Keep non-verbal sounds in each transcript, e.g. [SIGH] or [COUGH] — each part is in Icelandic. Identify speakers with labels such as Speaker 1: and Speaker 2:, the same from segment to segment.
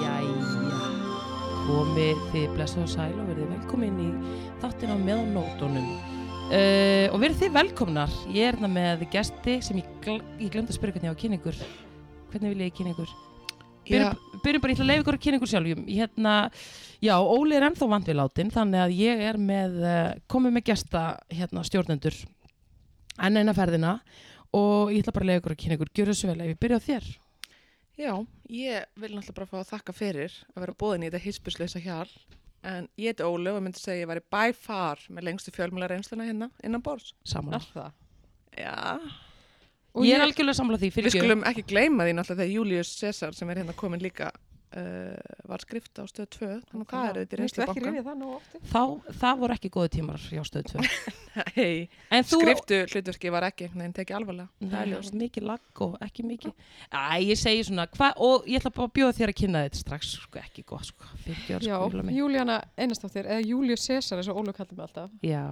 Speaker 1: Jæja, komið þið blessuð og sæl og verðið velkomin í þáttin á meðanótonum. Uh, og verðið þið velkomnar, ég er hérna með gesti sem ég, gl ég glemd að spyrja hvernig ég á að kynna ykkur. Hvernig vil ég kynna ykkur?
Speaker 2: Já,
Speaker 1: Byrjum, byrjum bara, ég ætla að leiða ykkur að kynna ykkur sjálfum. Hérna, já, Óli er ennþá vant við látin, þannig að ég er með, uh, komið með gesta hérna, stjórnendur enn eina ferðina og ég ætla bara að leiða ykkur að kynna ykkur. Gjörðu svo vel ef ég byrja á þér.
Speaker 2: já, ég vil náttúrulega bara fá að þakka fyrir að vera bóðin í þetta hispursleysa hjal en ég heiti Óli og ég myndi segja að ég væri by far með lengstu fjölmjöla reynsluna hérna innan bors.
Speaker 1: Saman.
Speaker 3: það?
Speaker 2: Já,
Speaker 3: Og
Speaker 1: Ég
Speaker 3: ég,
Speaker 1: er algjörlega samlað því
Speaker 2: við
Speaker 1: fyrir
Speaker 2: skulum ekki gleyma því náttúrulega þegar Július Cesar sem er hérna komin líka uh, var skrift á stöð 2 þannig að hvað er þetta í
Speaker 3: Mér finnst ekki
Speaker 2: reynslubankan?
Speaker 3: rifið það nú ofti.
Speaker 1: þá, það voru ekki góði tímar hjá stöð 2 [LAUGHS]
Speaker 2: Hei,
Speaker 1: en þú,
Speaker 2: skriftu hlutverki var ekki einhvern veginn tekið alvarlega. Það er
Speaker 1: Nei,
Speaker 2: ljóst.
Speaker 1: mikið lag og ekki mikið Æ, ég segi svona, hva, og ég ætla bara að bjóða þér að kynna þetta strax, sko, ekki gott sko, fyrir
Speaker 3: Já,
Speaker 1: sko, Júlla mín.
Speaker 3: Júlíana Einarsdóttir, eða Július César eins og Ólu kallar mig alltaf.
Speaker 1: já,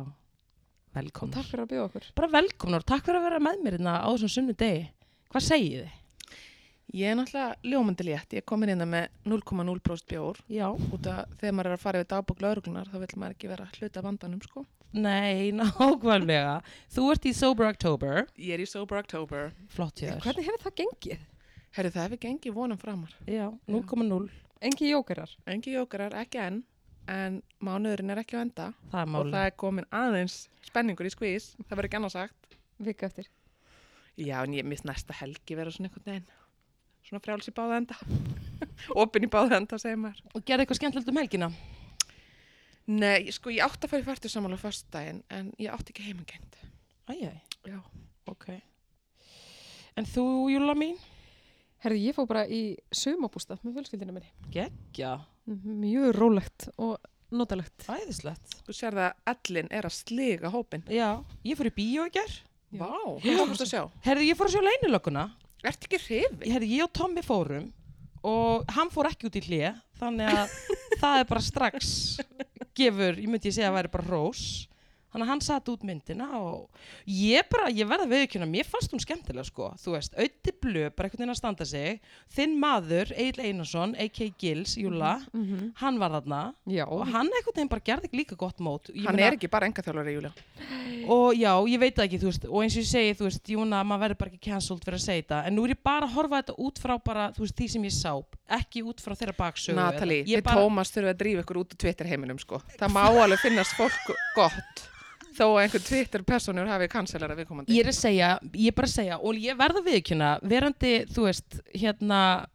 Speaker 3: Og
Speaker 1: velkomnar
Speaker 3: takk fyrir að bjóða okkur.
Speaker 1: bara velkomnar, takk fyrir að vera með mér hérna á þessum sunnu degi, hvað segið þið?
Speaker 2: Ég er náttúrulega ljómandi létt, ég er komin hérna með 0,0% bjór
Speaker 1: Já,
Speaker 2: út að þegar maður er að fara yfir dagbúk lauruglunar þá vil maður ekki vera hluta vandanum sko.
Speaker 1: nei, [LAUGHS] nákvæmlega þú ert í Sober October
Speaker 2: Ég er í Sober October.
Speaker 1: flott hjá þér,
Speaker 3: Hvernig hefur það gengið?
Speaker 2: Herru, það hefur gengið vonum framar.
Speaker 1: já, 0,0
Speaker 3: Engi jókerar.
Speaker 2: Engi jókarar, ekki enn, en mánuðurinn er ekki á enda
Speaker 1: það er
Speaker 2: og
Speaker 1: máli,
Speaker 2: það er komin aðeins spenningur í skvís. Það verður ekki annað sagt.
Speaker 3: Vika eftir.
Speaker 2: Já, en ég misst næsta helgi vera svona einhvern veginn. Svona frjáls í báða enda. [LAUGHS] Opin í báða enda, segir maður.
Speaker 1: og gerði eitthvað skemmtilegt um helgina
Speaker 2: Nei, sko, ég átti að fara í færtu saman á föstudaginn, en ég átti ekki heimengengt.
Speaker 1: æjæ,
Speaker 2: Já.
Speaker 1: ok en þú, Júlla mín?
Speaker 3: Herði, ég fór bara í sumabústað með fjölskyldina minni.
Speaker 1: Gekkja,
Speaker 3: Mjög rólegt og notalegt.
Speaker 1: æðislegt.
Speaker 2: Þú sér það að ellin er að sliga hópin.
Speaker 1: Já, ég fór í bíó í gerð.
Speaker 3: Já.
Speaker 2: Vá, hvað komst að sjá?
Speaker 1: Herði, ég fór að sjá leynilögguna.
Speaker 2: Ertu ekki hrifin?
Speaker 1: Herði, ég og Tommi fórum og hann fór ekki út í hlið, þannig að það er bara strax gefur, ég myndi ég segja að væri bara rós. Þannig að hann satt út myndina og ég bara, ég verða viðkjöna, mér fannst hún skemmtilega sko, þú veist, auði blöð, bara einhvern veginn að standa sig, þinn maður, Egil Einarsson, a.k. Gils, Júla, hann var þarna
Speaker 3: Já,
Speaker 1: og hann einhvern veginn bara gerði líka gott mót. Ég
Speaker 2: Hann
Speaker 1: meina-
Speaker 2: er ekki bara engaþjálfari, Júlia.
Speaker 1: og já, ég veit það ekki, þú veist, og eins og ég segi, þú veist, Júna, maður verður bara ekki cancelled fyrir að segja þetta, en nú er ég bara að horfa þetta út frá bara, þú veist, því sem ég sá, ekki út frá þeirra baksögu.
Speaker 2: Natalie,
Speaker 1: Ég
Speaker 2: við Tómas þurfum að drífa ykkur út úr Twitter heiminum sko. Það má alveg finnast fólk gott þó að einhver Twitter personur hafi kanselara viðkomandi.
Speaker 1: Ég er að segja, ég er bara að segja, og ég verða viðkjöna, verandi, þú veist, hérna,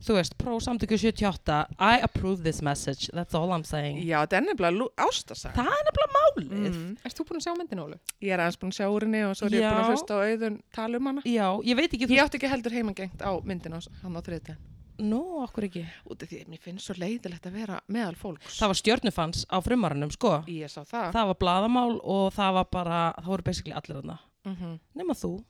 Speaker 1: þú veist, pró samtöku 78, I approve this message, that's all I'm saying.
Speaker 2: Já, þetta er nefnilega lú- ástarsaga.
Speaker 1: Það er nefnilega málið.
Speaker 2: Mm.
Speaker 3: erst þú búin að sjá myndina, Ólu?
Speaker 2: Ég er aðeins búin að sjá úr henni og svo er ég búin
Speaker 1: Já.
Speaker 2: að hlusta á auðun tala um hana.
Speaker 1: Já, ég veit ekki, þú
Speaker 2: Ég átti ekki heldur heimangengt á myndinu hans- hann á þriðdegin.
Speaker 1: nú, okkur ekki.
Speaker 2: Út af því að mér finnst svo leiðilegt að vera meðal fólks.
Speaker 1: Það var stjörnufans á frumarunum, sko.
Speaker 2: Ég sá
Speaker 1: Það
Speaker 2: það.
Speaker 1: var bladamál og það var bara, það voru basically allir hana.
Speaker 2: Mm
Speaker 1: Nema þú.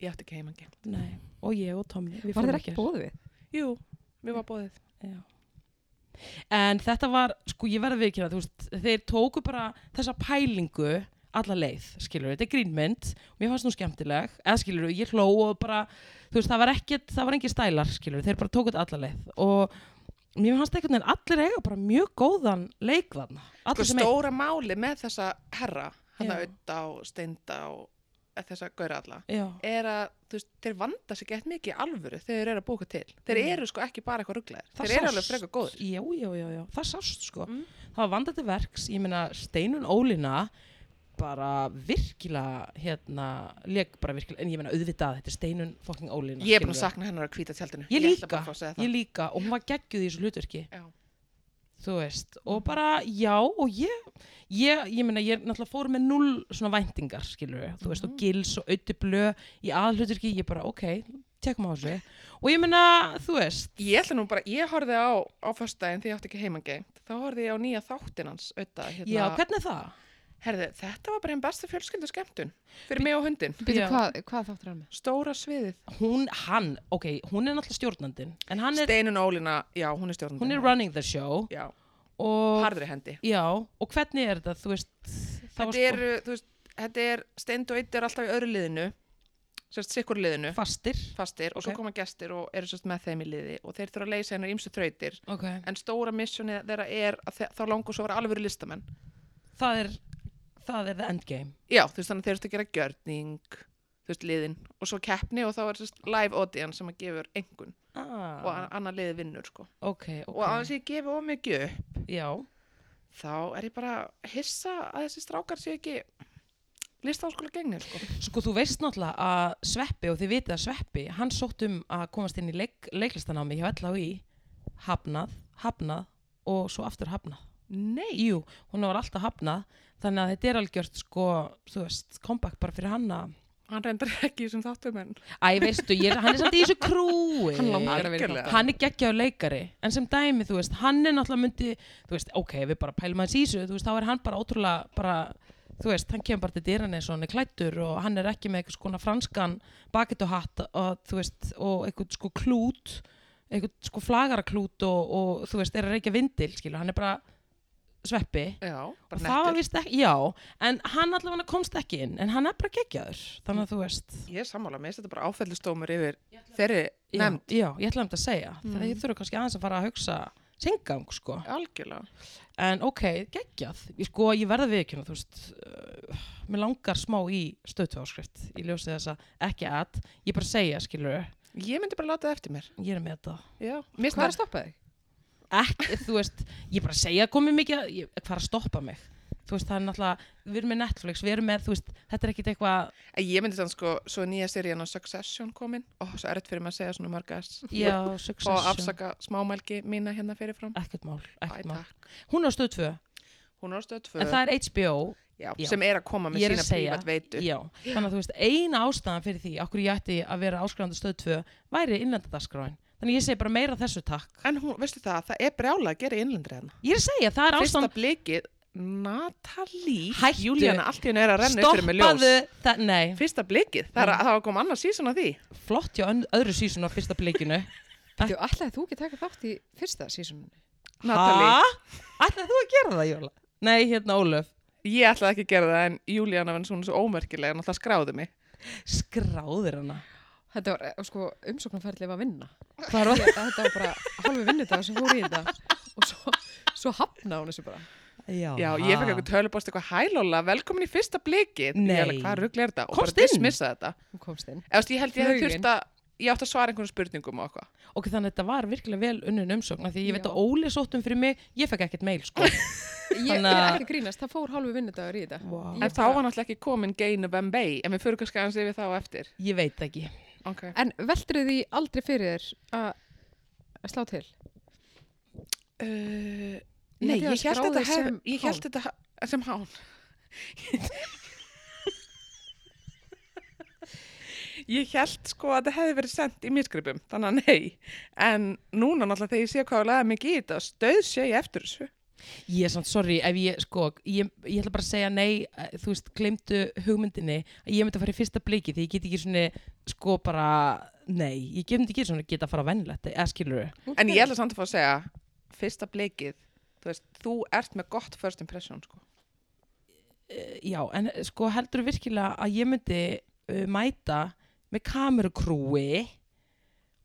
Speaker 2: Ég átti ekki heimangengt.
Speaker 1: Nei, og ég og Tommi við
Speaker 3: Var
Speaker 1: fórum
Speaker 3: þér
Speaker 1: í
Speaker 3: ekki
Speaker 1: gær.
Speaker 3: bóðið við?
Speaker 2: Jú, mér var bóðið.
Speaker 1: Já. En þetta var, sko ég verði viðkynna, þú veist, þeir tóku bara þessa pælingu alla leið, skilur þetta er grínmynd, mér fannst nú skemmtileg, eða skilur ég hló og bara, þú veist, það var ekkert, það var engin stælar, skilur þeir bara tóku þetta alla leið og mér fannst einhvern veginn allir eiga bara mjög góðan leik þarna,
Speaker 2: Sko
Speaker 1: allir sem eiga.
Speaker 2: stóra máli með þessa herra, hann
Speaker 1: Já.
Speaker 2: að auða og steinda og eh, þessa gaur alla.
Speaker 1: Já,
Speaker 2: er að þú veist, þeir vanda sig gett mikið í alvöru þegar þeir eru að búka til. Þeir
Speaker 1: Mm.
Speaker 2: eru sko ekki bara eitthvað rugglaðir. Þeir eru alveg frekar góður.
Speaker 1: Já, já, já, já, það sást sko.
Speaker 2: Mm.
Speaker 1: Það var vandandi verks, ég meina Steinun Ólina bara virkilega hérna, leik bara virkilega, en ég meina auðvitað þetta er Steinun fucking Ólina.
Speaker 2: Ég er búin að
Speaker 1: skilurðu.
Speaker 2: sakna hennar að hvíta tjaldinu.
Speaker 1: Ég
Speaker 2: ætla
Speaker 1: líka,
Speaker 2: bara að fá að segja
Speaker 1: ég
Speaker 2: það.
Speaker 1: líka og hún var geggjuð í þessu hlutverki,
Speaker 2: Já. Mhm.
Speaker 1: þú veist, og bara já og ég, ég, ég meina ég náttúrulega fór með null svona væntingar, skilur þú veist,
Speaker 2: Mhm.
Speaker 1: og gils og auðublö í aðhlutverki, ég bara ok, tekum á þessu og ég meina, þú veist,
Speaker 2: Ég ætla nú bara, ég horfið á, á föstudaginn því ég átti ekki heimangengt. Þá horfið ég á nýja þáttinn hans auða. Hérna,
Speaker 1: já, hvernig er það?
Speaker 2: herði, þetta var bara einn besta fjölskyldu skemmtun fyrir mig og hundin.
Speaker 3: Býtu,
Speaker 1: Já.
Speaker 3: hvað, hvað þáttur hann með?
Speaker 2: Stóra sviðið.
Speaker 1: hún, hann, ok, hún er náttúrulega stjórnandin en hann er,
Speaker 2: Steinun Ólina, já, hún er stjórnandi.
Speaker 1: hún er running the show
Speaker 2: Já,
Speaker 1: og,
Speaker 2: harðri hendi.
Speaker 1: já, og hvernig er þetta, þú veist sko það var
Speaker 2: Þetta eru, þú veist, þetta er, steind og eitt er alltaf í öðru liðinu, sérst sikkur liðinu,
Speaker 1: sko fastir
Speaker 2: fastir og
Speaker 1: Ok.
Speaker 2: svo koma gestir og eru sérst með þeim í liði og þeir þurfa að leysa hennar ímsu þrautir.
Speaker 1: ok,
Speaker 2: En stóra missjónið þeirra er að þe- þá langur svo að vera alvöru listamenn.
Speaker 1: það er það er the endgame
Speaker 2: Já, þú veist, þannig að þeir eru að gera gjörning, þú veist, liðin og svo keppni og þá er sérst live audience sem að gefur engun og
Speaker 1: ah,
Speaker 2: a- annað liði vinnur, sko.
Speaker 1: ok, ok,
Speaker 2: Og að þess að ég gefi of mikið upp,
Speaker 1: já
Speaker 2: þá er ég bara hissa að þessi strákar séu ekki listaháskóla gegnir, sko.
Speaker 1: sko þú veist náttúrulega að Sveppi og þið vitið að Sveppi, hann sótt um að komast inn í leik, leiklistanámi hjá LHI hafnað, hafnað og svo aftur hafnað
Speaker 2: Nei,
Speaker 1: Jú, hún var alltaf hafnað þannig að þetta er algjört sko, þú veist, comeback bara fyrir hann að
Speaker 2: hann reyndar ekki sem þáttum en
Speaker 1: Æ, veistu, ég, er- hann er samt í þessu krúi
Speaker 3: Hann langar að vera í
Speaker 2: Algjörlega.
Speaker 1: hann er geggjaður leikari en sem dæmi, þú veist, hann er náttúrulega myndi þú veist, ok, við bara pælum hans í þessu þú veist, þá er hann bara ótrúlega bara, þú veist, hann kemur bara til dyrana eins og hann er klættur og hann er ekki með eitthvað skona franskan bakituhatt og þú veist og eitthvað sko klút eitthvað sko flagaraklút og, og þú veist, er að reykja vindil, skilur, hann er bara sveppi
Speaker 2: Já, bara
Speaker 1: og það var
Speaker 2: nettur.
Speaker 1: vist ekki, já en hann allavega komst ekki inn, en hann er bara geggjaður þannig að þú veist
Speaker 2: Ég er sammála, mér finnst þetta bara áfellistómur yfir þeirri
Speaker 1: Já,
Speaker 2: nefnd.
Speaker 1: Já, ég ætlaði um þetta að segja.
Speaker 2: Mm.
Speaker 1: Það ég þurfa kannski aðeins að fara að hugsa syngang, sko.
Speaker 2: Algjörlega.
Speaker 1: En ok, geggjað. Ég, sko, ég verða við ekki, þú veist, uh, mér langar smá í stöðtváskrift. Ég ljósi þess að ekki að, ég bara segja, skilur,
Speaker 2: Ég myndi bara láta það eftir mér.
Speaker 1: ég er með þetta.
Speaker 2: Já. Mér
Speaker 3: Hvað er að
Speaker 2: snart,
Speaker 3: stoppa þig?
Speaker 1: Ekki, þú veist, ég bara segja komið mikið, að- ég, hvað er að stoppa mig? Þú veist, það er náttúrulega, við erum með Netflix, við erum með, þú veist, þetta er ekkit eitthvað,
Speaker 2: ég myndi þannig sko, svo er nýja serían á Succession komin. Ó, svo erfitt fyrir mig að segja svona mörg S.
Speaker 1: já,
Speaker 2: Og
Speaker 1: succession,
Speaker 2: afsaka smámælgi mína hérna fyrirfram.
Speaker 1: ekkert mál,
Speaker 2: Æ,
Speaker 1: ekkert mál.
Speaker 2: takk.
Speaker 1: Hún er á stöð 2,
Speaker 2: Hún er á stöð
Speaker 1: en
Speaker 2: 2,
Speaker 1: það er HBO,
Speaker 2: já,
Speaker 1: já.
Speaker 2: sem er að koma með
Speaker 1: Ég er að
Speaker 2: sína
Speaker 1: segja,
Speaker 2: prívat veitu.
Speaker 1: Já, þannig að þú veist, eina ástæðan fyrir því okkur ég ætti að vera áskrifandi á stöð 2 væri innlendadaskráin. Þannig að ég segi bara meira af þessu takk.
Speaker 2: En hún, veistu það, það er brjála að gera í innlendri hérna.
Speaker 1: Ég er að segja, það er
Speaker 2: Fyrsta
Speaker 1: ástæðan
Speaker 2: blikið, Natalie,
Speaker 1: Hættu.
Speaker 2: Júlíana, allt í hennu er að renna upp fyrir mig ljós.
Speaker 1: það, nei,
Speaker 2: Fyrsta blikið, það, er, að- það kom annars síðan að því.
Speaker 1: flott hjá ön- öðru sísun á fyrsta blikinu.
Speaker 3: Þú ætlaði þú ekki að taka þátt í fyrsta sísuninu?
Speaker 2: [LAUGHS] Natalie,
Speaker 1: Ætlaði þú að gera það, Jóla? Nei, hérna Ólöf,
Speaker 2: ég ætlaði ekki að gera það en Júlíana var svona svo ómerkilega en það skráði mig.
Speaker 1: skráðir hana.
Speaker 3: Þetta var, eh, sko, umsóknarferðlið var vinna.
Speaker 1: Hvað var
Speaker 3: Ég- Þetta var bara halvi vinnudag sem fór í þetta og svo, svo hafna hún þessu bara.
Speaker 2: Já, ég fekk eitthvað tölubost eitthvað hælóla, velkomin í fyrsta blikið.
Speaker 1: Nei.
Speaker 2: Ég alveg, hvað rugl er þetta? Og
Speaker 1: Komst
Speaker 2: bara
Speaker 1: inn.
Speaker 2: dismissa þetta.
Speaker 3: Hún komst inn.
Speaker 2: Eða, þú veist, ég held ég hefði
Speaker 3: Flaugin.
Speaker 2: þurft að, ég átti að svara einhvern spurningum og eitthvað.
Speaker 1: Ok, þannig að þetta var virkilega vel unnum umsókna því ég veit
Speaker 3: Já.
Speaker 1: að Óli sótt um fyrir mig, ég fekk ekkert meil, sko.
Speaker 3: Ég, ég
Speaker 1: Þannig
Speaker 3: er
Speaker 1: að-
Speaker 3: ekki að grínast, það fór halvi vinnudagur í þetta.
Speaker 1: Vá.
Speaker 3: Ég
Speaker 2: En þá var náttúrulega ekki komin Gay November, en við fyrir kannski aðeins yfir þá á eftir.
Speaker 1: Ég veit ekki.
Speaker 2: Okay.
Speaker 3: En veldur því aldrei fyrir þér að að slá til?
Speaker 2: Uh,
Speaker 3: Ég
Speaker 2: nei, ég
Speaker 3: held ég að
Speaker 2: held
Speaker 3: skráði
Speaker 2: þetta hef,
Speaker 3: sem
Speaker 2: ég held þetta ha- sem hán. ég held sko að þetta hefði verið sendt í misgripum, þannig að nei. En núna náttúrulega þegar ég sé hvað að laga mikið í þetta, stöð sé ég eftir þessu.
Speaker 1: Ég er samt, sorry, ef ég, sko, ég, ég ætla bara að segja nei, eh, þú veist, glemdu hugmyndinni að ég myndi að fara í fyrsta bliki því ég get ekki svona, sko, bara, nei, ég get ekki svona geta að fara venlegt, eða skilur
Speaker 2: En ég ætla samt að fá að segja, fyrsta blikið, þú veist, þú ert með gott first impression, sko.
Speaker 1: Já, en eh, sko, heldur virkilega að ég myndi uh, mæta með kamerukrúi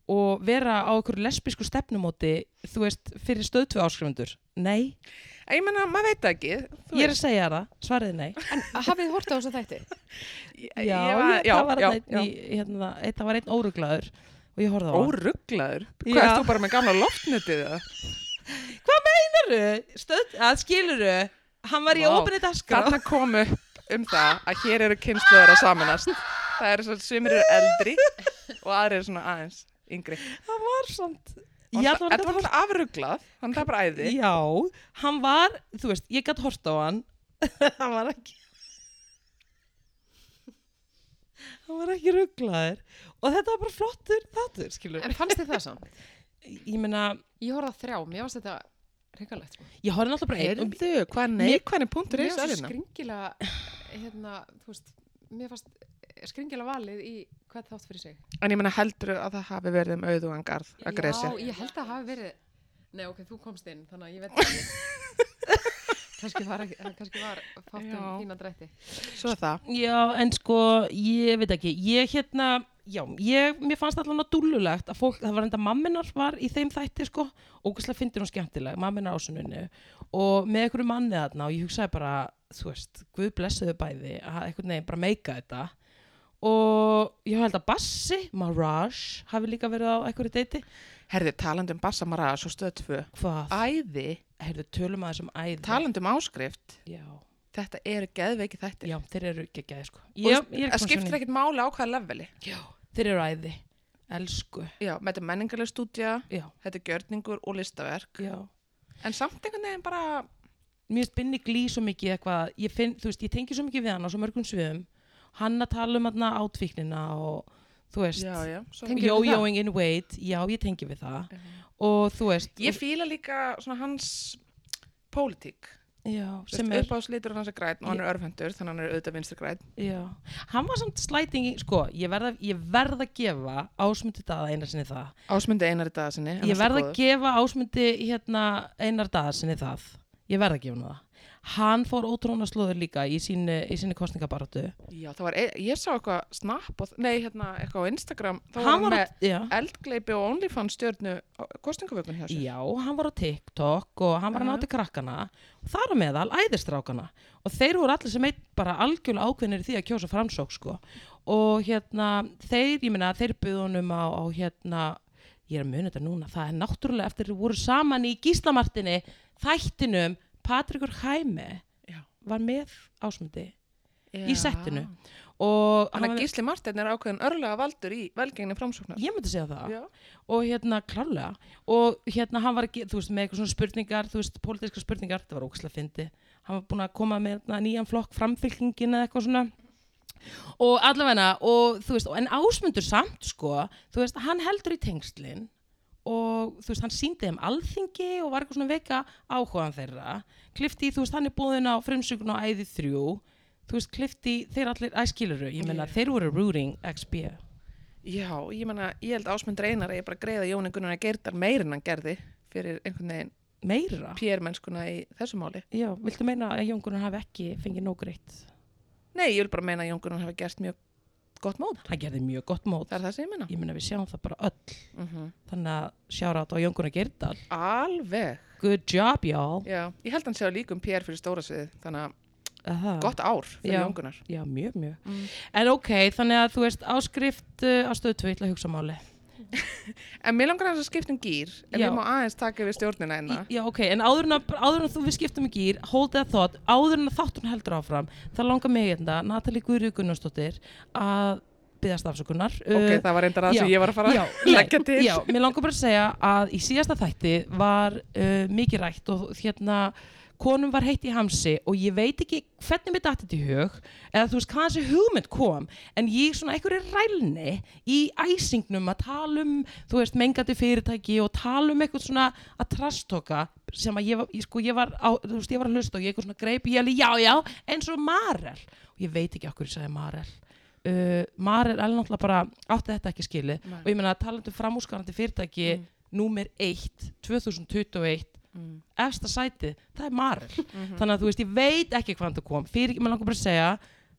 Speaker 1: og vera á okkur lesbísku stefnumóti, þú veist, fyrir stöðtvö áskrifundur? Nei,
Speaker 2: En ég menna, maður veit það ekki. þú
Speaker 1: ég er
Speaker 2: veist.
Speaker 1: að segja það, svariði nei.
Speaker 3: En hafið þið hortið á þessu þætti?
Speaker 2: Ég-
Speaker 1: Já,
Speaker 2: ég
Speaker 1: já,
Speaker 2: var- [LAUGHS] já,
Speaker 1: það var
Speaker 2: já,
Speaker 1: einn, í, hérna, einn, það var einn óruglaður og ég horfði á hann.
Speaker 2: Óruglaður? Hvað,
Speaker 1: Já.
Speaker 2: ert þú bara með gamla loftnetið eða?
Speaker 1: skiluru, stöð, að skiluru hann var í
Speaker 2: Vá.
Speaker 1: opinni dagskrá
Speaker 2: Þarna kom upp um það að hér eru kynnslöður að samanast. Það eru svo sumir eru eldri og aðri eru svona aðeins yngri.
Speaker 1: hann var samt
Speaker 2: Og
Speaker 1: já, það
Speaker 2: það-
Speaker 1: var
Speaker 2: Þetta
Speaker 1: þetta
Speaker 2: var alltaf afruglað, þannig það er bara æði.
Speaker 1: já, hann var, þú veist, ég gætt hort á hann [LAUGHS] hann var ekki hann var ekki rugglaður og þetta var bara flottur þáttur, skilur
Speaker 3: En fannst þið það samt?
Speaker 1: ég meina,
Speaker 3: Ég horfði á þrjá, mér fannst þetta reyngalegt. Sko.
Speaker 1: ég horfði náttúrulega bara einn og
Speaker 2: Heyrðu, um hvað er neikvæðin punktur
Speaker 3: Mér
Speaker 2: í
Speaker 3: fannst
Speaker 2: sælina?
Speaker 3: skringilega, hérna, þú veist, mér fannst skringilega valið í hvað þátt fyrir sig.
Speaker 2: En ég menna heldur að það hafi verið um auðvangarð að gresja. [LAUGHS]
Speaker 3: Já, ég held að það hafi verið, nei ok, þú komst inn, þannig að ég veit ekki. kannski var, ekki- hann kannski var
Speaker 2: Já.
Speaker 3: fátum þína drætti.
Speaker 2: Svo er það.
Speaker 1: Já, en sko, ég veit ekki, ég hérna, já, ég, mér fannst allan að dúllulegt að fólk, það var enda mamminar var í þeim þætti, sko, ógæslega fyndir hún skemmtileg, mamminar ásuninu og með einhverju manni þarna og ég hugsaði bara, þú veist, guð blessuðu bæði að einhvern veginn bara meika þetta og ég held að Bassi, Maraj, hafi líka verið á einhverju deiti.
Speaker 2: Herði, talandum Bassamara, svo stöð tvö.
Speaker 1: Hvað?
Speaker 2: Æði,
Speaker 1: Heyrðu, tölum aðeins um æði.
Speaker 2: talandum áskrift,
Speaker 1: Já,
Speaker 2: þetta eru geðveiki þættir.
Speaker 1: já, þeir eru ekki að sko.
Speaker 2: Og
Speaker 1: Ég, ég er
Speaker 2: það
Speaker 1: komin
Speaker 2: skiptir
Speaker 1: svona í-
Speaker 2: ekkert máli á hvaða leveli.
Speaker 1: Já, þeir eru æði. Elsku,
Speaker 2: Já, þetta er menningarlega stúdja,
Speaker 1: já,
Speaker 2: þetta er gjörningur og listaverk.
Speaker 1: já.
Speaker 2: En samt einhvern veginn bara,
Speaker 1: mér finnst Binni Glý svo mikið eitthvað, ég finn, þú veist, ég tengi svo mikið við hann á svo mörgum sviðum, hann að tala um hann átvíknina og þú veist,
Speaker 2: já, já. Svo,
Speaker 3: Tengir við það?
Speaker 1: jójóing in weight, já, ég tengi við það og þú veist,
Speaker 2: ég fíla líka svona hans pólitík.
Speaker 1: já, sem er,
Speaker 2: Uppáðslitur hans er græn og hann er örfendur, þannig að hann er auðvitað vinstri græn.
Speaker 1: já, hann var samt slætingi, sko, ég verð að, ég verð að gefa ásmundi daða einar sinni það,
Speaker 2: Ásmundi einari dagarsinni.
Speaker 1: ég verð að gefa ásmundi hérna einar daða sinni það, ég verð að gefa hann það. Hann fór ótróna slóður líka í sínu, í sínu kostningabaratu.
Speaker 2: Já, það var, ein, ég sá eitthvað snapp og, nei, hérna, eitthvað á Instagram, þá var
Speaker 1: Hann
Speaker 2: hann
Speaker 1: var,
Speaker 2: með
Speaker 1: að- já.
Speaker 2: eldgleipi og OnlyFans stjörnu kostningavökun hjá sér.
Speaker 1: Já, hann var á TikTok og hann var að
Speaker 2: Já.
Speaker 1: náti krakkana og þar á meðal æðistrákana og þeir voru allir sem eitt bara algjörlega ákveðnir í því að kjósa framsók sko og hérna þeir, ég meina þeir buðu honum á, á hérna ég er að muni þetta núna, það er náttúrulega eftir þeir voru saman í Gíslamartinni þættinum Patrikur Hæmi
Speaker 2: Já.
Speaker 1: var með ásmundi í settinu og
Speaker 2: Þannig
Speaker 1: var
Speaker 2: að
Speaker 1: með-
Speaker 2: Gísli Martin er ákveðin örlega valdur í velgengni framsóknar.
Speaker 1: ég myndi segja það
Speaker 2: Já.
Speaker 1: og hérna klárlega og hérna hann var ekki, þú veist, með eitthvað svona spurningar þú veist, pólitíska spurningar, þetta var ókslega fyndi hann var búin að koma með hérna, nýjan flokk framfylkingin eða eitthvað svona og allavegna, og þú veist en ásmundur samt, sko þú veist, hann heldur í tengslin og þú veist, hann síndi þeim alþingi og var eitthvað svona veika áhugaðan þeirra klifti, þú veist, hann er búin á frumsökun á æði þrjú, þú veist, klifti þeir allir, æskiluru, ég meina,
Speaker 2: Já.
Speaker 1: þeir voru rooting XB,
Speaker 2: Já, ég menna, ég held Ásmund Reynar að ég bara greiða Jóni Gunnar Geirdar meir en hann gerði fyrir einhvern veginn
Speaker 1: meira
Speaker 2: PR-mennskuna í þessu máli.
Speaker 1: Já, viltu meina að Jón Gunnar hafi ekki fengið nóg greitt?
Speaker 2: Nei, ég vil bara meina að Jón Gunnar hafa gert mjög gott mót.
Speaker 1: Hann gerði mjög gott mót.
Speaker 2: Það er það sem ég menna.
Speaker 1: Ég meina við sjáum það bara öll.
Speaker 2: Mm
Speaker 1: Þannig að sjára á Jón Gunnar Geirdal.
Speaker 2: Alveg.
Speaker 1: Good job, y'all.
Speaker 2: Já, ég held hann séu líka um PR fyrir stóra sviðið, þannig að
Speaker 1: Yeah.
Speaker 2: gott ár fyrir
Speaker 1: Já.
Speaker 2: Jón Gunnar.
Speaker 1: Já, mjög, mjög.
Speaker 2: Mm.
Speaker 1: En ok, þannig að þú veist áskrift uh, á stöðu tvill að hugsa máli.
Speaker 2: En mér langar aðeins að skipta um gýr, en
Speaker 1: Já.
Speaker 2: ég má aðeins taka við stjórnina
Speaker 1: Í,
Speaker 2: hérna. einna.
Speaker 1: já, ok, en áður en, að, áður en þú við skiptum í gýr, hold that thought, áður en að þáttun heldur áfram, það langar mig hérna, Natalie Guðrið Gunnarsdóttir, að byggðast afsökunar.
Speaker 2: ok,
Speaker 1: Uh,
Speaker 2: það var reyndar að
Speaker 1: já,
Speaker 2: sem ég var að fara
Speaker 1: já,
Speaker 2: að leggja
Speaker 1: nei,
Speaker 2: til.
Speaker 1: Já, mér langar bara að segja að í síðasta þætti var uh, mikið rætt og hérna konum var heitt í hamsi og ég veit ekki hvernig mér datti í hug eða þú veist hvað þessi hugmynd kom en ég svona einhverju rælni í æsingnum að tala um þú veist mengandi fyrirtæki og tala um eitthvað svona að trastoka sem að ég var, ég, sko, ég var á, þú veist ég var að hlusta og ég eitthvað svona greip ég alveg já já eins og Marel og ég veit ekki okkur ég sagði Marel uh, Marel alveg náttúrulega bara átti þetta ekki skilið
Speaker 2: Nei.
Speaker 1: og ég meina talandi um framúskarandi fyrirtæki
Speaker 2: Mm.
Speaker 1: númer 1 2021
Speaker 2: Mm. Mhm.
Speaker 1: efsta sætið, það er Marel þannig að þú veist, ég veit ekki hvaðan það kom fyrir ekki, maður langar bara að segja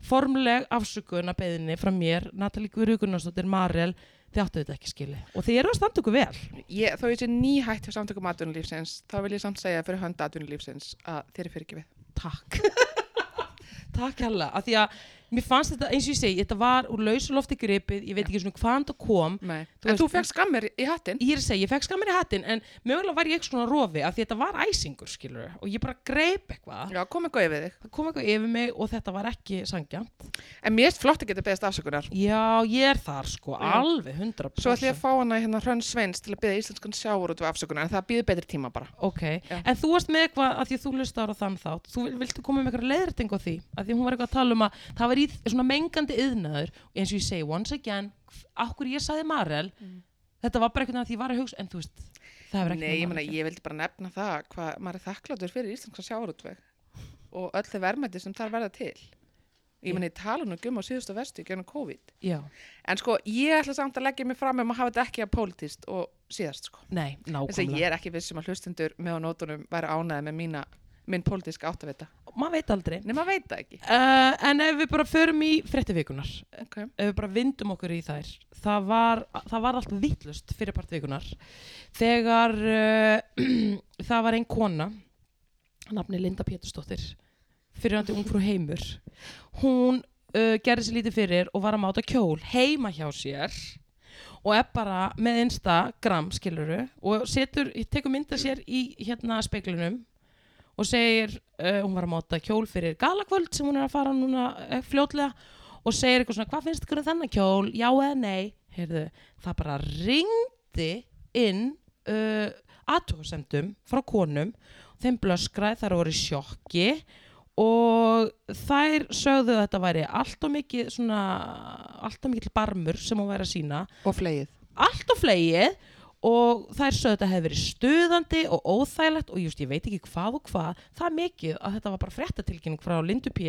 Speaker 1: formleg afsökun að beðinni frá mér Natalie Guðrugunarsdóttir Marel þið áttu þetta ekki skili og þið eru að standa ykkur vel
Speaker 2: Ég, þó ég sé nýhætt hjá samtökum atvinnulífsins, þá vil ég samt segja fyrir hönd atvinnulífsins að þeir eru fyrirgefið.
Speaker 1: takk [LAUGHS] takk hella, af því að mér fannst þetta eins og ég segi, þetta var úr lausulofti gripið ég veit ekki svona hvaðan það kom
Speaker 2: Nei.
Speaker 1: Þú
Speaker 2: en
Speaker 1: veist-
Speaker 2: þú fegst skammir í hattin.
Speaker 1: ég er að segja, ég fekk skammir í hattinn en mögulega var ég eitthvað svona rofi af því þetta var æsingur skilur og ég bara greip eitthvað
Speaker 2: Já, komið góðið við þig.
Speaker 1: það kom eitthvað yfir mig og þetta var ekki sangjant
Speaker 2: En mér erst flott að geta beðast afsökunar.
Speaker 1: já, ég er þar sko,
Speaker 2: Já.
Speaker 1: alveg 100%
Speaker 2: Svo ætlum ég að fá hana hérna Hrönn Sveins til að beða íslenskan sjáur út af afsökunar, en það býður betri tíma bara.
Speaker 1: ok,
Speaker 2: Já.
Speaker 1: en þú varst með eitthvað að því að þú lustar á þann þátt, þú vil- viltu koma með eitthvað leiðrætting á því, að því hún var eitthvað að tala um að það var í svona mengandi yðnaður og eins og ég segi, once again, okkur ég saði Marel, þetta var bara eitthvað að því ég var að hugsa, en þú veist, það hefur ekki
Speaker 2: Nei,
Speaker 1: með Marel
Speaker 2: ég meina,
Speaker 1: að gera.
Speaker 2: ég vildi bara nefna það hvað maður er þakkláttur fyrir íslenskan sjáurútveg og öll þau verðmætti sem þar verða til. Ég meina, ég tala nú ekki um á síðustu vestu gennum COVID.
Speaker 1: Já.
Speaker 2: En sko, ég ætla samt að leggja mig fram um að hafa þetta ekki að politist og síðast, sko.
Speaker 1: Nei,
Speaker 2: Þess að
Speaker 1: nákvæmlega.
Speaker 2: um ég er ekki vissum að hlustundur með á nótunum væri ánæði með mína minn pólitíska áttavita.
Speaker 1: maður veit aldrei
Speaker 2: Nei, maður veit það ekki.
Speaker 1: uh, en ef við bara förum í fréttavikunar
Speaker 2: Okay.
Speaker 1: ef við bara vindum okkur í þær það var, það var allt vittlust fyrir partvikunar þegar uh, [CLEARS THROAT] það var ein kona nafni Linda Pétursdóttir fyrirandi ung frú heimur hún uh, gerði sér lítið fyrir og var að máta kjól heima hjá sér og er bara með Instagram skiluru og setur, tekur mynda sér í hérna speglunum og segir, uh, hún var að máta kjól fyrir galakvöld sem hún er að fara núna uh, fljótlega og segir eitthvað svona, hvað finnst ykkur um þennan kjól, já eða nei heyrðu, það bara ringdi inn uh, aðtóðsendum frá konum þeim blöskraði, þær voru í sjokki og þær sögðu að þetta væri allt og mikið svona, allt og mikið barmur sem hún væri að sína
Speaker 2: Og flegið.
Speaker 1: allt á flegið og þær sögðu að þetta hefði verið stuðandi og óþægilegt og just ég veit ekki hvað og hvað það er mikið að þetta var bara fréttatilkynning frá Lindu P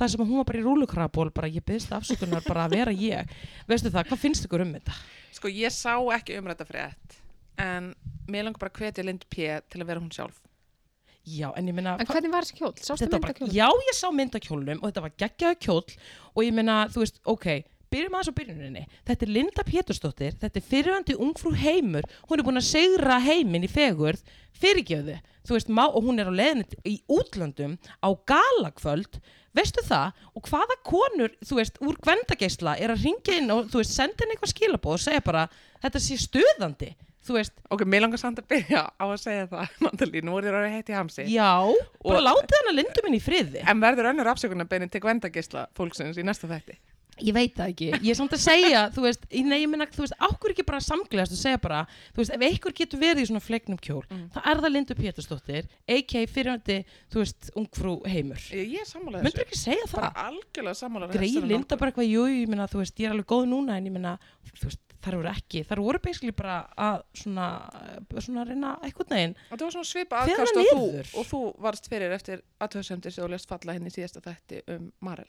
Speaker 1: það sem að hún var bara í rúlukraból bara ég byrðist afsökunar bara að vera ég veistu það, hvað finnst ykkur um þetta?
Speaker 2: Sko, ég sá ekki umræta frétt, en mér langar bara að hvetja Lind P. til að vera hún sjálf.
Speaker 1: Já, en ég meina
Speaker 3: En hvernig var þessi kjól? Sástu
Speaker 1: þetta var
Speaker 3: mynda
Speaker 1: bara,
Speaker 3: kjól?
Speaker 1: já ég sá myndakjólnum og þetta var geggjaðu kjól og ég meina, þú veist, ok byrjum aðeins á byrjuninni, þetta er Linda Pétursdóttir þetta er fyrirvandi ungfrú heimur hún er búin að segra heiminn í fegurð fyrirgjöðu, þú veist, má, og hún er á leiðinni t- í útlöndum á galakvöld, veistu það og hvaða konur, þú veist, úr gvendageisla er að ringja inn og, þú veist, senda henni eitthvað skilabóð og segja bara, þetta sé stuðandi þú veist,
Speaker 2: Ok, mér langar samt að byrja á að segja það, [LAUGHS] Natalie, nú voru þér orðið heitt í hamsi.
Speaker 1: já bara
Speaker 2: Og-
Speaker 1: látið hennar Lindu minn í friði
Speaker 2: En verður önnur afsökunarbeinin til gvendagisla fólksins í næsta þætti?
Speaker 1: Ég veit það ekki, ég er samt að segja, þú veist, í- nei, ég minna, þú veist, ákveður ekki bara samglegast og segja bara, þú veist, ef einhver getur verið í svona flegnum kjól,
Speaker 2: Mm.
Speaker 1: þá er það Lindu Pétursdóttir, a.k. fyrirhandi, þú veist, ungfrú heimur.
Speaker 2: Ég, ég er sammála
Speaker 1: Möndur
Speaker 2: þessu.
Speaker 1: ekki segja
Speaker 2: Bara
Speaker 1: það?
Speaker 2: algjörlega sammála
Speaker 1: Greið
Speaker 2: þessari
Speaker 1: Linda
Speaker 2: nálgun.
Speaker 1: bara eitthvað, jú, ég minna, þú veist, ég er alveg góð núna, en ég minna, þú veist, þar voru ekki, þar voru basically bara að svona, svona reyna eitthvað neginn.
Speaker 2: Og það var svona svipa
Speaker 1: Fer hann
Speaker 2: aðkast og þú,
Speaker 1: niður?
Speaker 2: og þú varst fyrir eftir aðtöðsendir sem þú lest falla henni í síðasta þætti um Marel.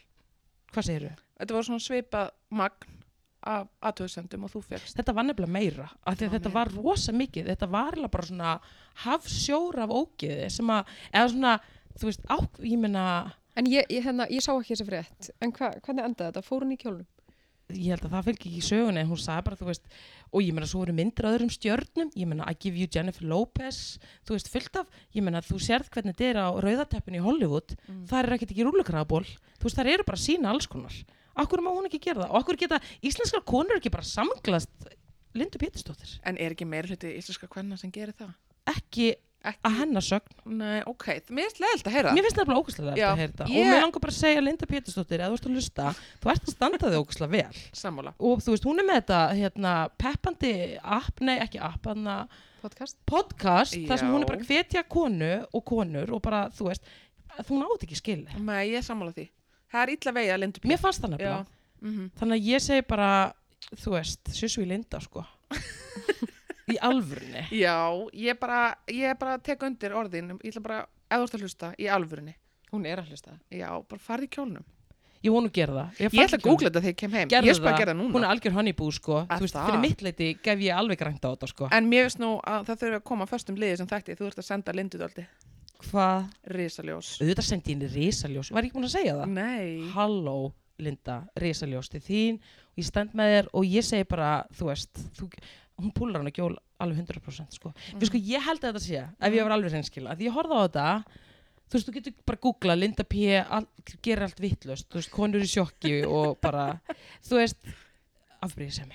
Speaker 1: Hvað segirðu?
Speaker 2: Þetta var svona svipa magn af aðtöðsendum og þú fegst.
Speaker 1: Þetta var nefnilega meira, af því að
Speaker 2: Þetta var
Speaker 1: þetta var rosa mikið, þetta var eiginlega bara svona hafsjór af ógeði sem að, eða svona, þú veist, á, ég meina,
Speaker 3: En ég, ég, hérna, ég sá ekki þessi frétt. En hva, hvernig endaði þetta? Fór hún í kjólnum?
Speaker 1: ég held að það fylgir ekki í sögunni, en hún sagði bara, þú veist, og ég meina, svo eru myndir af öðrum stjörnum, ég meina, I give you Jennifer Lopez, þú veist, fullt af, ég meina, þú sérð hvernig þetta er á rauðateppinu í Hollywood, mm. það er ekkert ekki rúlukraðaból, þú veist, það eru bara sína alls konar, akkur má hún ekki gera það, og akkur geta íslenskar konur ekki bara samglast Lindu Pétursdóttir,
Speaker 2: En er ekki meira hluti íslenska kvenna sem gerir það?
Speaker 1: ekki
Speaker 2: Ekki.
Speaker 1: að hennar sögn
Speaker 2: Nei, ok. Mér finnst leðilt að heyra.
Speaker 1: Mér finnst það bara ógæslega
Speaker 2: Já,
Speaker 1: þetta að heyrta
Speaker 2: ég-
Speaker 1: og mér langar bara að segja Linda Pétursdóttir að þú ert að hlusta, þú ert að standa þig ógæslega vel
Speaker 2: Sammála.
Speaker 1: og þú veist, hún er með þetta hérna, peppandi app, nei ekki app hana,
Speaker 3: Podcast?
Speaker 1: podcast,
Speaker 2: Já.
Speaker 1: þar sem hún er bara að hvetja konu og konur og bara, þú veist að þú nátt ekki skilja,
Speaker 2: Nei, ég er sammála því. Það er illa vegi að Lindu
Speaker 1: mér fannst það
Speaker 2: Já.
Speaker 1: nefnilega
Speaker 2: Mm
Speaker 1: þannig að ég segi bara, þú veist sjössu í Linda sko í alvörunni
Speaker 2: Já, ég bara, ég bara tek undir orðin, ég ætla bara, ef þú ert að hlusta, í alvörunni.
Speaker 3: Hún er að hlusta.
Speaker 2: Já, bara farði í kjólnum.
Speaker 1: ég vonu að gera það
Speaker 2: Ég ætla að googla þetta þegar ég kem heim. ég
Speaker 1: Gerðu
Speaker 2: skal bara
Speaker 1: það.
Speaker 2: gera það núna.
Speaker 1: hún er algjör honeybú sko
Speaker 2: Er
Speaker 1: þú veist,
Speaker 2: það?
Speaker 1: fyrir mitt leiti gef ég alveg grænt á þetta sko
Speaker 2: En mér finnst nú að það þurfi að koma að föstum liði sem þætti, þú ert að senda Lindu daldi.
Speaker 1: hvað
Speaker 2: Risaljós.
Speaker 1: auðvitað sendi ég henni risaljós, var ég ekki búin að segja það?
Speaker 2: Nei.
Speaker 1: Halló, Linda, risaljós til þín og ég stend með þér og ég segi bara, þú veist, þú, hún púlar hann að gjól alveg 100% sko. Mm. sko, ég held að þetta sé, ef
Speaker 2: Mm.
Speaker 1: ég var alveg reynskila, því ég horfði á þetta, þú veist, þú getur bara googlað, Linda P. All, gerir allt vittlust, þú veist, konur í sjokki og bara, þú veist, afbrýðisemi.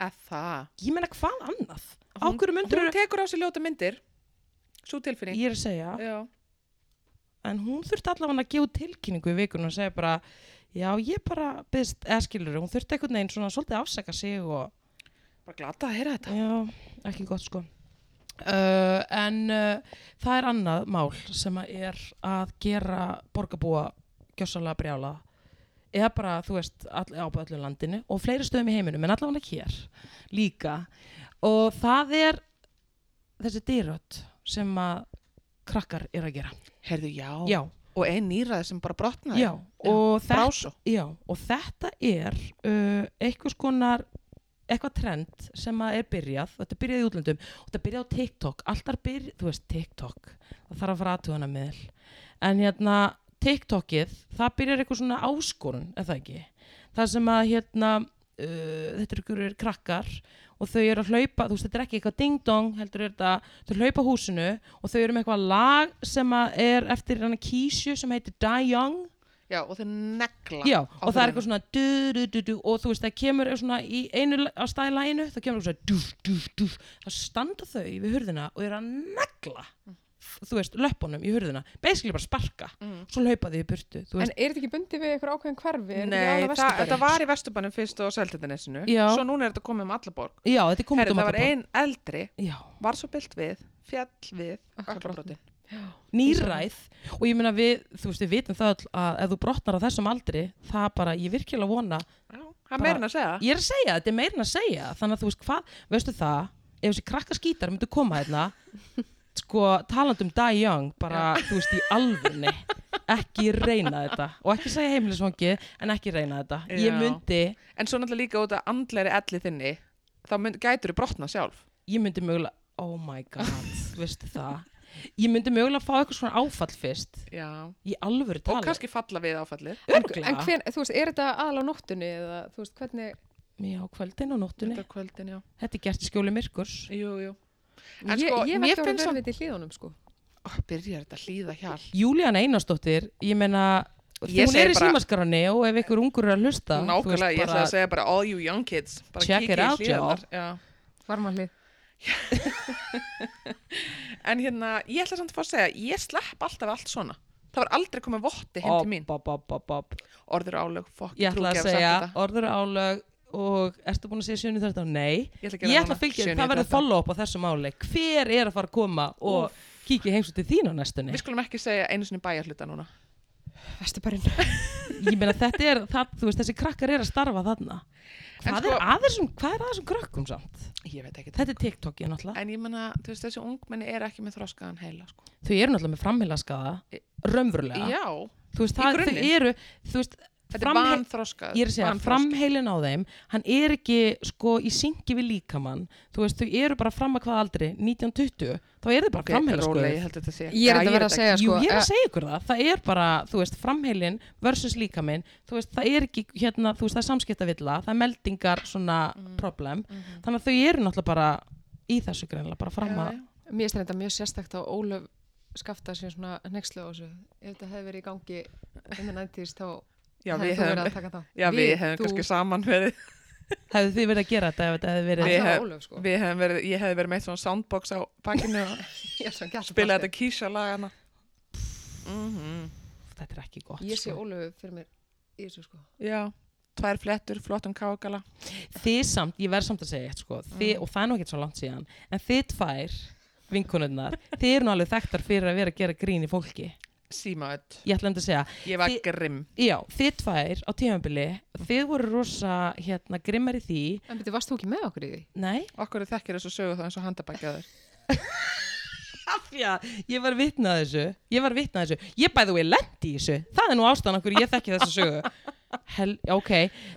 Speaker 2: Að það.
Speaker 1: Ég menna hvað annað? Á
Speaker 2: Hún-
Speaker 1: hverju myndur
Speaker 2: Hún tekur á sér ljóta myndir, svo tilfinning.
Speaker 1: Ég er að segja,
Speaker 2: Já.
Speaker 1: en hún þurfti allavega að gefa út tilkynningu í vikunum og segja bara já ég bara byggðist eða skilur hún þurfti einhvern veginn svona svolítið að afsaka sig og
Speaker 2: Bara glata að heyra þetta.
Speaker 1: já ekki gott sko uh, en uh, það er annað mál sem að er að gera borgarbúa gjössalega brjála eða bara þú veist all, á bara öllu landinu og fleiri stöðum í heiminum en allavega hér líka og það er þessi dýröld sem að krakkar er að gera
Speaker 2: Herðu, já.
Speaker 1: já,
Speaker 2: Og ein nýrað sem bara brotnaði.
Speaker 1: já, og þetta
Speaker 2: Brásó.
Speaker 1: Já, og þetta er uh, einhvers konar eitthvað trend sem að er byrjað og þetta byrjaði í útlöndum og þetta byrjaði á TikTok alltaf byrjaði, þú veist, TikTok það þarf að fara aðtugana miðl en hérna, TikTokið það byrjar eitthvað svona áskorun, er það ekki það sem að hérna uh, þetta eru ykkur krakkar og þau eru að hlaupa, þú veist, þetta er ekki eitthvað ding-dong heldur er þetta, þau hlaupa húsinu og þau eru með eitthvað lag sem að er eftir hann kísju sem heitir Die Young
Speaker 2: Já, og þeir negla.
Speaker 1: Já,
Speaker 2: á
Speaker 1: og það er
Speaker 2: þeirra.
Speaker 1: eitthvað svona du, du, du, du, og þú veist, það kemur svona í einu á staði læginu, það kemur svona du, du, du, þá standa þau við hurðina og eru að negla þú veist, löppunum í hurðina basically bara sparka,
Speaker 2: Mm.
Speaker 1: svo laupa þau í burtu þú
Speaker 3: En
Speaker 1: veist,
Speaker 3: er þetta ekki bundið við eitthvað ákveðin hverfi? Er þetta ekki
Speaker 2: Nei,
Speaker 3: aðallega
Speaker 2: það,
Speaker 3: Vesturbærinn?
Speaker 2: þetta var í Vesturbanum fyrst og Seltindanesinu.
Speaker 1: Já.
Speaker 2: Svo núna er þetta komið um alla borg.
Speaker 1: já, þetta er komið
Speaker 2: Herri,
Speaker 1: út um
Speaker 2: það var
Speaker 1: alla borg.
Speaker 2: ein eldri,
Speaker 1: Já,
Speaker 2: var svo bylt við, fjall við,
Speaker 3: Ökklabrotin.
Speaker 2: öllabrotin.
Speaker 1: nýræð og ég meina við, þú veist, við vitum það öll að ef þú brotnar á þessum aldri, það bara ég virkilega vona,
Speaker 2: Já, það meirinn að segja.
Speaker 1: ég er að segja, þetta er meirin að segja þannig að þú veist, hvað, veistu það ef þessi krakkaskítar myndu koma hérna sko, talandi um Die Young bara, þú veist, í alvörni ekki reyna þetta og ekki segja heimilisvangi, en ekki reyna þetta
Speaker 2: Já.
Speaker 1: ég myndi,
Speaker 2: En svo náttúrulega líka út af andleiri elli þinni, þá mynd, gætur þú brotna sjálf.
Speaker 1: ég myndi mögulega oh my god, veistu það ég myndi mögulega fá eitthvað svona áfall fyrst
Speaker 2: Já.
Speaker 1: í alvöru
Speaker 2: Og
Speaker 1: tala
Speaker 2: kannski falla við áfallið.
Speaker 1: en,
Speaker 3: En hven, þú veist, er þetta aðalega á nóttunni eða, þú veist, hvernig,
Speaker 1: já, kvöldin og nóttunni,
Speaker 2: Þetta er kvöldin, já.
Speaker 1: þetta er gert í skjóli myrkurs
Speaker 2: Jú, jú. En
Speaker 3: ég,
Speaker 2: sko,
Speaker 3: ég
Speaker 2: mér
Speaker 3: verði að
Speaker 2: finnst
Speaker 3: vera
Speaker 2: samt-
Speaker 3: við þetta í hlíðunum, sko.
Speaker 2: Ó, byrjar þetta að hlýða hjal.
Speaker 1: Júlíana Einarsdóttir, ég meina
Speaker 2: Ég
Speaker 1: hún
Speaker 2: segi
Speaker 1: er í
Speaker 2: bara-
Speaker 1: símaskarani og ef ykkur ungur er að hlusta þú veist,
Speaker 2: Nákvæmlega, ég
Speaker 1: bara-
Speaker 2: ætla að segja bara all you young kids. Bara
Speaker 1: Check
Speaker 2: kíkið
Speaker 1: it
Speaker 2: í
Speaker 1: out, já.
Speaker 2: hlíðarnar, já.
Speaker 3: Varma hlið.
Speaker 2: En hérna, ég ætla samt að fá að segja, ég slepp alltaf allt svona. Það var aldrei komið votti heim til mín.
Speaker 1: Op, op, op, op, op.
Speaker 2: Orður og álög, fokk,
Speaker 1: Ég ætla að
Speaker 2: trúgef,
Speaker 1: segja
Speaker 2: sagt þetta.
Speaker 1: orður og álög og ertu búin að segja 7.13? Nei,
Speaker 2: Ég ætla að gera
Speaker 1: ég ætla
Speaker 2: núna,
Speaker 1: að fylgja,
Speaker 2: 7.13.
Speaker 1: það verður follow up á þessu máli Hver er að fara að koma og kíkja heimsum til þín á næstunni?
Speaker 2: Við skulum ekki segja einu sinni bæjarhluta núna.
Speaker 3: Vesturbærin.
Speaker 1: [LAUGHS] Ég meina þetta er, það, þú veist, þessi krakkar er að starfa þarna
Speaker 2: En
Speaker 1: Hvað
Speaker 2: sko-
Speaker 1: er aðeinsum, hvað er aðeinsum krökkum samt?
Speaker 2: Ég veit ekki.
Speaker 1: Þetta er TikTokið náttúrulega
Speaker 2: En ég menna, þú veist, þessi ungmenni er ekki með þroskaðan heila, sko.
Speaker 1: Þau eru náttúrulega með framheilaskaða, raunverulega
Speaker 2: Já,
Speaker 1: Þú veist,
Speaker 2: í
Speaker 1: það, þau
Speaker 2: grunninn.
Speaker 1: eru, þú veist,
Speaker 2: þetta er
Speaker 1: framhe-
Speaker 2: vanþroskað.
Speaker 1: ég er að segja,
Speaker 2: vanþroskað.
Speaker 1: framheilin á þeim hann er ekki sko í syngi við líkamann þú veist, þau eru bara fram að hvað aldri 1920, þá er þau bara
Speaker 2: Ok,
Speaker 1: okay, framheila sko
Speaker 2: rólega, ég held að þetta sé.
Speaker 3: Ég er
Speaker 2: Já,
Speaker 3: þetta að vera að segja,
Speaker 1: Jú,
Speaker 3: sko.
Speaker 1: ég er að
Speaker 3: eh,
Speaker 1: segja ykkur það, það er bara, þú veist, framheilin versus líkaminn, þú veist, það er ekki hérna, þú veist, það er samskiptavilla, það er meldingar svona
Speaker 2: Mm,
Speaker 1: problem, þannig að þau eru náttúrulega bara í þessu greinlega, bara fram að,
Speaker 2: mhm. Já,
Speaker 3: Mér finnst þetta mjög sérstakt á Ólöf skafta sér svona nexlu á þessu. Ef þetta hefði verið í gangi innan endist, þá
Speaker 2: Já,
Speaker 3: hefði
Speaker 2: við
Speaker 3: þú verið
Speaker 2: hefum,
Speaker 3: að taka þá.
Speaker 2: já, við hefum kannski saman verið,
Speaker 1: hefðu þið verið að gera þetta ef þetta hefði verið,
Speaker 2: Við
Speaker 3: Alltaf
Speaker 2: hef-
Speaker 3: Ólöf, sko.
Speaker 2: við hefum verið, ég hefði verið meitt svona soundbox á bakinu og [LAUGHS]
Speaker 3: Ég er svo gert.
Speaker 2: spilaði þetta kísja lagana. Mhm.
Speaker 1: þetta er ekki gott
Speaker 3: Ég sé
Speaker 1: sko.
Speaker 3: Ólöf fyrir mér í þessu, sko.
Speaker 2: Já, tvær flettur, flottum kákala.
Speaker 1: þið samt, ég verð samt að segja eitt sko, þið, og það er nú ekkert svo langt síðan en þið tvær vinkonunnar þið eru nú alveg þekktar fyrir að vera að gera grín í fólki
Speaker 2: Símaöld,
Speaker 1: ég ætla um að segja,
Speaker 2: ég var
Speaker 1: Þi-
Speaker 2: grimm.
Speaker 1: já, þið tvær á tímabili, þið voru rosa hérna, grimmar í því,
Speaker 3: En betur, varst þú ekki með okkur í því?
Speaker 1: nei [LAUGHS]
Speaker 2: Okkur þekkir þessu sögu það eins og handabækjaður.
Speaker 1: Afja, ég var vitnað þessu ég var vitnað þessu, ég bæði og ég lendi í þessu það er nú ástæðan okkur ég þekki þessa sögu Hel, já, ok,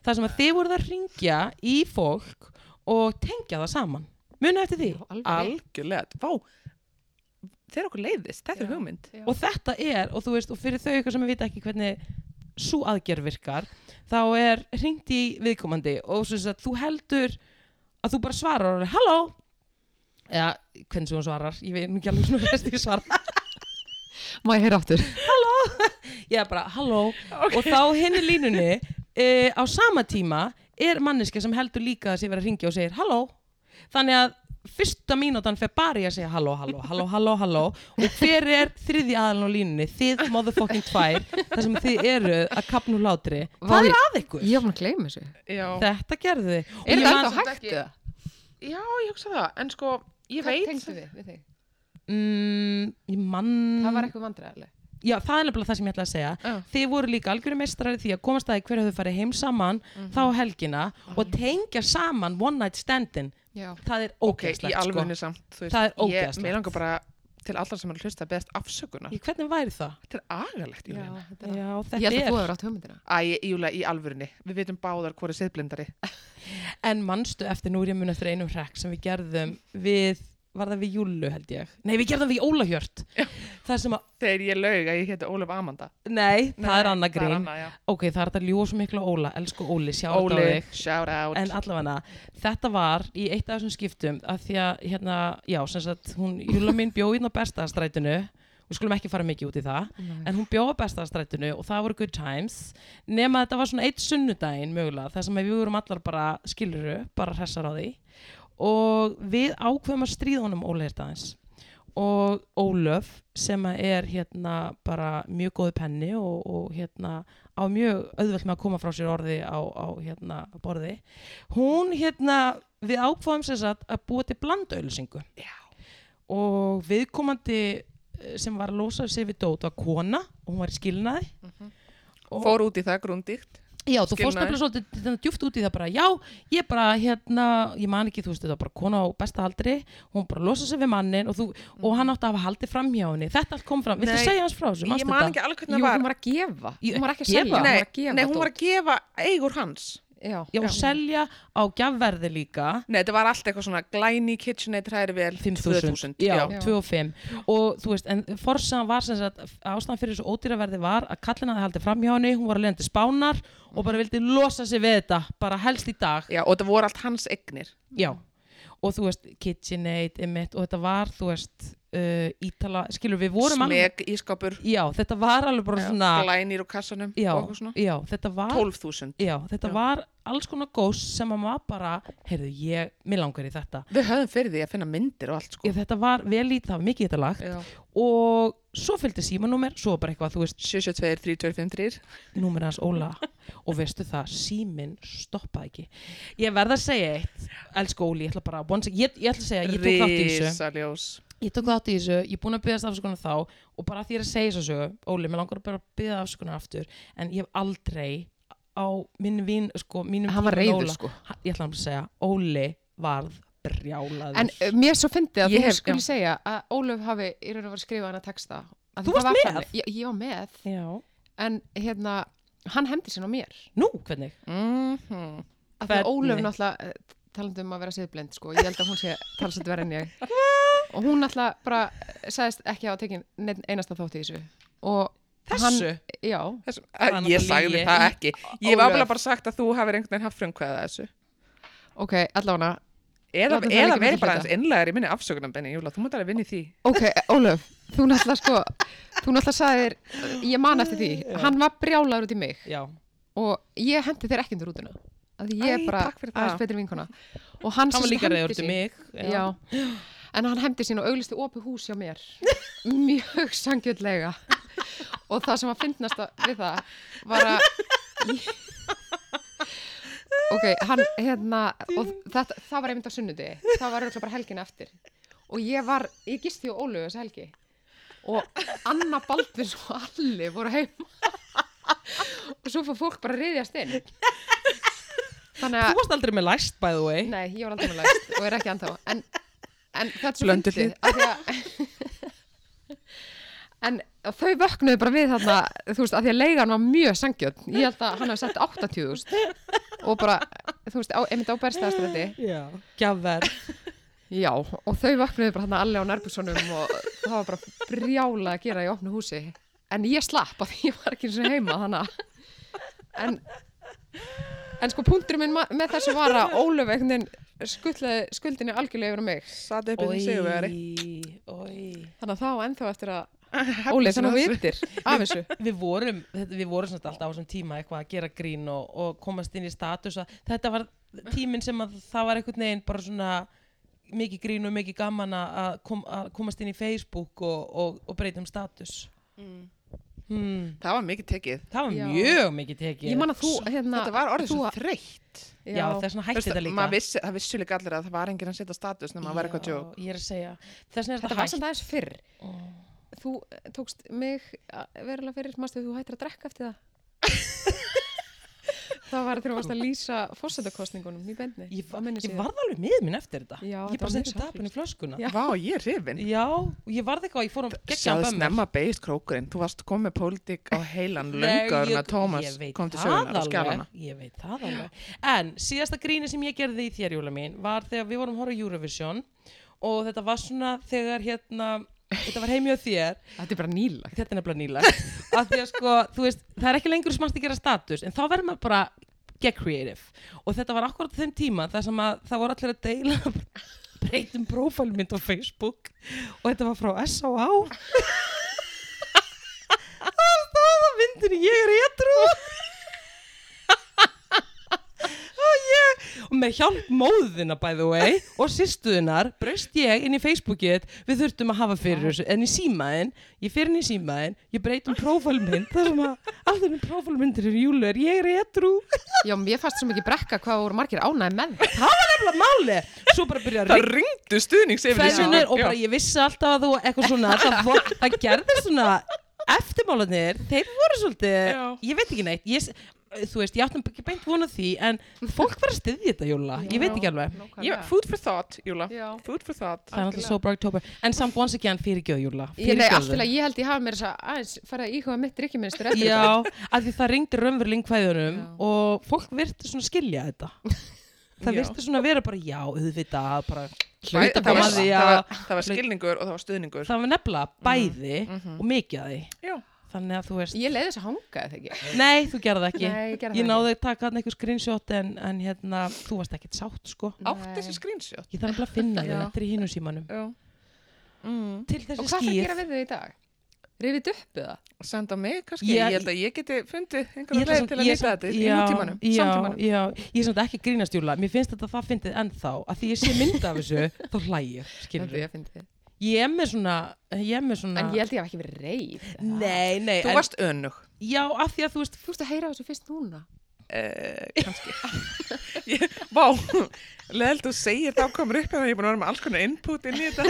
Speaker 1: það sem að þið voruð að ringja í fólk og tengja það saman muna eftir því,
Speaker 3: Já, alveg.
Speaker 2: Algjörlega, vá, þeir okkur leiðist, þetta er
Speaker 3: Já.
Speaker 2: hugmynd.
Speaker 3: Já.
Speaker 1: og þetta er, og þú veist, og fyrir þau ykkur sem vita ekki hvernig svo aðgerð virkar, þá er hringt í viðkomandi og svo að þú heldur að þú bara svarar og er, halló eða hvernig sem hún svarar, ég veit nú ekki alveg svona hvernig ég svara,
Speaker 3: Má ég heyra áttur?
Speaker 1: ég er bara halló og þá hinn í línunni e, á sama tíma er manneska sem heldur líka að sé verið að ringja og segir halló, þannig að fyrsta mínútan fer bara í að segja halló, halló, halló, halló, halló og hver er þriði aðalinn á línunni, þið motherfucking tvær þar sem þið eru að kapna úr látri hvað
Speaker 3: Vá,
Speaker 1: er að ykkur?
Speaker 3: Ég var búin að gleyma þessu.
Speaker 2: Já,
Speaker 1: þetta gerðu þið Og
Speaker 3: Er
Speaker 1: ég
Speaker 3: þetta
Speaker 1: man-
Speaker 3: ennþá
Speaker 2: samt
Speaker 3: hægt
Speaker 2: ekki-
Speaker 3: eða?
Speaker 2: já, ég hugsa það, en sko, ég
Speaker 3: Hvað
Speaker 2: veit.
Speaker 3: tengdu við við þig?
Speaker 1: mm, ég mann
Speaker 3: Það var eitthvað vandræðileg.
Speaker 1: já, það er nefnilega það sem ég ætla að segja
Speaker 2: Já.
Speaker 1: þið voru líka algjörum mestrar í því að komast að því hverju þau farið heim saman þá helgina og tengja saman one night standin
Speaker 3: Já.
Speaker 1: það er
Speaker 2: Ok,
Speaker 1: ógeðslegt
Speaker 2: í
Speaker 1: sko.
Speaker 2: alvegni samt, þú veist,
Speaker 1: Það er
Speaker 2: ég,
Speaker 1: ógeðslegt.
Speaker 2: mér langar bara til allra sem er að hlusta beðast afsökunar.
Speaker 1: Í hvernig væri það?
Speaker 2: Þetta er agalegt,
Speaker 3: Já,
Speaker 2: Júlína.
Speaker 3: þetta er
Speaker 1: Já,
Speaker 3: Ég held að þú
Speaker 1: þetta er.
Speaker 3: hefur átt hugmyndina.
Speaker 2: Æ, Júla, í alvörunni. Við veitum báðar hvori siðblindari.
Speaker 1: En manstu eftir, nú er ég mun eftir einum hrekk sem við gerðum við, var það við Júlu held ég? Nei, við gerðum við Ólahjört. Það sem að,
Speaker 2: Þegar ég laug að ég héti Ólaf Amanda.
Speaker 1: nei, það er annað
Speaker 2: Það er
Speaker 1: grín.
Speaker 2: annað, já.
Speaker 1: Ok, það er þetta ljúa svo miklu á Óla, elsku Óli, sjá þetta á
Speaker 2: Óli,
Speaker 1: þig.
Speaker 2: shout out.
Speaker 1: En allavega, þetta var í eitt af þessum skiptum að því að, hérna, já, sem sagt, hún, Júla mín bjóð inn á bestastrætinu, við skulum ekki fara mikið út í það, en hún bjóð á bestastrætinu og það voru good times, nema þetta var svona eitt sunnudaginn mögulega, þar sem að við vorum allar bara skiluru, bara hressar á því og við ákveðum að stríða honum ólegirt aðeins og Ólöf sem að er hérna bara mjög góð penni og, og hérna á mjög auðvelt með að koma frá sér orði á, á hérna borði hún hérna við ákváðum sem sagt að búa til blandauðlýsingu
Speaker 2: Já.
Speaker 1: og viðkomandi eh, sem var að losa sig við dót var kona og hún var í skilnaði og,
Speaker 2: Fór út í það grúndíkt.
Speaker 1: Já, þú fórst
Speaker 2: Skilnaði.
Speaker 1: nefnilega svolítið þannig djúft út í það bara, já, ég bara, hérna, ég man ekki, þú veist, þetta var bara kona á besta aldri, hún bara losa sig við mannin og, þú, og hann átti að hafa haldið fram hjá henni, þetta allt kom fram, viltu
Speaker 2: Mm. Nei,
Speaker 1: segja hans frá þessu,
Speaker 2: Ég
Speaker 1: manstu
Speaker 2: man
Speaker 1: þetta?
Speaker 2: ekki alveg
Speaker 3: Jú,
Speaker 2: hvernig það
Speaker 3: hún
Speaker 2: var.
Speaker 3: var að gefa.
Speaker 1: Ég-
Speaker 3: Hún var ekki að
Speaker 1: gefa?
Speaker 3: selja, hún var að
Speaker 2: Nei,
Speaker 3: gefa.
Speaker 2: nei, hún var
Speaker 3: dót.
Speaker 2: að gefa eigur hans.
Speaker 3: Já,
Speaker 1: Já, og selja á gjafverði líka,
Speaker 2: Nei, þetta var allt eitthvað svona glæni, KitchenAid, hræri vel,
Speaker 1: 5.000,
Speaker 2: 2000. Já.
Speaker 3: Já.
Speaker 1: 2 og 5 og þú veist, en forsan var sem sagt, ástæðan fyrir þessu ódýraverði var að kallin hafði haldið fram hjá henni, hún var að leiðandi spánar
Speaker 2: Mhm.
Speaker 1: og bara vildi losa sig við þetta, bara helst í dag
Speaker 2: Já, og þetta voru allt hans egnir.
Speaker 1: Já, og þú veist, KitchenAid, Emmett og þetta var, þú veist, uh, Ítala, skilur við vorum alveg-
Speaker 2: Smeg, ískapur,
Speaker 1: Já, þetta var alveg bara svona,
Speaker 2: glænir úr kassanum
Speaker 1: já,
Speaker 2: og eitthvað svona.
Speaker 1: já, þetta var,
Speaker 2: 12.000.
Speaker 1: já, þetta
Speaker 2: Já.
Speaker 1: var alls konar gós sem að maður bara, heyrðu, ég, mér langar í þetta.
Speaker 2: Við höfum fyrir því að finna myndir og allt sko.
Speaker 1: Já, þetta var vel í það, var mikið þetta lagt
Speaker 2: Já.
Speaker 1: og svo fylgdi símanúmer, svo var bara eitthvað, þú veist,
Speaker 2: 772, 3253.
Speaker 1: númer hans Óla
Speaker 2: [LAUGHS]
Speaker 1: og veistu það, síminn stoppaði ekki. Ég verð að segja eitt, elsku Óli, ég ætla bara, once, ég, ég ætla að segja, ég tók þátt í þessu.
Speaker 2: Rísaljós.
Speaker 1: ég tók þátt í þessu, ég er búin að byggja afsökunar þá og bara því ég er að segja þessu sögu, Óli, mér langar bara að byggja afsökunar aftur en ég hef aldrei á minn vín, sko, mínum
Speaker 3: Hann var
Speaker 1: tíma með
Speaker 3: reiður,
Speaker 1: Óla-
Speaker 3: sko.
Speaker 1: Ha- ég ætla að segja, Óli varð brjálaður
Speaker 3: En uh, mér svo fyndi að
Speaker 2: Ég
Speaker 3: þú
Speaker 2: hef-
Speaker 3: skulle
Speaker 2: já.
Speaker 3: segja að Ólöf hafi í raun og var skrifað hana texta. Af því
Speaker 1: Þú varst
Speaker 3: það var
Speaker 1: með?
Speaker 3: þannig. Ég, ég var með,
Speaker 1: Já.
Speaker 3: en hérna, hann hendi sín á mér.
Speaker 1: nú, hvernig?
Speaker 2: Mm -hmm.
Speaker 3: Af því að Ólöf
Speaker 1: Hvernig?
Speaker 3: náttúrulega eh, talandi um að vera siðblind, sko. Ég held að hún sé talsett verið en
Speaker 1: [LAUGHS]
Speaker 3: ég. Og hún náttúrulega bara eh, sagðist ekki á tekin einasta þátt í þessu. Og
Speaker 1: þessu?
Speaker 3: Hann, já,
Speaker 2: Þess,
Speaker 1: Það er
Speaker 2: ég
Speaker 1: náttúrulega
Speaker 2: sagði
Speaker 1: lygi.
Speaker 2: það ekki. Ég var
Speaker 1: Ólöf.
Speaker 2: bara bara sagt að þú hafið einhvern veginn haft frumkvæða þessu.
Speaker 3: ok, allavega.
Speaker 2: Eða,
Speaker 3: Látum það
Speaker 2: eða
Speaker 3: liggja
Speaker 2: verið
Speaker 3: milli
Speaker 2: bara
Speaker 3: hluta.
Speaker 2: aðeins innlegar í minni afsökunarbenni, Júla, þú mútt alveg vinni því.
Speaker 3: Ok, Ólöf, þú náttúrulega sko, þú náttúrulega sagðir, ég man eftir því, hann var brjálaður út í mig.
Speaker 1: Já.
Speaker 3: og ég hendi þér ekki undir rútuna að ég er
Speaker 2: Æ,
Speaker 3: bara
Speaker 2: takk fyrir það.
Speaker 3: aðeins betri vinkona og hann,
Speaker 1: hann
Speaker 3: sem
Speaker 1: var líka
Speaker 3: sagt
Speaker 1: reyður
Speaker 3: hefndi
Speaker 1: til
Speaker 3: sín.
Speaker 1: mig
Speaker 3: já. en hann hefndi sín og auglisti opið hús hjá mér mjög sangjöldlega og það sem var fyndnast við það var að ok, hann hérna og þetta, það var einmitt á sunnundi það var örugglega bara helgin eftir og ég var, ég gisti á Ólu þessa helgi og Anna Baldvins og Alli voru heima og svo fór fólk bara að riðjast inn þannig
Speaker 1: þú
Speaker 3: að,
Speaker 1: varst aldrei með læst by the way
Speaker 3: nei, ég var aldrei með læst og er ekki andá en, en þetta er svo
Speaker 2: Blönduð
Speaker 3: fyndið, af því að [LAUGHS] En þau vöknuðu bara við þarna, þú veist, að því að leigan var mjög sangjöld. Ég held að hann hafi sett 80.000 og bara, þú veist, á, einmitt á berstaðastræti.
Speaker 1: já, gjafver
Speaker 3: Já, og þau vaknaði bara hann allir á nærbúsunum og það var bara brjála að gera í opnu húsi. En ég slapp að ég var ekki eins og heima þannig að... En, en sko punkturinn minn ma- með þessu var að Ólöf einhvern veginn skuldlaði skuldinni algjörlega yfir á mig.
Speaker 2: Satt upp í þessu veri.
Speaker 1: oi
Speaker 3: Þannig að það var ennþá
Speaker 2: [LAUGHS]
Speaker 3: eftir að Ólöf þannig að
Speaker 2: þessu.
Speaker 3: vitir af þessu.
Speaker 1: við vorum, þetta- við vorum svona alltaf á þessum tíma eitthvað að gera grín og, og komast inn í status að þetta var tíminn sem að það var einhvern veginn bara svona mikið grín og mikið gaman að- að, kom, að komast inn í Facebook og, og, og breyta um status
Speaker 2: Mm.
Speaker 1: hmm,
Speaker 2: [LAUGHS] Það var mikið tekið.
Speaker 1: það var
Speaker 3: Já.
Speaker 1: mjög mikið tekið
Speaker 3: Ég man að þú, hérna...
Speaker 2: Þetta var orðið
Speaker 3: þú-
Speaker 2: svo þreytt.
Speaker 1: já, það er svona hætti
Speaker 2: Veistu,
Speaker 1: þetta líka
Speaker 2: maður vissi, það vissi líka allir að það var enginn að setja status nema að vera eitthvað
Speaker 1: Já,
Speaker 2: joke.
Speaker 1: ég er að segja, þess vegna er
Speaker 3: Þetta
Speaker 1: þetta
Speaker 3: var
Speaker 1: hægt
Speaker 3: samt aðeins fyrr. Þú eh, [LAUGHS] tókst mig verulega fyrir, mástu þú hættir að drekka eftir það? það var þegar þú varst að lýsa fórsetakostningunum í bendni
Speaker 1: Ég, var- ég varð alveg með minn eftir þetta.
Speaker 3: Já,
Speaker 1: ég
Speaker 3: þetta var
Speaker 1: bara
Speaker 3: mjög
Speaker 1: setti tapin í flöskuna. Já.
Speaker 3: Já.
Speaker 2: Vá, ég er hrifin.
Speaker 1: og ég varð eitthvað, ég fór um geggjaðan
Speaker 2: Sjáðu
Speaker 1: bömmur.
Speaker 2: snemma beist krókurinn. Þú varst komið pólitík á heilan löngaðurinn að Tómas
Speaker 1: ég veit
Speaker 2: kom til
Speaker 1: það
Speaker 2: söguna og
Speaker 1: alveg,
Speaker 2: skjálana.
Speaker 1: Ég veit það alveg. En síðasta gríni sem ég gerði í þér, Júla mín, var þegar við vorum að horfa á Eurovision og þetta var svona þegar hérna, þetta var heimjöð þér,
Speaker 3: Þetta er bara nýlagt.
Speaker 1: þetta er nefnilega [LAUGHS] nýlegt, að því að sko, þú veist, það er ekki lengur smart að gera status, en þá verður maður bara get creative. Og þetta var akkurat á þeim tíma þar sem að það voru allir að deila [LAUGHS] breytum prófælmynd á Facebook og þetta var frá S.O.A. [LAUGHS] Það stóð á myndinu, ég er edru og ég og með hjálp móðina by the way og sýstuðinar breyst ég inn í Facebookið við þurftum að hafa fyrir þessu en í símaðin, ég fyrir inn í símaðin ég um breytum prófælmynd þar sem um að allir minn prófælmyndir eru júlu er ég er edru
Speaker 3: Já, mér fannst svo mikið brekka hvað voru margir ánæði með það.
Speaker 1: það var nefnilega máli svo bara byrja að
Speaker 2: Það ringdu stuðnings yfir
Speaker 1: kveðjunir og bara ég vissi alltaf að þú eitthvað svona það, vor, það gerði svona eftirmálanir, þeir voru svolítið
Speaker 2: Já.
Speaker 1: ég veit ekki neitt ég, s- þú veist, ég áttum ekki beint vona því en fólk var að styðja þetta Júla, ég veit ekki alveg
Speaker 2: Já, food for thought, Júla.
Speaker 3: Já.
Speaker 2: Food for thought.
Speaker 1: það er alltaf sober oktober, en samt once again fyrir gjöð Júla,
Speaker 3: Ég,
Speaker 1: fyrir
Speaker 3: nei, allt til að ég held ég hafa mér þess að aðeins fara að íhuga mitt ríkjuminstur eftir þetta.
Speaker 1: Já, af því það ringdi raunveruling kvæðunum
Speaker 3: Já.
Speaker 1: og fólk virti svona skilja
Speaker 3: [LAUGHS]
Speaker 1: þetta það
Speaker 2: Já.
Speaker 1: virti svona vera bara já, auðvitað bara
Speaker 2: Bæ-
Speaker 1: hluta
Speaker 2: það var-
Speaker 1: koma að því að
Speaker 2: það var- Það var skilningur og það var stuðningur.
Speaker 1: það var nefnilega
Speaker 3: Mhm.
Speaker 1: bæði og mikið að því
Speaker 2: Já.
Speaker 1: þannig að þú veist
Speaker 3: Ég leiði þess að hanga eða ekki.
Speaker 1: Nei, þú gerði það ekki.
Speaker 3: Nei, ég gerði
Speaker 1: ég
Speaker 3: það
Speaker 1: náði að taka hann einhver screenshot en, en hérna, þú varst ekkert sátt sko.
Speaker 2: Átt
Speaker 3: Nei.
Speaker 2: þessi screenshot.
Speaker 1: Ég þarf nefnilega að finna
Speaker 2: Já.
Speaker 1: það, þetta er í hinu símanum.
Speaker 2: Já. Mm.
Speaker 1: Til
Speaker 3: Og
Speaker 1: þessi
Speaker 3: hvað það
Speaker 1: skýr,
Speaker 3: gera við þau í dag? Rifið upp eða?
Speaker 2: Senda mig kannski.
Speaker 1: Ég-
Speaker 2: Ég held að ég geti fundið
Speaker 1: ég
Speaker 2: einhverja leið
Speaker 1: samt-
Speaker 2: til að
Speaker 1: ég
Speaker 2: nýta
Speaker 1: samt-
Speaker 2: þetta í
Speaker 1: já,
Speaker 2: nútímanum.
Speaker 1: já,
Speaker 2: Samtímanum.
Speaker 1: já, ég er samt ekki að grínast júla, mér finnst þetta það fyndið ennþá, að því ég sé mynd af
Speaker 2: [LAUGHS]
Speaker 1: þessu, þá hlæg ég, skilur
Speaker 3: Þetta ég fyndi þið.
Speaker 1: Ég er með svona, ég er með svona...
Speaker 3: En ég held ég hafa ekki verið reyð.
Speaker 1: Nei, nei,
Speaker 2: Þú varst önnug.
Speaker 1: já, af því að þú veist,
Speaker 3: Þú veist að heyra þessu fyrst núna.
Speaker 2: Eh, kannski Ég- Vá, leðilt þú segir þá komur upp að ég er búin að vera með alls konar input inn í þetta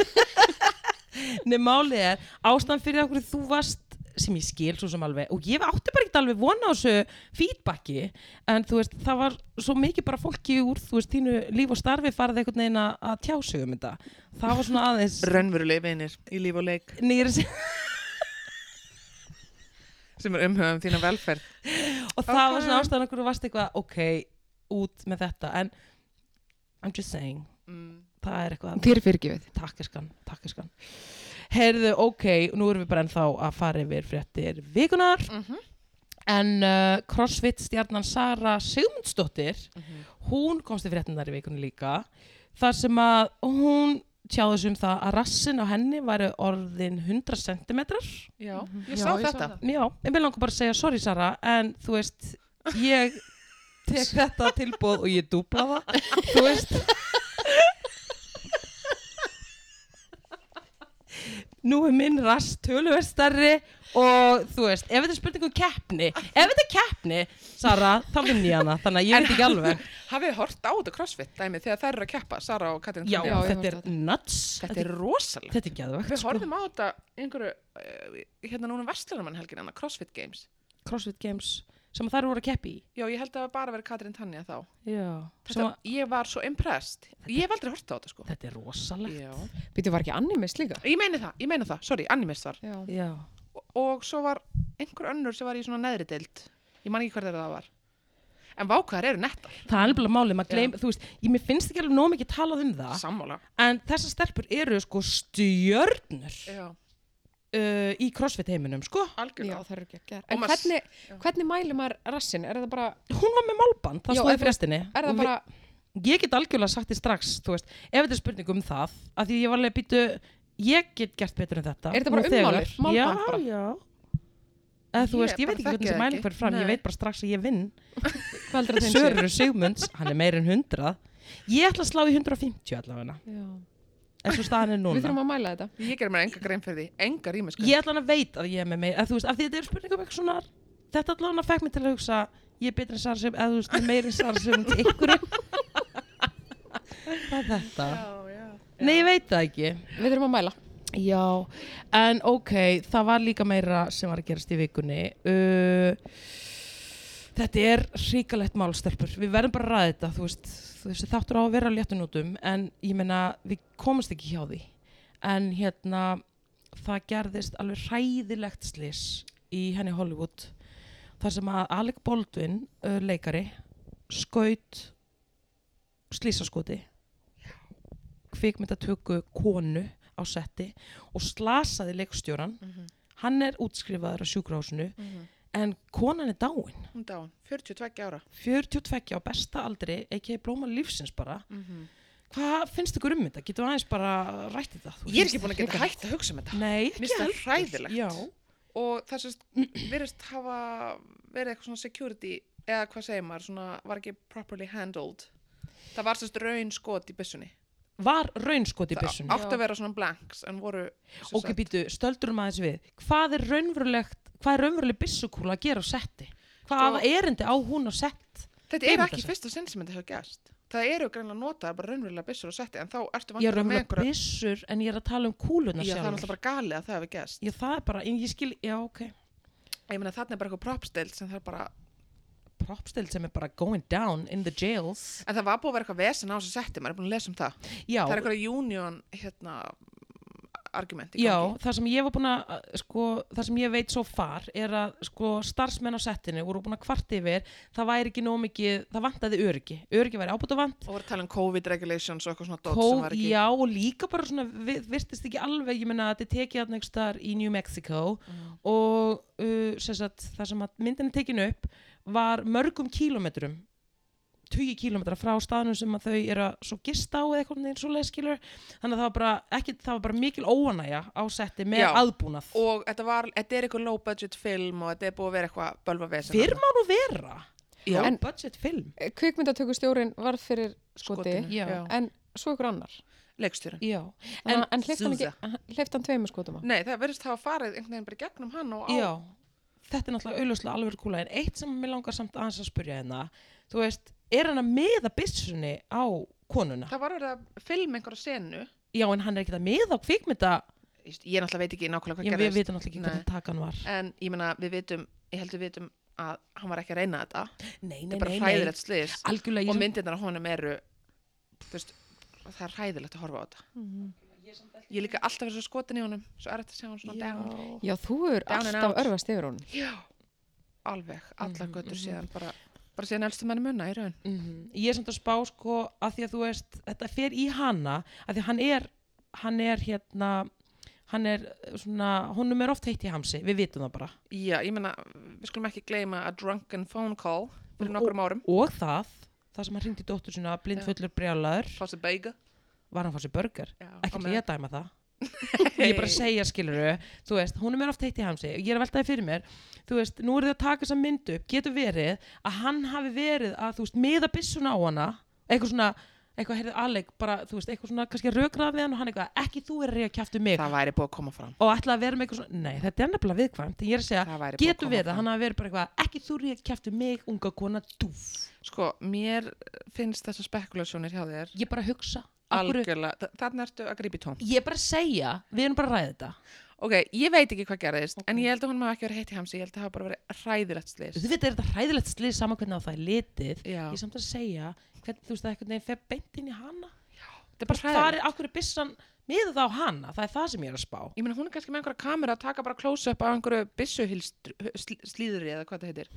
Speaker 1: Nei, málið er, ástæðan fyrir okkur þú varst, sem ég skil svo sem alveg, og ég átti bara ekkert alveg vona á þessu feedbacki, en þú veist, það var svo mikið bara fólki úr, þú veist, þínu líf og starfi farið einhvern veginn að- að tjá sig um þetta. Það var svona aðeins,
Speaker 2: Rönnverulegi vinir í líf og leik
Speaker 1: nýri,
Speaker 2: sem er umhugum þína velferð
Speaker 1: og það var
Speaker 2: Ok.
Speaker 1: svona ástæðan okkur þú varst eitthvað, ok, út með þetta, en I'm just saying,
Speaker 2: Mm.
Speaker 1: það er eitthvað
Speaker 3: Þér fyrirgjöfið.
Speaker 1: takkiskan, takkiskan heyrðu, ok, nú erum við bara ennþá að fara yfir fréttir vikunar
Speaker 2: Mhm.
Speaker 1: en uh, CrossFit stjarnan Sara Sigmundsdóttir
Speaker 2: Mhm.
Speaker 1: hún komst í fréttinar í vikunni líka þar sem að hún tjáði sig um það að rassin á henni væri orðin 100 cm
Speaker 2: Já, ég
Speaker 3: Mhm. Já,
Speaker 2: sá
Speaker 3: ég sá
Speaker 2: þetta
Speaker 3: það.
Speaker 1: já, ég vil langa bara að segja sorry Sara en þú veist, ég tek þetta tilbúð og ég dúbla það þú veist nú er minn rast töluvert stærri og þú veist, ef þetta er spurning um keppni ef þetta er keppni, Sara þá vinn ég hana, þannig að ég veit ekki alveg
Speaker 2: [LAUGHS] Hafið þið hort á þetta crossfit dæmi þegar þær eru að keppa, Sara og Katrin
Speaker 1: já,
Speaker 2: Tanja?
Speaker 3: Já, ég
Speaker 1: þetta er
Speaker 3: hef hort
Speaker 1: nuts
Speaker 2: Þetta er rosalega
Speaker 1: þetta er geðvegt,
Speaker 2: Við
Speaker 1: sko.
Speaker 2: horfum á þetta einhverju uh, hérna núna verslunumann helgin en crossfit games
Speaker 1: CrossFit Games sem þær voru að keppi í
Speaker 2: Já, ég held að það hafi bara verið Katrin Tanja þá
Speaker 1: já,
Speaker 2: þetta,
Speaker 1: sem að
Speaker 2: Ég var svo impressed Ég hef aldrei hort á þetta sko
Speaker 1: þetta er rosalegt
Speaker 2: Já.
Speaker 3: Býtu var ekki annimist líka?
Speaker 2: Ég meina það, ég meina það, sorry, animist var
Speaker 3: Já.
Speaker 1: já,
Speaker 2: og svo var einhver önnur sem var í svona neðri deild ég man ekki hvað þeirra það var en vákvæðar eru nettar
Speaker 1: það er alveg málið maður gleym, þú veist, ég mér finnst ekki alveg nóg mikið talað um það
Speaker 2: sammála
Speaker 1: en þessar stelpur eru sko stjörnur
Speaker 2: já,
Speaker 1: uh, í CrossFit heiminum sko
Speaker 3: Já,
Speaker 2: algjörlega
Speaker 3: það eru ekki að gera.
Speaker 2: Og
Speaker 3: En
Speaker 2: maður-
Speaker 3: hvernig, hvernig mælum maður rassin? Er það bara,
Speaker 1: hún var með málband, það
Speaker 3: Já,
Speaker 1: stóði
Speaker 3: en þú-
Speaker 1: frestinni
Speaker 3: er það bara,
Speaker 1: ég get algjörlega sagt því strax þú veist, ef þetta er spurning um það af því ég var alveg að býtu, ég get gert betur en þetta
Speaker 3: Er þetta bara
Speaker 1: nú þegar.
Speaker 3: ummálið? Málband
Speaker 1: já,
Speaker 3: bara?
Speaker 1: já eða þú
Speaker 2: Ég
Speaker 1: veist, ég
Speaker 2: bara
Speaker 1: veit ekki hvernig
Speaker 2: þekki
Speaker 1: þessi
Speaker 2: það
Speaker 1: mæling
Speaker 2: ekki.
Speaker 1: fyrir fram
Speaker 2: Nei.
Speaker 1: ég veit bara strax að ég vinn
Speaker 3: hvað heldur [LAUGHS] það þeim
Speaker 1: Sörur Sigmunds, hann er meir en 100 ég ætla að slá í 150 allavega
Speaker 3: Já.
Speaker 1: eins og staðan er
Speaker 3: Við
Speaker 1: núna
Speaker 3: þurfum að mæla þetta.
Speaker 2: ég gerði mér enga grein fyrir því, enga rýmisku
Speaker 1: ég ætla að veit að ég er með meir að þú veist, af því þetta er spurning um eitthvað svona þetta allan að fekk mig til að hugsa ég er betri en Sara sem, eða þú veist, ég er meiri en Sara sem til ykkur [LAUGHS] það er þetta nei, ég veit það ekki
Speaker 3: Við þurfum að mæla.
Speaker 1: já, en ok það var líka meira sem var að gerast í vikunni uh, Þetta er ríkalegt málstelpur. Við verðum bara að ræða þetta, þú veist, þú veist, þáttur á að vera á léttunótum, en ég meina, við komumst ekki hjá því. En hérna, það gerðist alveg hræðilegt slis í henni Hollywood, þar sem að Alec Baldwin, uh, leikari, skaut slísaskoti, kvikmyndatöku konu á setti og slasaði leikstjóran.
Speaker 2: Mhm.
Speaker 1: Hann er útskrifaður á sjúkrahúsinu, en konan er dáin.
Speaker 2: Hún dáin, 42 ára.
Speaker 1: 42 á besta aldri ekki blóma lífsins bara
Speaker 2: Mhm.
Speaker 1: hvað finnst ykkur um þetta? getum við aðeins bara rætt þetta? þú
Speaker 2: Ég er
Speaker 1: veist?
Speaker 2: ekki búin að geta hægt að hugsa um þetta.
Speaker 1: nei,
Speaker 2: Mér finnst
Speaker 1: ekki
Speaker 2: það
Speaker 1: heldur.
Speaker 2: hræðilegt.
Speaker 1: já,
Speaker 2: Og það sést, [CLEARS THROAT] virðist hafa verið eitthvað svona security, eða hvað segir maður, svona var ekki properly handled. Það var sérst raun skot í byssunni.
Speaker 1: var raunskot í
Speaker 2: Það
Speaker 1: byssunni
Speaker 2: átti að vera svona blanks, en voru... sem
Speaker 1: ok,
Speaker 2: sagt-
Speaker 1: býtu, stöldurum aðeins við hvað er raunverulegt hvað er raunveruleg byssukúla að gera á setti hvað
Speaker 2: Sko-
Speaker 1: erindi á hún á sett
Speaker 2: Þetta er
Speaker 1: Gleymum
Speaker 2: ekki
Speaker 1: þessu.
Speaker 2: fyrsta sinn sem þetta hefur gæst. Það eru greinlega notaðar bara raunverulega byssur og setti, en þá ertu
Speaker 1: ég er
Speaker 2: með
Speaker 1: raunverulega
Speaker 2: einhverja...
Speaker 1: byssur en ég er að tala um kúluna
Speaker 2: Já, það er
Speaker 1: sjálf
Speaker 2: náttúrulega bara galið að það hefur gæst.
Speaker 1: já, það er bara, en ég skil, já, ok
Speaker 2: Ég meina, þarna er bara eitthvað propstilt sem það er bara...
Speaker 1: propstild sem er bara going down in the jails
Speaker 2: En það var búið að vera eitthvað vesen á þessu setti, maður er búin að lesa um það.
Speaker 1: já,
Speaker 2: Það er eitthvað union, hérna, argument í gangi.
Speaker 1: Já, það sem ég var búin að, að, sko, það sem ég veit svo far er að, sko, starfsmenn á settinu voru búin að kvarta yfir, það væri ekki nóg mikið, það vantaði öryggi, öryggi væri ábúta vant,
Speaker 2: og voru að tala um COVID regulations og eitthvað svona dót sem
Speaker 1: kóf,
Speaker 2: var ekki
Speaker 1: já, og líka bara svona, vi- virtist ekki alveg, ég meina, þetta er tekið hann einhvers staðar í New Mexico
Speaker 2: Mm.
Speaker 1: og, uh, sem sagt, það sem að myndin er tekin upp var mörgum kílometrum, tugi kílometra frá staðnum sem að þau eru að svo gista á eða eitthvað neginn svo leiðskilur þannig að það var bara, ekki, það var bara mikil óanæja á setti með
Speaker 2: Já.
Speaker 1: aðbúnað
Speaker 2: og þetta var, þetta er eitthvað low budget film og þetta er búið að vera eitthvað bölva vesen
Speaker 1: fyrr má nú vera
Speaker 2: Já.
Speaker 1: en budget film
Speaker 3: Kvikmyndatökustjórin Eh, varð fyrir skoti,
Speaker 2: Skotinu,
Speaker 1: já.
Speaker 3: en svo ykkur annar.
Speaker 2: leikstjórin
Speaker 1: já.
Speaker 3: En, en hleyft hann
Speaker 2: Susa.
Speaker 3: ekki, hleyft hann tveimur skotum á.
Speaker 2: nei, það verðist hafa farið einhvern veginn bara í gegnum hann og á
Speaker 1: já, þetta er náttúrulega auðljóslega alveg kúla en eitt sem mér langar samt aðeins að spurja hérna þú veist, er hann að meða byssunni á konuna?
Speaker 2: það var verið að film einhverja senu
Speaker 1: já, en hann er ekkert að meða á kvikmynda
Speaker 2: ég ég náttúrulega veit ekki nákvæmlega
Speaker 1: ég,
Speaker 2: hvað
Speaker 1: við
Speaker 2: gerðist
Speaker 1: vitum náttúrulega ekki hvernig takan var
Speaker 2: en ég meina við vitum, ég heldur við vitum að hann var ekki að reyna þetta
Speaker 1: nei, nei,
Speaker 2: þetta er bara
Speaker 1: nei, nei.
Speaker 2: hræðilegt slis
Speaker 1: algjörlega
Speaker 2: og
Speaker 1: ég
Speaker 2: myndirnar á honum eru þú veist, það er hræðilegt að horfa á þetta
Speaker 1: Mhm.
Speaker 2: ég er líka alltaf verið svo skotin í honum svo er þetta að sjá hann svona down
Speaker 3: Já, þú er
Speaker 2: Down and
Speaker 3: alltaf
Speaker 2: out.
Speaker 3: örfast yfir honum.
Speaker 2: Já, alveg,
Speaker 1: Mhm,
Speaker 2: allar göttur síðan bara, bara síðan elstu menni munna í raun.
Speaker 1: mm ég er samt að spá sko að því að þú veist þetta fer í hana að því að hann er hann er hérna hann er svona, honum er oft heitt í hamsi við vitum það bara
Speaker 2: Já, ég meina, við skulum ekki gleyma a drunken phone call fyrir nokkrum árum.
Speaker 1: og það, það sem hann hringdi dóttur sinna blindfullur brjálaður,
Speaker 2: Fási Beiga.
Speaker 1: var hann að fá sér börgar
Speaker 2: Já, á
Speaker 1: ekki
Speaker 2: meðan.
Speaker 1: hlýja að dæma það ég er bara að segja skiluru, þú veist, hún er mér oft heitt í hamsi ég er að velta það fyrir mér, þú veist nú er þið að taka þessa mynd upp, getur verið að hann hafi verið að, þú veist, miða byssuna á hana, eitthvað svona eitthvað heyrðið Alec, bara, þú veist, eitthvað svona kannski rökraða við hann og hann eitthvað, ekki þú er að reyja kjæftu mig
Speaker 2: Það væri búið að koma fram.
Speaker 1: og ætla að vera með eitthvað svona, nei, þetta er nefnilega viðkvæmt ég er að
Speaker 2: Það
Speaker 1: segja,
Speaker 2: væri búið að
Speaker 1: getur
Speaker 2: koma
Speaker 1: verið að
Speaker 2: fram.
Speaker 1: hann hafi verið bara eitthvað ekki þú reyja kjæftu um mig, unga kona, dúf
Speaker 2: Sko, mér finnst þessar spekulasjónir hjá þér
Speaker 1: ég er bara að hugsa, af hverju
Speaker 2: algjörlega, Þa- þarna ertu að grípa í tóm.
Speaker 1: ég er bara að segja, við erum bara að ræða þetta
Speaker 2: Ok, ég veit ekki hvað gerðist, en ég held að hún maður ekki verið heitt í hamsi, ég held að það hafa bara verið hræðilegt slis.
Speaker 1: þú veit, er þetta hræðilegt slið saman hvernig á það er litið
Speaker 2: Já.
Speaker 1: ég er samt að segja, hvernig þú veist það einhvern veginn fer beint inn í hana
Speaker 2: Þetta er bara
Speaker 1: það
Speaker 2: hræðilegt.
Speaker 1: er okkur byssan miðuð á hana, það er það sem ég er að spá
Speaker 2: Ég meina, hún er kannski með einhverja kamera að taka bara close-up á einhverju byssuhilslíðri eða hvað það heitir.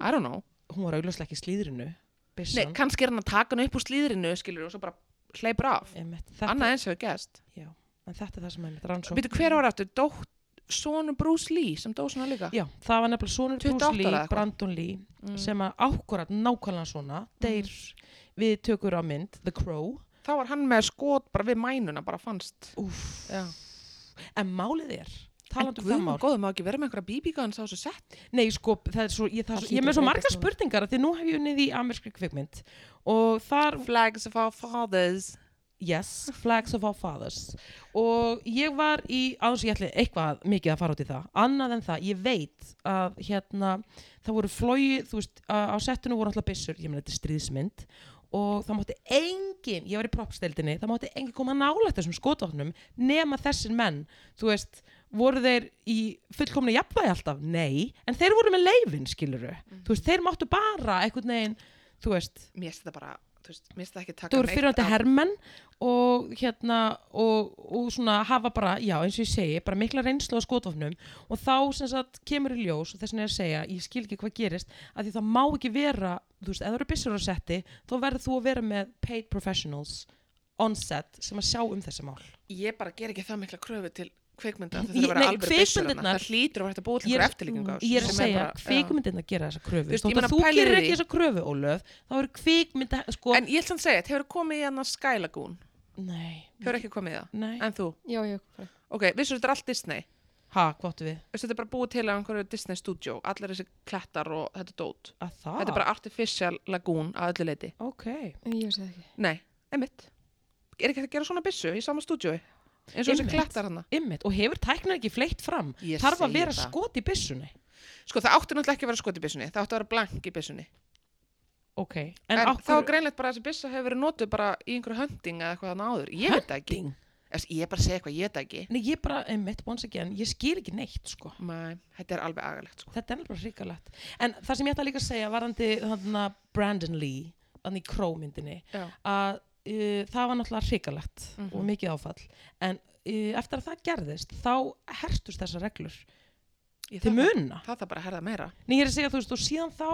Speaker 2: I don't know.
Speaker 1: hún var augljóslega ekki í slíðrinu
Speaker 2: Nei,
Speaker 1: byssan
Speaker 2: kannski er hann að taka hann upp úr slíðrinu, skilur, og svo bara hleypur af.
Speaker 1: Einmitt, þetta,
Speaker 2: Annað eins hefur gæst.
Speaker 1: já, en þetta er það sem er mitt rannsók
Speaker 2: Býtu, hver var aftur? Dótt, sonu Bruce Lee, sem dó svona líka.
Speaker 1: já, það var nefnilega sonur
Speaker 2: 28
Speaker 1: Bruce
Speaker 2: ára eða
Speaker 1: Lee,
Speaker 2: eitthvað.
Speaker 1: Brandon Lee sem að ákvarðat nákvæmlega svona deyr við tökur á mynd The Crow
Speaker 2: Þá var hann með skot bara við mænuna, bara fannst.
Speaker 1: Úf.
Speaker 2: Já.
Speaker 1: en málið er
Speaker 2: En
Speaker 1: talandu það
Speaker 2: guðum
Speaker 1: mál
Speaker 2: og góðum má ekki vera með einhverja bíbíkans á þessu sett.
Speaker 1: Nei, sko, það er svo, ég, það er
Speaker 3: Það
Speaker 1: svo, ég er
Speaker 3: hlýtur
Speaker 1: með svo
Speaker 3: að
Speaker 1: margar
Speaker 3: breytast núna.
Speaker 1: spurningar af því nú hef ég unnið í amerskri kvikmynd og þar,
Speaker 2: Flags of our fathers.
Speaker 1: yes, Flags of Our Fathers og ég var í, aðeins ég ætli eitthvað mikið að fara út í það, annað en það, ég veit að hérna, það voru flói, þú veist, á á settinu voru alltaf byssur, ég meina þetta er stríðsmynd og það mátti engin, ég var í propsteldinni, það mátti engin koma nálægt þessum skotvopnum nema þessin menn, þú veist, voru þeir í fullkomna jafnvægi alltaf? Nei, en þeir voru með leifin, skiluru. Þú veist, þeir máttu bara einhvern veginn, þú veist,
Speaker 2: mér finnst þetta bara, þú veist, mér finnst það ekki taka
Speaker 1: þú eru fyrirhandi
Speaker 2: af-
Speaker 1: hermenn og hérna og, og svona hafa bara, já eins og ég segi bara mikla reynslu á skotofnum og þá sem sagt kemur í ljós og þess vegna er að segja ég skil ekki hvað gerist, að því það má ekki vera, þú veist, ef það eru byssur á setti þá verður þú að vera með paid professionals on set sem að sjá um þessi mál
Speaker 2: ég bara ger ekki það mikla kröfu til kveikmynda
Speaker 1: Ég-
Speaker 2: að það þurfa að vera
Speaker 1: nei,
Speaker 2: alveg byssur þarna.
Speaker 1: kvikmyndirnar-
Speaker 2: það hlýtur að vera hægt að búa til
Speaker 1: Ég er-
Speaker 2: einhverja eftirlíkingu á þessu,
Speaker 1: ég er að
Speaker 2: sem
Speaker 1: segja,
Speaker 2: bara- já.
Speaker 1: kvikmyndin að gera þessa kröfu
Speaker 2: Þú veist,
Speaker 1: þú, veist,
Speaker 2: ég meina,
Speaker 1: þú
Speaker 2: pælir
Speaker 1: gerir
Speaker 2: í
Speaker 1: ekki
Speaker 2: því.
Speaker 1: þessa kröfu, Ólöf þá eru kvikmynda, sko
Speaker 2: en ég ætla að segja, þetta hefur komið í hann Sky Lagoon
Speaker 1: nei,
Speaker 2: hefur ekki komið í það,
Speaker 1: nei,
Speaker 2: en þú
Speaker 3: já, já, bara-
Speaker 2: ok, vissur þetta er allt Disney
Speaker 1: ha, hvað áttu við
Speaker 2: Veistu, þetta er bara búið til af einhverju Disney Studio allar þessi klettar og þetta dót
Speaker 1: að það,
Speaker 2: þetta er bara artificial lagoon að öllu leiti
Speaker 1: ok
Speaker 3: ég veist það ekki
Speaker 2: nei, emitt er ekki hægt að gera svona byssu í sama stúdíu eins og þessi
Speaker 1: Einmitt.
Speaker 2: klettar hana
Speaker 1: Ymmit, og hefur tæknar ekki fleitt fram
Speaker 2: Ég
Speaker 1: þarf að
Speaker 2: segi
Speaker 1: vera
Speaker 2: það.
Speaker 1: skot í byssunni
Speaker 2: sko það átti náttúrulega ekki að vera skot í byssunni það átti að vera blank í byssunni
Speaker 1: ok, en,
Speaker 2: en,
Speaker 1: en
Speaker 2: þá er greinlegt bara að þessi byssa hefur verið notuð bara í einhverju hunting eða eitthvað þannig áður ég veit það ekki,
Speaker 1: Hunting?
Speaker 2: Eftir, ég er bara að segja eitthvað ég veit það ekki
Speaker 1: Nei, ég bara, ymmit, once again, ég skil ekki neitt sko.
Speaker 2: Mæ, þetta er alveg agalegt sko.
Speaker 1: þetta er alveg bara hrikalegt en það sem ég ætla líka að segja varandi þarna Brandon Lee, þannig í krómyndinni
Speaker 2: Já. Mhm.
Speaker 1: að uh, það var náttúrulega hrikalegt og mikið áfall en uh, eftir að það gerðist þá hertust þessar reglur
Speaker 2: Ég
Speaker 1: til
Speaker 2: þarf að-
Speaker 1: munna
Speaker 2: það þarf bara að herða meira
Speaker 1: Nei, ég er að segja, þú veist, og síðan þá,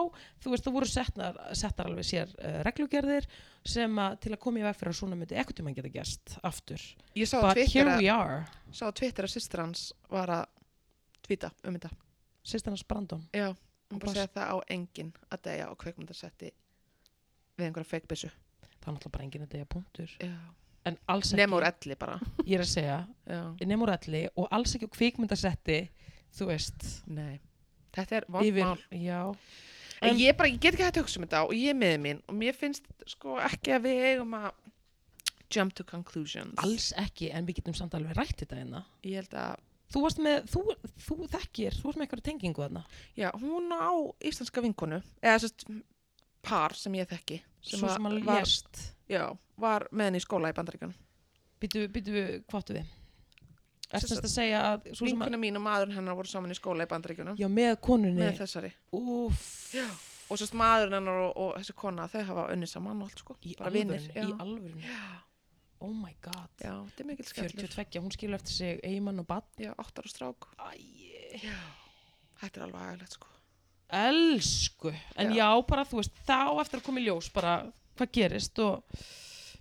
Speaker 1: þú veist, það voru settar, settar alveg sér uh, reglugerðir sem að til að koma í veg fyrir að svona myndi ekkert tíma geta gerst aftur.
Speaker 2: ég sá á
Speaker 1: But
Speaker 2: Twitter
Speaker 1: here
Speaker 2: að-
Speaker 1: we are,
Speaker 2: sá á Twitter að systir hans var að tvíta um þetta
Speaker 1: sýstarnas Brandon.
Speaker 2: Já, hún bara
Speaker 1: bara
Speaker 2: segja það á enginn að deyja á kveikmyndarsetti við einhverja feikbissu.
Speaker 1: Það er náttúrulega bara enginn að deyja punktur.
Speaker 2: Já.
Speaker 1: En alls ekki,
Speaker 2: Nefn úr elli bara.
Speaker 1: ég er að segja,
Speaker 2: Já.
Speaker 1: nema úr alli og alls ekki á kvikmyndasetti, þú veist,
Speaker 2: Nei. Þetta er vond mál.
Speaker 1: já.
Speaker 2: En
Speaker 1: En-
Speaker 2: ég bara, ég get ekki hægt að hugsa um þetta og ég er með mín og mér finnst sko ekki að við eigum að jump to conclusions.
Speaker 1: Alls ekki, en við getum samt alveg rætt þetta hérna.
Speaker 2: Ég held að,
Speaker 1: Þú varst með, þú, þú þekkir, þú varst með eitthvað tengingu þarna.
Speaker 2: já, hún á íslenska vinkonu, eða sérst par sem ég þekki.
Speaker 1: Svo sem að
Speaker 2: var,
Speaker 1: lést.
Speaker 2: Já, var með henni í skóla í bandaríkan.
Speaker 1: Býtu, býtu, hvað áttu við? Erst
Speaker 2: Sem sagt,
Speaker 1: þess að segja að, svo sem að,
Speaker 2: Vinkona mín og maðurinn hennar voru saman í skóla í bandaríkunum.
Speaker 1: já, með konunni,
Speaker 2: Með þessari.
Speaker 1: úff,
Speaker 2: og sérst maðurinn hennar og, og þessi kona þau hafa unnið saman og allt sko
Speaker 1: í
Speaker 2: bara
Speaker 1: alvörunni,
Speaker 2: vinir,
Speaker 1: í
Speaker 2: já.
Speaker 1: alvörunni, oh my god,
Speaker 2: já, þetta er mikil skellur
Speaker 1: 42, hún skilur eftir sig eigimann og badn,
Speaker 2: já, áttar og strák,
Speaker 1: æj,
Speaker 2: þetta er alveg agalegt sko
Speaker 1: elsku, en já.
Speaker 2: Já.
Speaker 1: bara þú veist, þá eftir að koma í ljós bara hvað gerist og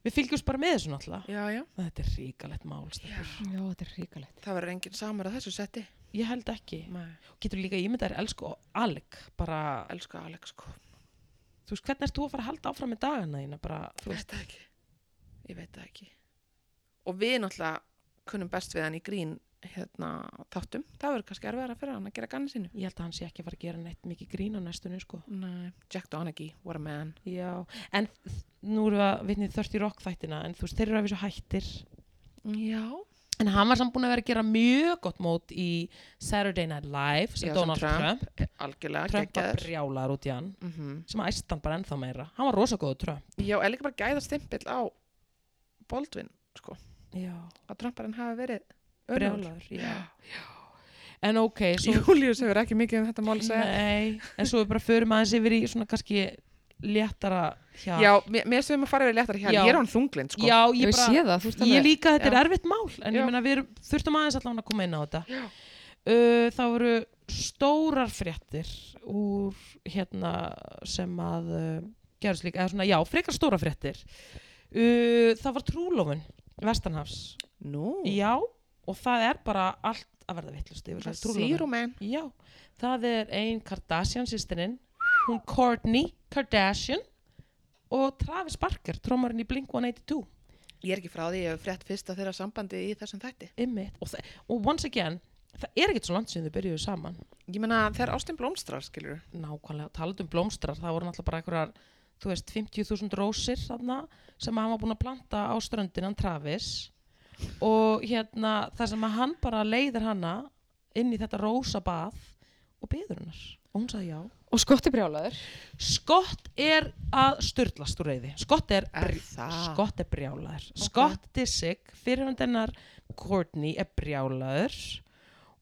Speaker 1: við fylgjumst bara með þessu náttúrulega,
Speaker 2: já, já,
Speaker 1: þetta er ríkalegt mál, stelpur.
Speaker 3: já, þetta er ríkalegt
Speaker 2: það verður enginn samar að þessu setti
Speaker 1: ég held ekki,
Speaker 2: Nei.
Speaker 1: getur líka ímyndar elsku og alg, bara,
Speaker 2: elsku Alex sko
Speaker 1: þú veist, hvernig ert þú að fara að halda áfram með dagana þína, bara, þú veist,
Speaker 2: veit það ekki ég veit það ekki og við náttúrulega kunnum best við hann í grín hérna þáttum, það verður kannski erfiðara fyrir hann að gera ganni sínu
Speaker 1: ég held að hann sé ekki að fara að gera neitt mikið grín á næstunni, sko.
Speaker 2: Nei. Jack Donaghy, what a man
Speaker 1: Já, en þ- nú erum við að vitnið 30 Rock þættina en þú veist, þeir eru að við svo hættir
Speaker 2: já,
Speaker 1: en hann var samt búin að vera að gera mjög gott mót í Saturday Night Live sem
Speaker 2: Já, sem
Speaker 1: Donald Trump,
Speaker 2: Trump,
Speaker 1: Trump,
Speaker 2: algjörlega
Speaker 1: var
Speaker 2: geggjaður.
Speaker 1: brjálaður út í hann
Speaker 2: Mhm.
Speaker 1: sem að æstan bara ennþá meira, hann var rosa góður Trump
Speaker 2: Já, eða líka bara gæða stimpill á Baldwin, sko.
Speaker 1: Já,
Speaker 2: Að Trumparinn hafi verið önugur.
Speaker 1: brjálaður já. En ok, svo
Speaker 2: Július hefur ekki mikið um þetta mál að segja.
Speaker 1: Nei, en svo við bara förum aðeins yfir í svona kannski léttara hjá
Speaker 2: Já, mér, mér sem að fara yfir léttar hér,
Speaker 1: Já.
Speaker 2: ég er án þunglind, sko.
Speaker 1: Já,
Speaker 3: ég,
Speaker 1: ég bara
Speaker 3: sé það, þú veist
Speaker 1: Ég líka að þetta
Speaker 2: Já.
Speaker 1: er erfitt mál en
Speaker 2: Já.
Speaker 1: ég meina við erum, þurftum aðeins allan að koma inn á þetta
Speaker 2: Já.
Speaker 1: uh, þá voru stórar fréttir úr hérna sem að uh, gerðs líka, eða svona já, frekar stórar fréttir uh, það var trúlófun vestanhafs,
Speaker 2: Nú,
Speaker 1: já og það er bara allt að verða vittlust yfir
Speaker 2: það um-
Speaker 1: þessari
Speaker 2: sýr
Speaker 1: trúlofun.
Speaker 2: og menn.
Speaker 1: Já, það er ein Kardashian sýstirinn, hún Kourtney Kardashian og Travis Barker, trómarinn í Blink-182
Speaker 2: Ég er ekki frá því, ég hef frétt fyrst að þeirra sambandi í þessum þætti.
Speaker 1: Einmitt. Og, þa- og once again, það er ekkert svo langt sem þau byrjuðu saman.
Speaker 2: Ég meina, þegar Ástin blómstrar, skilur.
Speaker 1: Nákvæmlega, talandum um blómstrar, það voru náttúrulega bara einhverjar, þú veist, 50.000 rósir þarna sem hann var búin að planta á ströndinan Travis og hérna það sem að hann bara leiðir hana inn í þetta rósabað og byður hennar. Og hún sagði já.
Speaker 3: og skotti brjálaður
Speaker 1: Skott er að styrlast úr reyði. Skott er,
Speaker 2: Er
Speaker 1: brj-
Speaker 2: það?
Speaker 1: Skott er brjálaður. Scott Disick, fyrirhundennar Courtney er brjálaður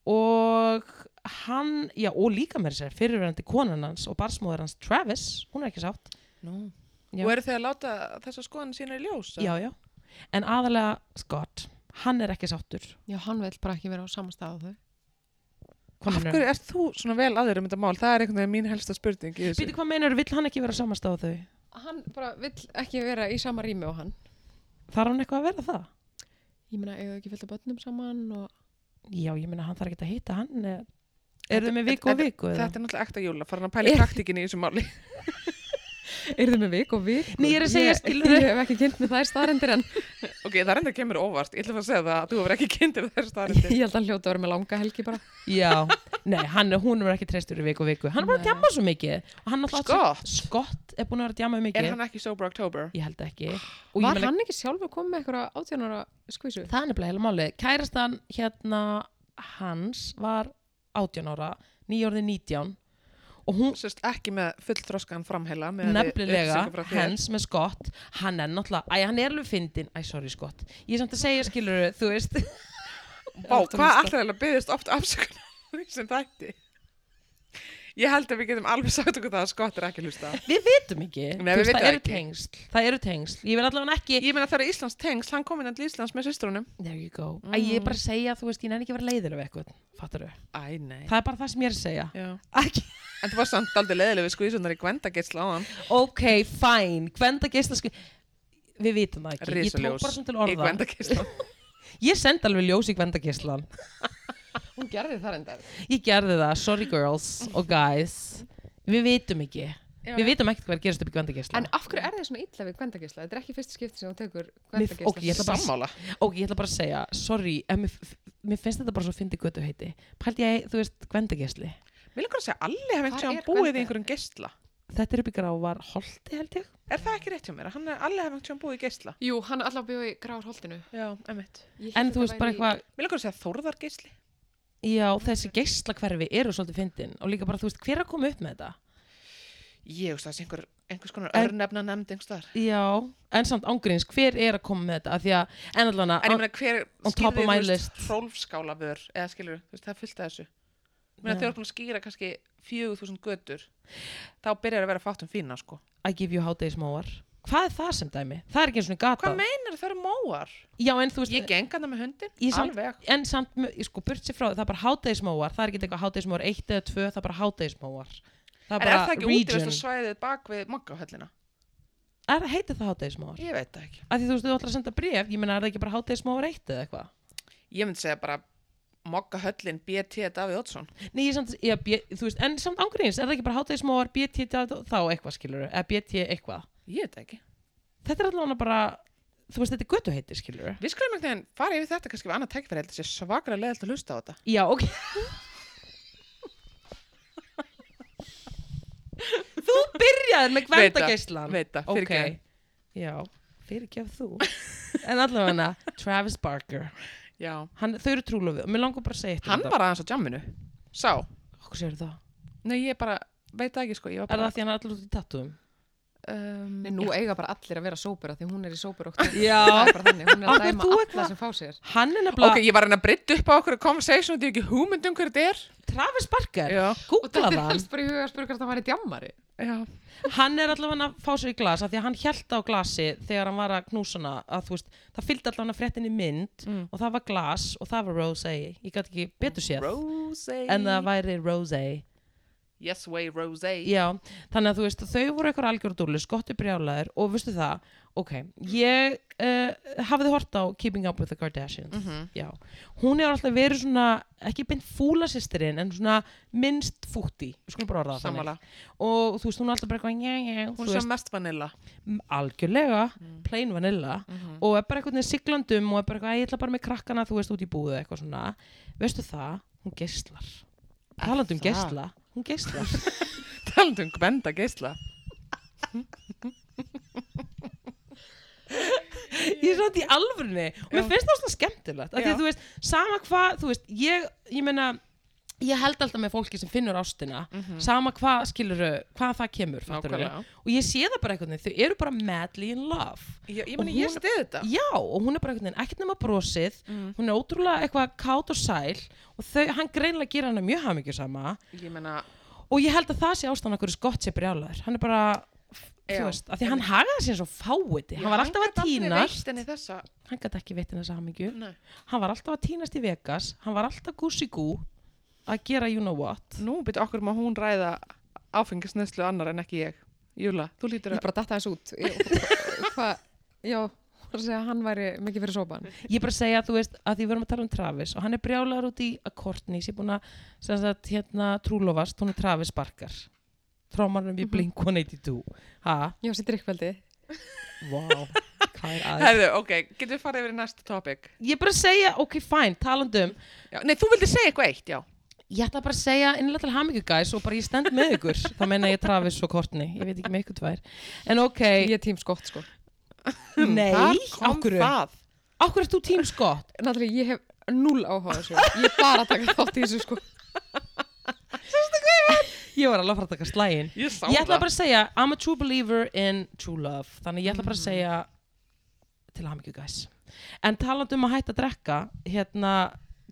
Speaker 1: og hann, já og líka mér sér fyrirverandi konan hans og barsmóður hans Travis, hún er ekki sátt
Speaker 2: No.
Speaker 1: Já.
Speaker 2: Og eru þið að láta þessa skoðan sína í ljós? eða?
Speaker 1: já, já, en aðalega Scott, hann er ekki sáttur
Speaker 3: Já, hann vil bara ekki vera á sama stað á þau.
Speaker 2: Af hverju ert þú svona vel aður um þetta mál? Það er einhvern veginn mín helsta spurning í þessu.
Speaker 1: Býtu hvað meinar, vill hann ekki vera á samastað á þau?
Speaker 3: Hann bara vil ekki vera í sama rými og hann.
Speaker 1: Þarf hann eitthvað að vera það?
Speaker 3: Ég meina, eigðu ekki fullt af börnum saman og...
Speaker 1: Já, ég meina hann þarf ekki að hitta hann eh, Eru þau með viku og
Speaker 2: þetta-
Speaker 1: viku? eða?
Speaker 2: Þetta er náttúrulega ekta júla, farin að pæla í praktikinni í þessu máli. [LAUGHS]
Speaker 3: Er þau með vik og vik?
Speaker 1: Nei, ég er að segja, skilurðu.
Speaker 3: Ég hef ekki kynnt með þær staðrendir en
Speaker 2: ok, það reyndar kemur óvart. Ég ætla að fara að segja það að þú hefur ekki kynntir þess staðarindir.
Speaker 3: [LAUGHS] ég held að hann hljóta að vera með langa helgi bara.
Speaker 1: Já, nei, hann, hún er ekki treystur í viku og viku Hann er bara að
Speaker 3: Nei.
Speaker 1: djama svo mikið Og hann náttúrulega-
Speaker 2: Scott?
Speaker 1: Scott er búin að vera að djama mikið
Speaker 2: Er hann ekki Sober October?
Speaker 1: Ég held ekki Og ég
Speaker 3: Var
Speaker 1: meina-
Speaker 3: hann ekki sjálfur komið með eitthvað átjónara skvísu?
Speaker 1: Það er nefnilega heila málið. Kærastan hérna hans var 18 ára, nýjórði 19 og hún
Speaker 2: Sérst ekki með fullþroskan framheila með
Speaker 1: nefnilega hens með Scott, hann er náttúrulega, æ, hann er alveg fyndin, æ, sorry Scott, ég er samt að segja skilur, þú veist, [LAUGHS]
Speaker 2: Vá,
Speaker 1: Aftur
Speaker 2: hvað
Speaker 1: lista.
Speaker 2: allir að byggðist oft afsökunar á því sem þætti? Ég held að við getum alveg sagt okkur það að Scott er ekki að [LAUGHS] hlusta.
Speaker 1: við vitum ekki,
Speaker 2: Nei,
Speaker 1: Þú
Speaker 2: við vitum
Speaker 1: það eru
Speaker 2: ekki.
Speaker 1: tengsl, það eru tengsl, ég vil allavega ekki,
Speaker 2: Ég meina það eru Íslands tengsl, hann kom innan til Íslands með systrunum.
Speaker 1: there you go, æ, ég er bara að segja, þú veist, ég nefn ekki að vera leiðilega við eitthvað, fattar þau,
Speaker 2: Æ, nei.
Speaker 1: það er bara það sem ég er að segja,
Speaker 2: Já.
Speaker 1: ekki,
Speaker 2: En þú varst samt aldrei leðileg við skvísunar í Gvendageisla á hann.
Speaker 1: ok, fine, hvenda geisla, við vitum það ekki, ég tók bara svona til
Speaker 2: Í
Speaker 1: orða,
Speaker 2: Gvendageisla.
Speaker 1: Ég sendi alveg ljós í gvendagislan.
Speaker 3: Hún gerði það endar.
Speaker 1: Ég gerði það, sorry girls og guys. Við vitum ekki. við vitum ekkert hvað gerist upp í gvendagislan.
Speaker 3: En af hverju er það svona illa við gwendagisla? Þetta er ekki fyrsta skipti sem hún tekur
Speaker 1: Mér-
Speaker 3: gwendagisla.
Speaker 1: ok, ég ætla bara að-
Speaker 2: Sammála.
Speaker 1: Og ég ætla bara að segja, sorry, en mér, f- mér finnst þetta bara svo fyndi götu heiti. Pældi ég, þú veist, gvendagisli.
Speaker 2: Mér langar að segja, allir hef
Speaker 3: Hvar
Speaker 2: einhvern tíðan
Speaker 3: er
Speaker 2: búið
Speaker 3: Gvenda?
Speaker 2: í einhverjum geisla.
Speaker 1: Þetta er upp í grávar holti held ég.
Speaker 2: Er það ekki rétt hjá mér? Hann er allir hef einhvern tíðan búið í geisla.
Speaker 3: Jú, hann er alltaf bjóð í gráðholtinu.
Speaker 2: Já, emitt.
Speaker 1: En þú veist bara eitthvað,
Speaker 2: Mér langar að segja Þórðar geisli.
Speaker 1: já, þessi geislakverfi eru svolítið fyndin. Og líka bara, þú veist, hver er að koma upp með þetta?
Speaker 2: Ég veist það, einhver, einhvers konar
Speaker 1: En-
Speaker 2: örnefna nefnd einhvers þar.
Speaker 1: Já, en samt ángríns, hver er að koma með þetta? Af því að, en allan
Speaker 2: En ég
Speaker 1: að,
Speaker 2: meina hver
Speaker 1: on top of
Speaker 2: skýrði,
Speaker 1: my
Speaker 2: þú veist,
Speaker 1: list.
Speaker 2: hrólfskála vör, eða skilur, þú veist, það er fullt af þessu. Ég meina
Speaker 1: Já.
Speaker 2: þau eru búin að skýra kannski 4000 götur, þá byrjar að vera fátum fína, sko.
Speaker 1: I give you hátegi smóar. Hvað er það sem dæmi? Það er ekki eins og
Speaker 2: Hvað
Speaker 1: gatað.
Speaker 2: meinar þau eru móar?
Speaker 1: Já, en þú veist, eh,
Speaker 2: Ég geng hann með hundin,
Speaker 1: Ég samt-
Speaker 2: alveg.
Speaker 1: en samt, mu- ég sko, burt sér frá því, það er bara hátæðismóar, það er ekki eitthvað hátæðismóar 1 eða 2, það er bara hátæðismóar það er
Speaker 2: En er
Speaker 1: bara
Speaker 2: það ekki
Speaker 1: region,
Speaker 2: útivistar svæðið bak við maggahöllina?
Speaker 1: er, heitir það hátæðismóar?
Speaker 2: Ég veit það ekki.
Speaker 1: Af því þú veist, þú ætlar að senda bref, ég meina, er það ekki bara hátæðismóar 1 eða eitthvað?
Speaker 2: Ég myndi segja bara maggahöllin BT Davíð Oddsson.
Speaker 1: Nei, ég samt, ég, bj- þú veist, en samt ángríns, er það ekki bara hátæðismóar BT þá þá eitthvað skilur, eða BT eitthvað?
Speaker 2: Ég veit það ekki.
Speaker 1: Þetta er allavega bara, þú veist, þetta er götu heitir skilur.
Speaker 2: Við skulum einhvern veginn fara yfir þetta kannski við annað tækifæri held að sé svakra leðilt að hlusta á þetta.
Speaker 1: Já, ok. þú byrjaðir með
Speaker 2: Veit það,
Speaker 1: gvendageislan.
Speaker 2: veit það, fyrirgefðu.
Speaker 1: Já, fyrirgef þú.
Speaker 2: [LAUGHS]
Speaker 1: en allavega, Travis Barker,
Speaker 2: Já.
Speaker 1: hann, þau eru trúlofið og mér langar bara að segja eitt um
Speaker 2: Hann var aðeins á jamminu. Sá.
Speaker 1: Hvað séu það?
Speaker 2: Nei, ég bara, veit það ekki sko. Ég var
Speaker 1: Er
Speaker 2: bara,
Speaker 1: það því hann er allir út í tattúum?
Speaker 2: um,
Speaker 3: Nei, nú eiga bara allir að vera sóbera því hún er í sóberóttu.
Speaker 1: Já.
Speaker 3: Það er bara þannig, hún er
Speaker 1: Af
Speaker 3: að
Speaker 1: hverju
Speaker 3: dæma
Speaker 1: þú
Speaker 3: alla
Speaker 1: eitthvað-
Speaker 3: sem fá sér.
Speaker 1: Hann er nefnilega,
Speaker 2: Ok, ég var að reyna að brytta upp á okkur conversation og þetta er ekki húmynd um hver þetta er.
Speaker 1: Travis Barker,
Speaker 2: Já.
Speaker 3: Og þetta
Speaker 1: googlaði
Speaker 3: er
Speaker 1: hann,
Speaker 3: hans bara í huga að spurga hvort hann væri djammari.
Speaker 2: Já.
Speaker 1: hann er allavega að fá sér í glas af því að hann hjælt á glasi þegar hann var að knúsa hana að þú veist, það fylgdi allavega fréttin í mynd
Speaker 2: Mm.
Speaker 1: og það var glas og það var rose ég gæti ekki betur séð
Speaker 2: Rosé.
Speaker 1: en það væri Rosé
Speaker 2: Yes way Rosé.
Speaker 1: já, þannig að þú veist þau voru eitthvað algjör dúlu, skottu brjálaður og veistu það, ok, ég uh, hafði hort á Keeping Up With The Kardashians
Speaker 2: Mhm.
Speaker 1: já, hún hefur alltaf verið svona ekki beint fúla sýstirinn en svona minnst fútti, við skulum bara orða það þannig.
Speaker 2: Sammála.
Speaker 1: og þú veist, hún er alltaf bara eitthvað njá, njá, þú
Speaker 2: Hún er
Speaker 1: veist,
Speaker 2: sem mest vanilla. [LAUGHS]
Speaker 1: m- algjörlega,
Speaker 2: Mm.
Speaker 1: plain vanilla
Speaker 2: Mhm.
Speaker 1: og er bara einhvern veginn siglandum og er bara eitthvað, "Æ, ég ætla bara með krakkana, þú veist, út í búðu eitthvað svona, veistu það, hún geislar talandi um
Speaker 2: það?
Speaker 1: geisla, hún geislar
Speaker 2: [LAUGHS] Talandum Gvenda um geisla.
Speaker 1: ég er samt í alvörni og mér
Speaker 2: Já.
Speaker 1: finnst það svona skemmtilegt af því
Speaker 2: Já.
Speaker 1: að þú veist, sama hvað, þú veist ég, ég meina ég held alltaf með fólki sem finnur ástina
Speaker 2: Mhm.
Speaker 1: sama hvað skilur, hvað það kemur fattarðu?
Speaker 2: Nákvæmlega.
Speaker 1: og ég sé það bara einhvern veginn, þau eru bara madly in love
Speaker 2: Ég, ég
Speaker 1: Og
Speaker 2: meni, ég
Speaker 1: hún-
Speaker 2: stið þetta.
Speaker 1: já, og hún er bara einhvern veginn ekkert nema brosið
Speaker 2: Mm.
Speaker 1: hún er ótrúlega eitthvað kátt og sæl og þau, hann greinlega gera hana mjög hamingjusama
Speaker 2: Ég meina,
Speaker 1: og ég held að það sé ástæðan af hverju Scott sé brjálaður hann er bara,
Speaker 2: Já,
Speaker 1: þú veist, af því að hann hagaði sér svo fáiði, hann var alltaf að tínast
Speaker 2: Hann gæti þessa.
Speaker 1: hann gæti ekki veitin þessa hamingju
Speaker 2: Nei.
Speaker 1: hann var alltaf að tínast í Vegas hann var alltaf gúsi gú að gera you know what
Speaker 2: Nú byrja okkur má hún ræða áfengisneslu annar en ekki ég. Júla, þú lítur
Speaker 3: Ég
Speaker 2: að...
Speaker 3: bara datta þessu út. Ég- Hvað, já, hún var að segja að hann væri mikið fyrir sopan.
Speaker 1: ég er bara að segja, þú veist, að því við erum að tala um Travis og hann er brjálaður út í að Courtney sem er búin að, sem sagt, hérna trúlofast hún er Travis Barker trómanum við Blink-182 ha,
Speaker 3: Já, sér drikkveldi.
Speaker 1: wow, hvað [LAUGHS] er aðeins
Speaker 2: Herðu, ok, getum við farið yfir í næsta topic?
Speaker 1: ég er bara að segja, ok, fine, talandum
Speaker 2: Já, nei, þú vildi segja eitthvað eitt, já.
Speaker 1: ég ætla bara að segja innlega til hamingju guys og bara ég stend með ykkur þá meina ég Travis og Courtney, ég veit ekki með ykkur tvær en ok,
Speaker 3: Ég er tím skott, sko.
Speaker 1: nei
Speaker 2: Þar kom
Speaker 1: okkur,
Speaker 2: það.
Speaker 1: okkur er þú tím Scott
Speaker 3: Náttúrulega, ég hef null áhuga á þessu. Ég er bara að taka þátt í þessu, sko.
Speaker 1: ég var alveg að fara að taka slægin
Speaker 2: Ég sá
Speaker 1: ég ætla
Speaker 2: það.
Speaker 1: bara að segja, I'm a true believer in true love, þannig ég ætla
Speaker 2: Mhm.
Speaker 1: bara að segja til hamingju guys en talandi um að hætta að drekka hérna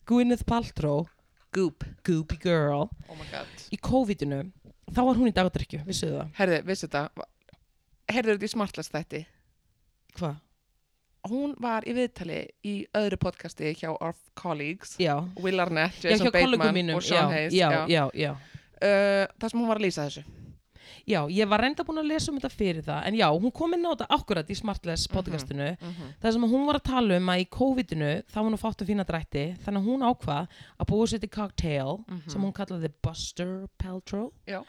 Speaker 1: Gwyneth Paltrow Goop, Goopy Girl
Speaker 2: Oh my god.
Speaker 1: í COVID-inu, þá var hún í dagdrykju vissuðu það,
Speaker 2: Herðu, vissu þetta? Herðu þetta í smartlast þætti?
Speaker 1: hvað?
Speaker 2: Hún var í viðtali í öðru podcasti hjá Our Colleagues.
Speaker 1: Já,
Speaker 2: Will Arnett,
Speaker 1: já, hjá
Speaker 2: Jason
Speaker 1: kollegum
Speaker 2: Bateman
Speaker 1: mínum
Speaker 2: og Sean
Speaker 1: já,
Speaker 2: Hayes.
Speaker 1: já, já, já.
Speaker 2: Uh, það sem hún var að lýsa þessu.
Speaker 1: Já, ég var reynda búin að lesa um þetta fyrir það en já, hún kom inn á þetta akkurat í
Speaker 2: Mhm,
Speaker 1: Smartless podcastinu þar sem hún var að tala um að í COVID-inu þá var hún fátt að fína drætti þannig að hún ákvað að búa sér til cocktail
Speaker 2: Mhm.
Speaker 1: sem hún kallaði Buster Paltrow
Speaker 2: Já.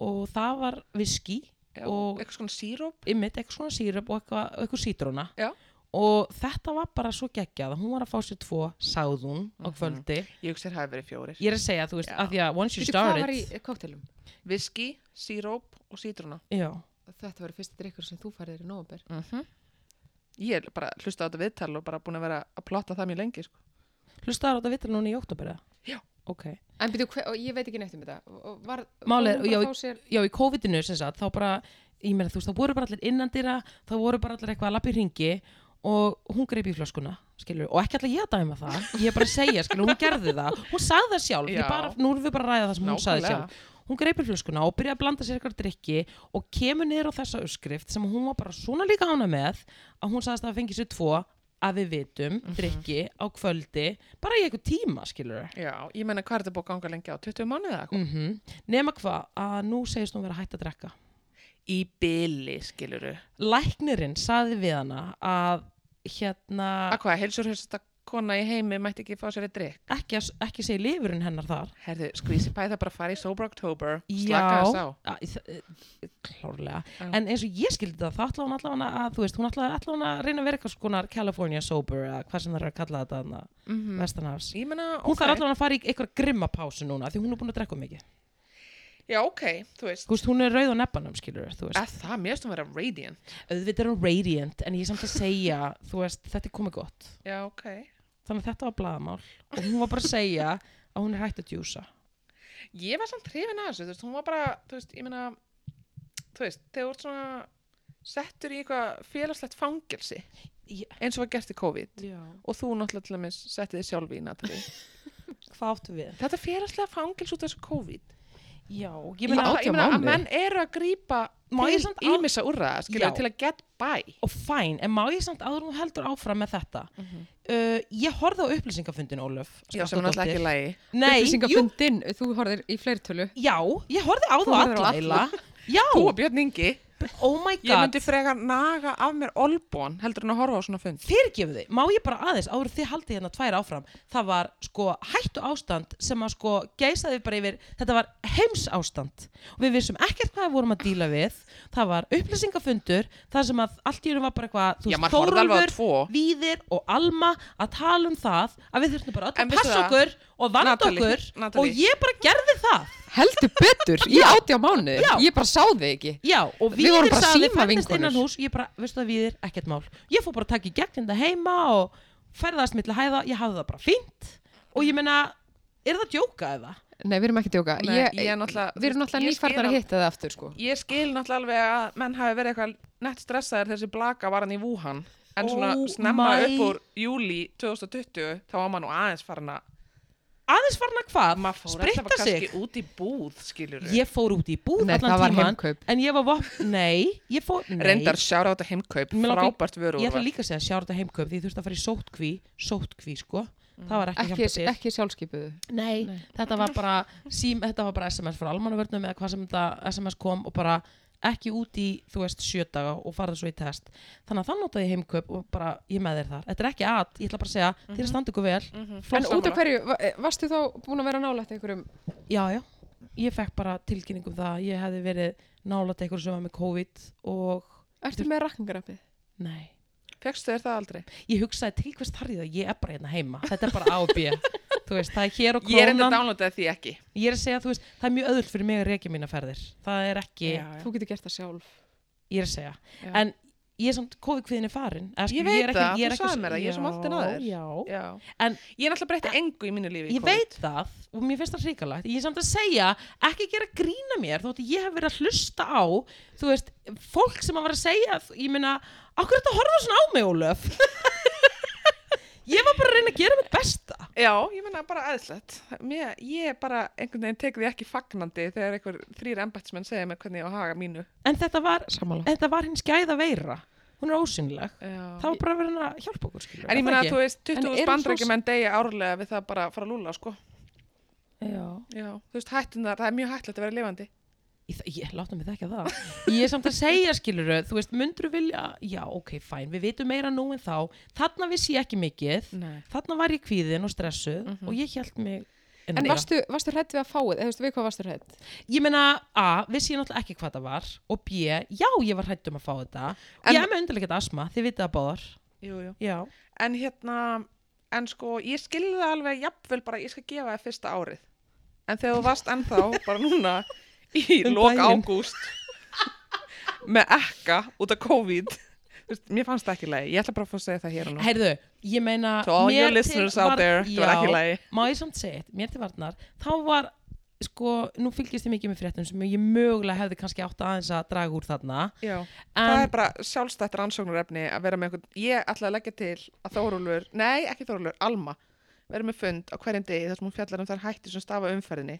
Speaker 1: og það var viski
Speaker 2: Já,
Speaker 1: Og-
Speaker 2: eitthvað svona síróp.
Speaker 1: ymmit, eitthvað svona sírup og eitthvað, eitthvað sítróna
Speaker 2: Já.
Speaker 1: og þetta var bara svo geggjað að hún var að fá sér tvo sáðun á kvöldi
Speaker 2: Ég hugsi þér hafi verið fjórir.
Speaker 1: ég er að segja, þú veist,
Speaker 2: Mhm. Já.
Speaker 1: að því að once you
Speaker 3: Veitu, hvað
Speaker 1: start
Speaker 3: var í
Speaker 1: it
Speaker 3: koktelum?
Speaker 2: Viski, síróp og sítruna.
Speaker 1: já,
Speaker 3: Þetta var fyrsti drikkur sem þú færðir í nóvember.
Speaker 2: Mhm. Ég er bara hlusta á þetta viðtal og bara búin að vera að plotta það mjög lengi. Sko.
Speaker 1: hlustaðar á þetta vittar núna í oktober eða?
Speaker 2: Já.
Speaker 1: Ok.
Speaker 3: En byrju, hve- og ég veit ekki neitt um þetta. Og- og Var,
Speaker 1: Málið er-
Speaker 3: var hún
Speaker 1: já,
Speaker 3: bara að fá sér-
Speaker 1: já, í COVID-inu sem sagt, þá bara, ég meina þú veist, þá voru bara allir innandýra, þá voru bara allir eitthvað að lappa í ringi og hún greip í flöskuna, skilur, og ekki allir ég að dæma það, ég er bara að segja, skilur, hún gerði það, hún sagði það sjálf,
Speaker 2: Já.
Speaker 1: ég bara, nú erum við bara að ræða það sem hún sagði
Speaker 2: Nákvæmlega.
Speaker 1: sjálf. Hún greip í flöskuna og byrjaði að blanda sér eitthvað drikki og kemur niður á þessa uppskrift sem hún var bara svona líka hána með að hún sagðist að það fengi sér tvo að við vitum,
Speaker 2: Mhm.
Speaker 1: drikki á kvöldi, bara í eitthvað tíma, skilur.
Speaker 2: Já, ég menna hvað er þetta búið að ganga lengi á? 20 mánuði eða eitthvað?
Speaker 1: Mm Nema hvað, að nú segist hún vera hægt að drekka.
Speaker 2: Í byli, skiluru.
Speaker 1: læknirinn saði við hana að hérna
Speaker 2: Að Ah, hvað, heilsur hérsta kona í heimi mætti ekki fá sér eitt drikk?
Speaker 1: ekki, ekki segi lifurinn hennar þar
Speaker 2: Herðu, skvísi bæði það bara að fara í Sober October, slaka þess
Speaker 1: Já,
Speaker 2: á.
Speaker 1: að- þ- klárlega
Speaker 2: Já.
Speaker 1: En eins og ég skildi það, þá ætla hún allavega að þú veist, hún ætla allavega að reyna að vera eitthvað skonar California sober eða hvað sem það er að kalla þetta hana,
Speaker 2: Mm
Speaker 1: vestanhafs
Speaker 2: Ég menna,
Speaker 1: Hún
Speaker 2: ok.
Speaker 1: þarf allavega að fara í eitthvað grimma pásu núna af því hún er búin að drekka of mikið
Speaker 2: Já, ok, þú veist.
Speaker 1: Þú veist, Hún er rauð á nebbanum, skilur þú veist
Speaker 2: Að það, mér stum að vera radiant.
Speaker 1: Auðvitað er hún radiant, en ég er samt að segja [LAUGHS] þú veist, þetta er komið gott
Speaker 2: Já, ok.
Speaker 1: Þannig að þetta var blaðamál og hún var bara að segja að hún er hægt að djúsa
Speaker 2: Ég var samt hrifin að þessu, þú veist, hún var bara, þú veist, ég menna, þú veist, þegar þú ert svona settur í eitthvað félagslegt fangelsi
Speaker 1: Já.
Speaker 2: eins og var gert í COVID
Speaker 1: Já.
Speaker 2: og þú náttúrulega til að minn settið þið sjálf í [LAUGHS] Natalie.
Speaker 1: Hvað áttu við?
Speaker 2: Þetta félagslega fangels út af þessu COVID.
Speaker 1: Já,
Speaker 2: Ég
Speaker 1: ég
Speaker 2: meina,
Speaker 1: meina
Speaker 2: ég meina að menn eru að grípa
Speaker 1: Má ég samt
Speaker 2: til
Speaker 1: á-
Speaker 2: ímissa úrraða, skilja,
Speaker 1: Já.
Speaker 2: til að get by.
Speaker 1: Og fæn, en má ég samt áður nú heldur áfram með þetta? uh, ég horfði á upplýsingafundin, Ólöf.
Speaker 2: Já, sem er náttúrulega
Speaker 1: Skaftódóttir.
Speaker 2: ekki lægi.
Speaker 1: Nei, jú,
Speaker 3: Upplýsingafundinn, þú horfðir í fleirtölu.
Speaker 1: já, ég horfði á
Speaker 3: Þú
Speaker 1: það
Speaker 3: horfðir á
Speaker 1: alla
Speaker 3: alla.
Speaker 1: eila.
Speaker 2: [LAUGHS]
Speaker 1: Já,
Speaker 2: Þú og Björn Ingi,
Speaker 1: oh my
Speaker 2: ég
Speaker 1: god,
Speaker 2: myndi frekar naga af mér olbón, heldur en að horfa á svona fund.
Speaker 1: fyrirgefu þið, má ég bara aðeins, áður en þið haldið hérna tvær áfram, það var sko hættu ástand sem að sko geisaði bara yfir, þetta var heims ástand og við vissum ekkert hvað við vorum að díla við, það var upplýsingafundur, það sem að allt í einu var bara eitthvað, þú
Speaker 2: Já, maður horfði alveg á
Speaker 1: Þórólfur,
Speaker 2: tvo.
Speaker 1: Víðir og Alma að tala um það að við þurfum bara öll
Speaker 2: En
Speaker 1: að
Speaker 2: veistu
Speaker 1: passa
Speaker 2: það?
Speaker 1: okkur og vanda
Speaker 2: Natalie,
Speaker 1: okkur
Speaker 2: Natalie.
Speaker 1: og ég bara gerði það
Speaker 3: Heldur betur, ég átti á mánuði.
Speaker 1: Já.
Speaker 3: Ég bara sá þig ekki.
Speaker 1: Já, og
Speaker 3: Við vorum
Speaker 1: Víðir
Speaker 3: bara
Speaker 1: sagði
Speaker 3: síma
Speaker 1: fættist
Speaker 3: vinkonur.
Speaker 1: innan hús ég bara, veistu það Víðir, ekkert mál ég fór bara að taka í gegn þetta heima og ferðast milli hæða, ég hafði það bara fínt og ég meina, er það að djóka eða?
Speaker 3: Nei, við erum ekki að djóka.
Speaker 2: Nei,
Speaker 3: Ég-
Speaker 2: ég er náttúrulega-
Speaker 3: Við erum náttúrulega
Speaker 2: ég skil
Speaker 3: nýfarnar að
Speaker 2: alveg-
Speaker 3: hitta það aftur, sko.
Speaker 2: Ég skil náttúrulega alveg að menn hafi verið eitthvað nett stressaðir þessi blaka var hann í Wuhan en svona
Speaker 1: Oh
Speaker 2: snemma
Speaker 1: my-
Speaker 2: upp úr júli 2020 þá var maður nú aðeins farin að
Speaker 1: aðeins farin að hvað,
Speaker 2: maður fór alltaf
Speaker 1: spritta sig
Speaker 2: kannski út í búð skilur
Speaker 1: ég fór út í búð
Speaker 3: Nei,
Speaker 1: allan
Speaker 3: það var
Speaker 1: tíman
Speaker 3: heimkaup.
Speaker 1: en ég var vopn, nei, ég fór nei.
Speaker 2: reyndar sjára á þetta heimkaup
Speaker 1: Mig langar-
Speaker 2: frábært vöru
Speaker 1: ég ætla líka að segja sjárta heimkaup því ég þurfti að fara í sótkví, sótkví sko það var ekki, að
Speaker 3: Ekki,
Speaker 1: hjálpa til
Speaker 3: ekki sjálfskipuðu.
Speaker 1: Nei, þetta var bara sím, þetta var bara SMS frá almannavörnum eða hvað sem þetta SMS kom og bara ekki út í, þú veist, sjö daga og farið svo í test. Þannig að þann notaði ég heimkaup og bara, ég er með þér þar. Þetta er ekki að, ég ætla bara að segja, mm -hmm.
Speaker 2: Mhm.
Speaker 1: þér standi ykkur vel.
Speaker 3: En
Speaker 1: Flott
Speaker 3: út af
Speaker 1: samfélag.
Speaker 3: hverju, va- eh, varstu þá búin að vera nálægt einhverjum?
Speaker 1: Já, já. Ég fekk bara tilkynningum það, að ég hefði verið nálat eitthvað sem var með COVID og
Speaker 3: Ertu með rakkingarafið?
Speaker 1: nei.
Speaker 2: fegstu þér það aldrei
Speaker 1: Ég hugsaði til hvers þarf ég það, ég er bara hérna heima. Þetta er bara A og B. þú veist, það er hér og
Speaker 2: ég er enda
Speaker 1: krónan.
Speaker 2: downloadaði því ekki
Speaker 1: Ég er að segja, þú veist, það er mjög öðvöld fyrir mig að reykja mína ferðir. Það er ekki,
Speaker 3: Þú getur gert það sjálf.
Speaker 1: ég er að segja
Speaker 2: Já.
Speaker 1: en ég er samt kóðukviðin er farin eða sko,
Speaker 2: Ég veit
Speaker 1: er
Speaker 2: það,
Speaker 1: ég er
Speaker 2: þú sagðir mér það, ég er svo máltin að þér.
Speaker 1: já, já.
Speaker 2: Já.
Speaker 1: En-
Speaker 2: ég er náttúrulega breytta engu í mínu lífi í
Speaker 1: ég
Speaker 2: COVID.
Speaker 1: veit það og mér finnst það hrikalegt ég er samt að segja, ekki gera grína mér þótt ég hef verið að hlusta á þú veist, fólk sem að vera að segja ég meina, akkur þetta horfa svona á mig Ólöf [LAUGHS] ég var bara að reyna að gera mitt besta
Speaker 2: Já, ég menna bara aðeinslegt. Mér, ég bara einhvern veginn tek því ekki fagnandi þegar einhver þrýr embætsmenn segja mér hvernig ég á að haga mínu.
Speaker 1: en þetta var,
Speaker 3: Sammála.
Speaker 1: þetta var hinn skæða veira hún er ósynleg
Speaker 2: Já.
Speaker 1: það var bara að vera að hjálpa okkur skilur,
Speaker 2: En ég menna að þú veist,
Speaker 3: En
Speaker 2: 20
Speaker 3: eru
Speaker 2: spandrækjumenn degja árlega við það bara að fara að lúla, sko.
Speaker 1: já
Speaker 2: Já. Þú veist, hættunar, það er mjög hættulegt að vera lifandi.
Speaker 1: Ég, þa- ég láta mig þekka það. Ég er samt að segja, skilur þú veist, myndur vilja, já, ok, fæn, við vitum meira nú en þá. Þarna vissi ég ekki mikið,
Speaker 2: Nei. Mhm.
Speaker 1: þarna var ég kvíðin og stressuð og ég held mig...
Speaker 3: En varstu, varstu hrætt við að fá það? Þú veist, við hvað varstu hrætt?
Speaker 1: Ég meina, a, vissi ég náttúrulega ekki hvað það var og b, já, ég var hætt um að fá þetta.
Speaker 2: En-
Speaker 1: ég er með undarleikert asma, þið vitið að báðar.
Speaker 2: Jú, jú.
Speaker 1: Já.
Speaker 2: En hérna, en sko, ég skilði það alveg jafnvel bara, ég skal gefa það fyrsta árið. En þegar þú varst ennþá, bara núna, í
Speaker 1: Um
Speaker 2: lok
Speaker 1: daginn.
Speaker 2: ágúst, með ekka út af COVID, Þú veist, mér fannst það ekki leið. Ég ætla bara að fá að segja það hér og nú.
Speaker 1: Heyrðu, ég meina...
Speaker 2: To all
Speaker 1: Ah, mér
Speaker 2: your
Speaker 1: til
Speaker 2: listeners out
Speaker 1: varð-
Speaker 2: there, það var ekki í
Speaker 1: Já,
Speaker 2: lagi.
Speaker 1: Má ég samt segja eitt, mér til varnar, þá var, sko, nú fylgist ég mikið með fréttum sem ég mögulega hefði kannski átt aðeins að draga úr þarna.
Speaker 2: Já, það er
Speaker 1: En,
Speaker 2: bara sjálfstætt rannsóknarefni að vera með einhvern, ég ætla að leggja til að Þórólfur, nei ekki Þórólfur, Alma vera með fund á hverjum degi þar sem hún fjallar um þær hættir sem stafa umferðinni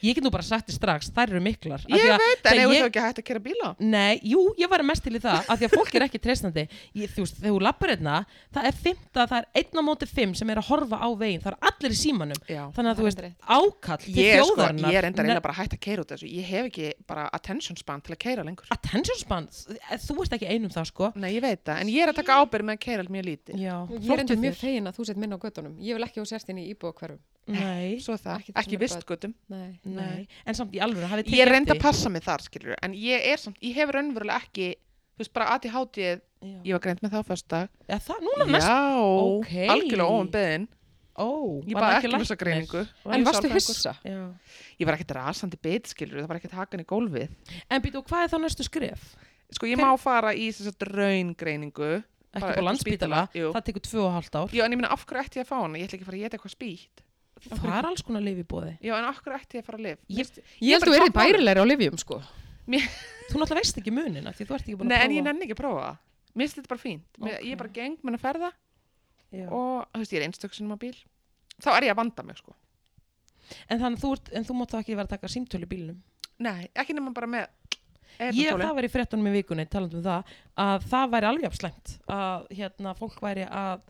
Speaker 1: ég get nú bara sagt þér strax, þær eru miklar. Af
Speaker 2: Ég
Speaker 1: því að-
Speaker 2: veit, en
Speaker 1: þegar
Speaker 2: hefur
Speaker 1: ég-
Speaker 2: þú ekki hætt að kera bíla?
Speaker 1: Nei, jú, ég var mest til í það, af því að fólk er ekki treystandi. Ég, þú veist, þegar þú lappar hérna, það er fymta, það er einn á móti fimm sem er að horfa á veginn, það er allir í símanum.
Speaker 2: Já,
Speaker 1: Þannig að þú
Speaker 3: það er
Speaker 1: veist,
Speaker 3: rétt.
Speaker 1: ákall til
Speaker 2: ég, er sko,
Speaker 1: þjóðarinnar.
Speaker 2: ég er enda
Speaker 1: Ne-
Speaker 2: reyna bara að hætta að kera út af þessu ég hef ekki bara attention span til að kera lengur
Speaker 1: Attention span, þú ert ekki einum það, sko.
Speaker 2: Nei, ég veit það, en ég er að taka ábyrð með að kera mjög lítið
Speaker 1: Já,
Speaker 3: Ég er
Speaker 1: flott
Speaker 3: endur
Speaker 1: hjá
Speaker 3: mjög
Speaker 1: þér.
Speaker 3: fegin að þú sett minna á göttunum. Ég vil ekki á sérstinni íbúa hverfum.
Speaker 1: Nei.
Speaker 2: Svo er það,
Speaker 3: Ekki
Speaker 2: ekki,
Speaker 3: það sem er
Speaker 2: vistgötum
Speaker 3: Nei.
Speaker 1: Nei, en samt í alvöru hafið
Speaker 2: Ég er reynd að passa mig þar, skilur en ég er samt, ég hef raunverulega ekki þú veist, bara aði hátíð,
Speaker 1: Já,
Speaker 2: ég var greint með þá föstudag
Speaker 1: Já, það, núna næst
Speaker 2: Já,
Speaker 1: Ok.
Speaker 2: algjörlega óumbeðin
Speaker 1: Ó,
Speaker 2: Ég
Speaker 1: var
Speaker 2: bað
Speaker 1: það
Speaker 2: ekki um þessa
Speaker 1: læknir?
Speaker 2: greiningu.
Speaker 1: Var
Speaker 3: En
Speaker 1: ekki
Speaker 3: varstu
Speaker 1: sálfræðingur?
Speaker 3: hissa?
Speaker 1: Já.
Speaker 2: Ég var ekkert rasandi bit, skilur, það var ekkert hakan í gólfið
Speaker 1: En býtu, og hvað er þá næstu skref?
Speaker 2: Sko, ég
Speaker 1: Hver-
Speaker 2: má fara í þess að raungreiningu
Speaker 1: Ekki
Speaker 2: Bara
Speaker 1: bara
Speaker 2: upp á
Speaker 1: landspítala,
Speaker 2: spítala, jú.
Speaker 1: það tekur tvö og hálft ár
Speaker 2: Já, en ég meina, af hverju ætti ég að fá hana? Ég ætla ekki að fara að geta eitthvað spýtt
Speaker 1: Það er alls konar lif í bóði
Speaker 2: Já, en af hverju ætti ég að fara að lif?
Speaker 1: Ég-
Speaker 2: Mér-
Speaker 3: Ég held
Speaker 2: bara
Speaker 3: þú erið
Speaker 2: táknmál.
Speaker 3: bærilegri á lifjum, sko.
Speaker 1: Þú náttúrulega veist ekki munina, því þú ert ekki búin
Speaker 2: Nei,
Speaker 1: að
Speaker 2: en ég
Speaker 1: prófa
Speaker 2: nenni ekki að prófa það Mér finnst þetta bara fínt Mér, Ég
Speaker 1: Ok.
Speaker 2: er bara geng, menn að ferða
Speaker 1: Já.
Speaker 2: og, þú veist, ég er einstöksunum á bíl Þá er ég að vanda mig, sko
Speaker 1: En þannig að þú, ert, en þú mátt þá ekki vera að taka símtölu í bílnum
Speaker 2: Nei, ekki nema bara með
Speaker 1: Ég,
Speaker 2: eyrnatólin.
Speaker 1: það var í fréttunum í vikunni, talandi um það að það væri alveg afslæmt að hérna, fólk væri að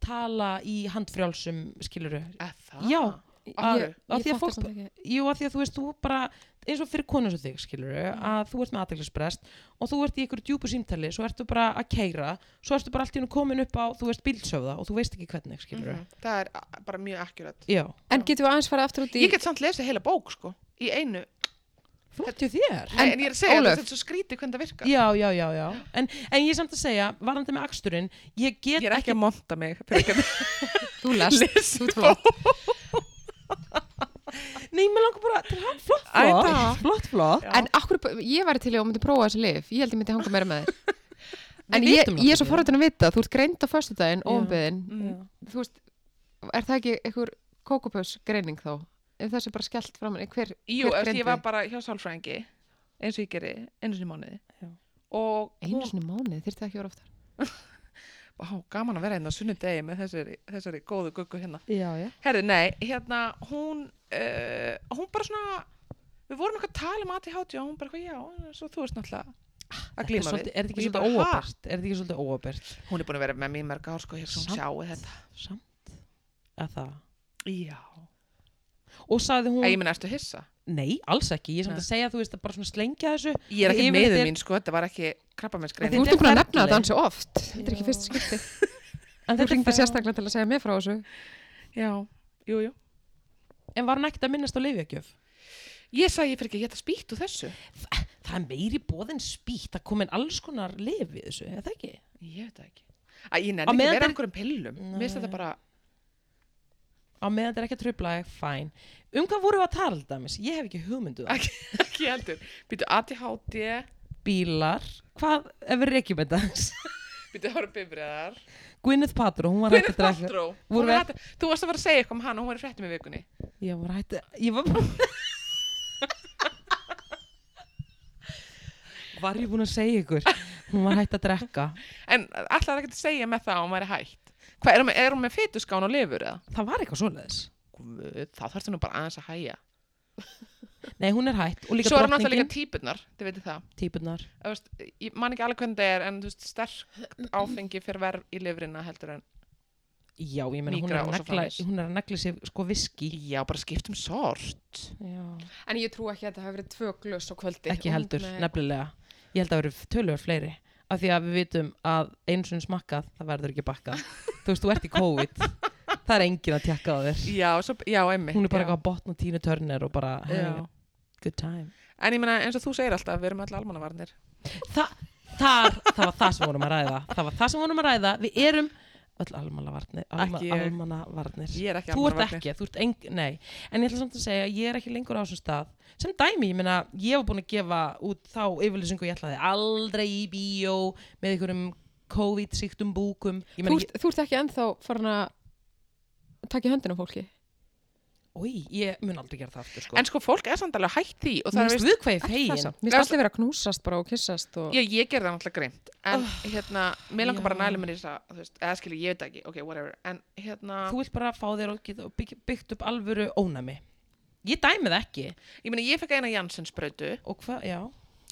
Speaker 1: tala í handfrjálsum skiluru
Speaker 2: Eh, það?
Speaker 1: Já,
Speaker 2: Af
Speaker 3: Ég-
Speaker 2: hverju?
Speaker 1: Af
Speaker 3: ég
Speaker 1: því að
Speaker 3: fatta
Speaker 1: fólk-
Speaker 3: samt ekki.
Speaker 1: Jú, að því að þú veist, þú bara, eins og fyrir konur sem þig, skilur að þú ert með aðteglisbrest og þú ert í ykkur djúpu símtali, svo ertu bara að keira, svo ertu bara allt í hennu komin upp á, þú veist, bílsöfða og þú veist ekki hvernig, skilur
Speaker 2: Mhm. Það er a- bara mjög akkurat
Speaker 1: Já,
Speaker 3: En getum við aðeins farið aftur út í...
Speaker 2: Ég get samt lesið heila bók sko í einu.
Speaker 1: flott hjá þér.
Speaker 2: Nei, en, ég er að segja
Speaker 3: Ólöf.
Speaker 2: Ólöf. þetta er svo skrítið hvernig það virkar.
Speaker 1: Já, já, já, já. En, en ég er samt að segja, varandi með aksturinn, ég get
Speaker 2: Ég er ekki að monta mig fyrir ekki að
Speaker 3: Þú lest, þú
Speaker 2: lesa
Speaker 3: tvó.
Speaker 2: bók.
Speaker 1: Nei, mér langar bara til hann, flott,
Speaker 2: Æ,
Speaker 1: flott,
Speaker 2: takk.
Speaker 1: flott, flott.
Speaker 2: Já.
Speaker 3: En akkur, ég væri til í að myndi prófa þessi lif. Ég held ég myndi hanga meira með þér. En
Speaker 1: Við vitum
Speaker 3: ég, ég er svo
Speaker 1: náttúrulega.
Speaker 3: forrættin að vita, þú ert greind á
Speaker 1: Já.
Speaker 3: föstudaginn,
Speaker 2: Mm.
Speaker 3: óumbyðin.
Speaker 1: Já.
Speaker 3: Þú veist, er það ekki einhver kókupöss greining þá? ef þessi er bara skellt fram henni, hver,
Speaker 2: Jú,
Speaker 3: hver
Speaker 2: eftir,
Speaker 3: greindi
Speaker 2: ég var bara hjá sálfræðingi eins og ég geri, einu sinni í mánuði
Speaker 1: Já.
Speaker 2: og
Speaker 3: einu sinni í mánuði, þyrfti það ekki að vera oftar
Speaker 2: Ó, gaman að vera hérna á sunnudegi með þessari, þessari góðu guggu hérna
Speaker 3: já, já,
Speaker 2: Herðu, nei, hérna, hún uh, hún bara svona við vorum eitthvað að tala um ADHD og hún bara, eitthvað, já, svo þú veist náttúrulega að
Speaker 1: Þetta er
Speaker 2: glíma við
Speaker 1: svolítið- er þetta ekki
Speaker 2: Og ég
Speaker 1: svolítið
Speaker 2: bara, ha?
Speaker 1: óabert? Er þetta ekki svolítið óabert?
Speaker 2: Hún er búin að vera með mér í mörg ár, sko, ég hef svona
Speaker 1: Samt.
Speaker 2: sjáu þetta
Speaker 1: Samt að það
Speaker 2: Já
Speaker 1: Og sagði hún,
Speaker 2: Ég minn, ertu hissa?
Speaker 1: nei, alls ekki Ég er samt að segja, þú veist, að bara svona slengja þessu
Speaker 2: Ég
Speaker 1: Ég
Speaker 2: er ekki
Speaker 1: yfirleitt
Speaker 2: meður
Speaker 1: er-
Speaker 2: mín, sko, þetta var ekki krabbamensgrein
Speaker 3: þú
Speaker 1: Þetta er
Speaker 3: ert búin að nefna
Speaker 1: ferli.
Speaker 3: þetta ansi oft þetta er ekki fyrsta skipti,
Speaker 1: En
Speaker 3: þú
Speaker 1: þetta er
Speaker 3: ringdi
Speaker 1: fer-
Speaker 3: sérstaklega til að segja mér frá þessu
Speaker 2: Já, jú, jú
Speaker 1: En var hann ekkert að minnast á leifjakjöf?
Speaker 2: Ég sagði, ég fyrir ekki að geta spýtt úr þessu
Speaker 1: Það er meiri bóð en spýtt Það komin alls konar leif við þessu, eða ekki?
Speaker 2: Ég veit það ekki Æ, Ég
Speaker 1: Á
Speaker 2: nenni ekki að
Speaker 1: meðan
Speaker 2: vera
Speaker 1: þeir-
Speaker 2: einhverjum pillum Mér finnst þetta bara
Speaker 1: Á meðan þetta er ekki að trubla, fæn Um hvað vorum við að tala dæmis? Ég hef ekki hugmyndu það
Speaker 2: ekki, [LAUGHS] ekki heldur Býtu ADHD,
Speaker 1: Bílar, hvað, ef við reykjum þetta aðeins?
Speaker 2: býtu ára bifriðar
Speaker 1: [LAUGHS] Gwyneth Paltrow, hún var hætt að
Speaker 2: Gwyneth
Speaker 1: drekka
Speaker 2: Paltrow
Speaker 1: Voru
Speaker 2: Hún
Speaker 1: við-
Speaker 2: var hætt- Þú varst að fara að segja eitthvað um hana, hún var í fréttum í vikunni
Speaker 1: Ég var hætt að Ég var bara [LAUGHS] Var ég búin að segja ykkur Hún var hætt að drekka
Speaker 2: En allar ekki að segja með það að hún væri hætt Hvað, er hún, með- er hún með fytuskán og lifur eða?
Speaker 1: Það var eitthvað svoleiðis
Speaker 2: Guð, þá þarfst nú bara aðeins að hæja
Speaker 1: Nei, hún er hætt og líka
Speaker 2: Svo er hún
Speaker 1: drottningin
Speaker 2: náttúrulega líka típunar, þið veitir það
Speaker 1: Típunar
Speaker 2: Þú veist, Ég man ekki alveg hvernig það er en þú veist, sterk áfengi fyrir verð í lifurina heldur en
Speaker 1: Já, ég meina hún er
Speaker 2: Mígra
Speaker 1: að
Speaker 2: og svo
Speaker 1: negla
Speaker 2: framvegis.
Speaker 1: Hún er að negla sér sko viski
Speaker 2: Já, bara skipt um sort
Speaker 1: Já.
Speaker 3: en ég trú ekki að þetta hafi verið tvö glöss á kvöldi
Speaker 1: Ekki heldur,
Speaker 3: Nei.
Speaker 1: nefnilega Ég held að það eru tölur fleiri Af því að við vitum að eins og smakkað Það verður ekki [LAUGHS] bakkað Þú veist, þú ert í COVID Það er enginn að tjekka á þér
Speaker 2: Já, svo, já emmi
Speaker 1: Hún er bara
Speaker 2: já.
Speaker 1: eitthvað að botna tínu törnir og bara hey,
Speaker 2: Já.
Speaker 1: Good time
Speaker 2: En ég meina eins og þú segir alltaf, við erum öll almannavarnir
Speaker 1: Þa, þar, það var það sem vorum að ræða Það var það sem vorum að ræða Við erum öll almannavarnir alma,
Speaker 2: Ekki ég.
Speaker 1: Almannavarnir
Speaker 2: Ég er ekki
Speaker 1: Þú ert
Speaker 2: almannavarnir.
Speaker 1: ekki, þú ert eng, nei En ég ætla samt að segja, að ég er ekki lengur á þessum stað Sem dæmi, ég meina, ég var búin að gefa út þá yfirlýsingu ég ætlaði aldrei í bíó með einhverjum COVID-sýktum búkum Ég
Speaker 3: þú
Speaker 1: meina,
Speaker 3: ert, þú ert ekki ennþá farin að taka í höndina á fólki
Speaker 1: ég, oi, ég mun aldrei gera það aftur sko.
Speaker 2: En sko, fólk er samt alveg hætt því og það
Speaker 1: Mér
Speaker 2: er
Speaker 1: finnst við hvað ég
Speaker 3: Ekki það
Speaker 1: fegin
Speaker 3: samt. mér
Speaker 2: Já,
Speaker 3: finnst allir vera að knúsast bara og kissast og...
Speaker 2: Já, ég gerði það náttúrulega greint En hérna, mér langar bara
Speaker 1: Já.
Speaker 2: að næla mér í þess að þú veist, eða skilur, ég veit það ekki, ok, whatever En hérna,
Speaker 1: Þú vilt bara fá þér og geta- og bygg- byggt upp alvöru ónæmi Ég dæmi það ekki
Speaker 2: ég meina, ég fekk eina Jansson sprautu
Speaker 1: Og hvað, já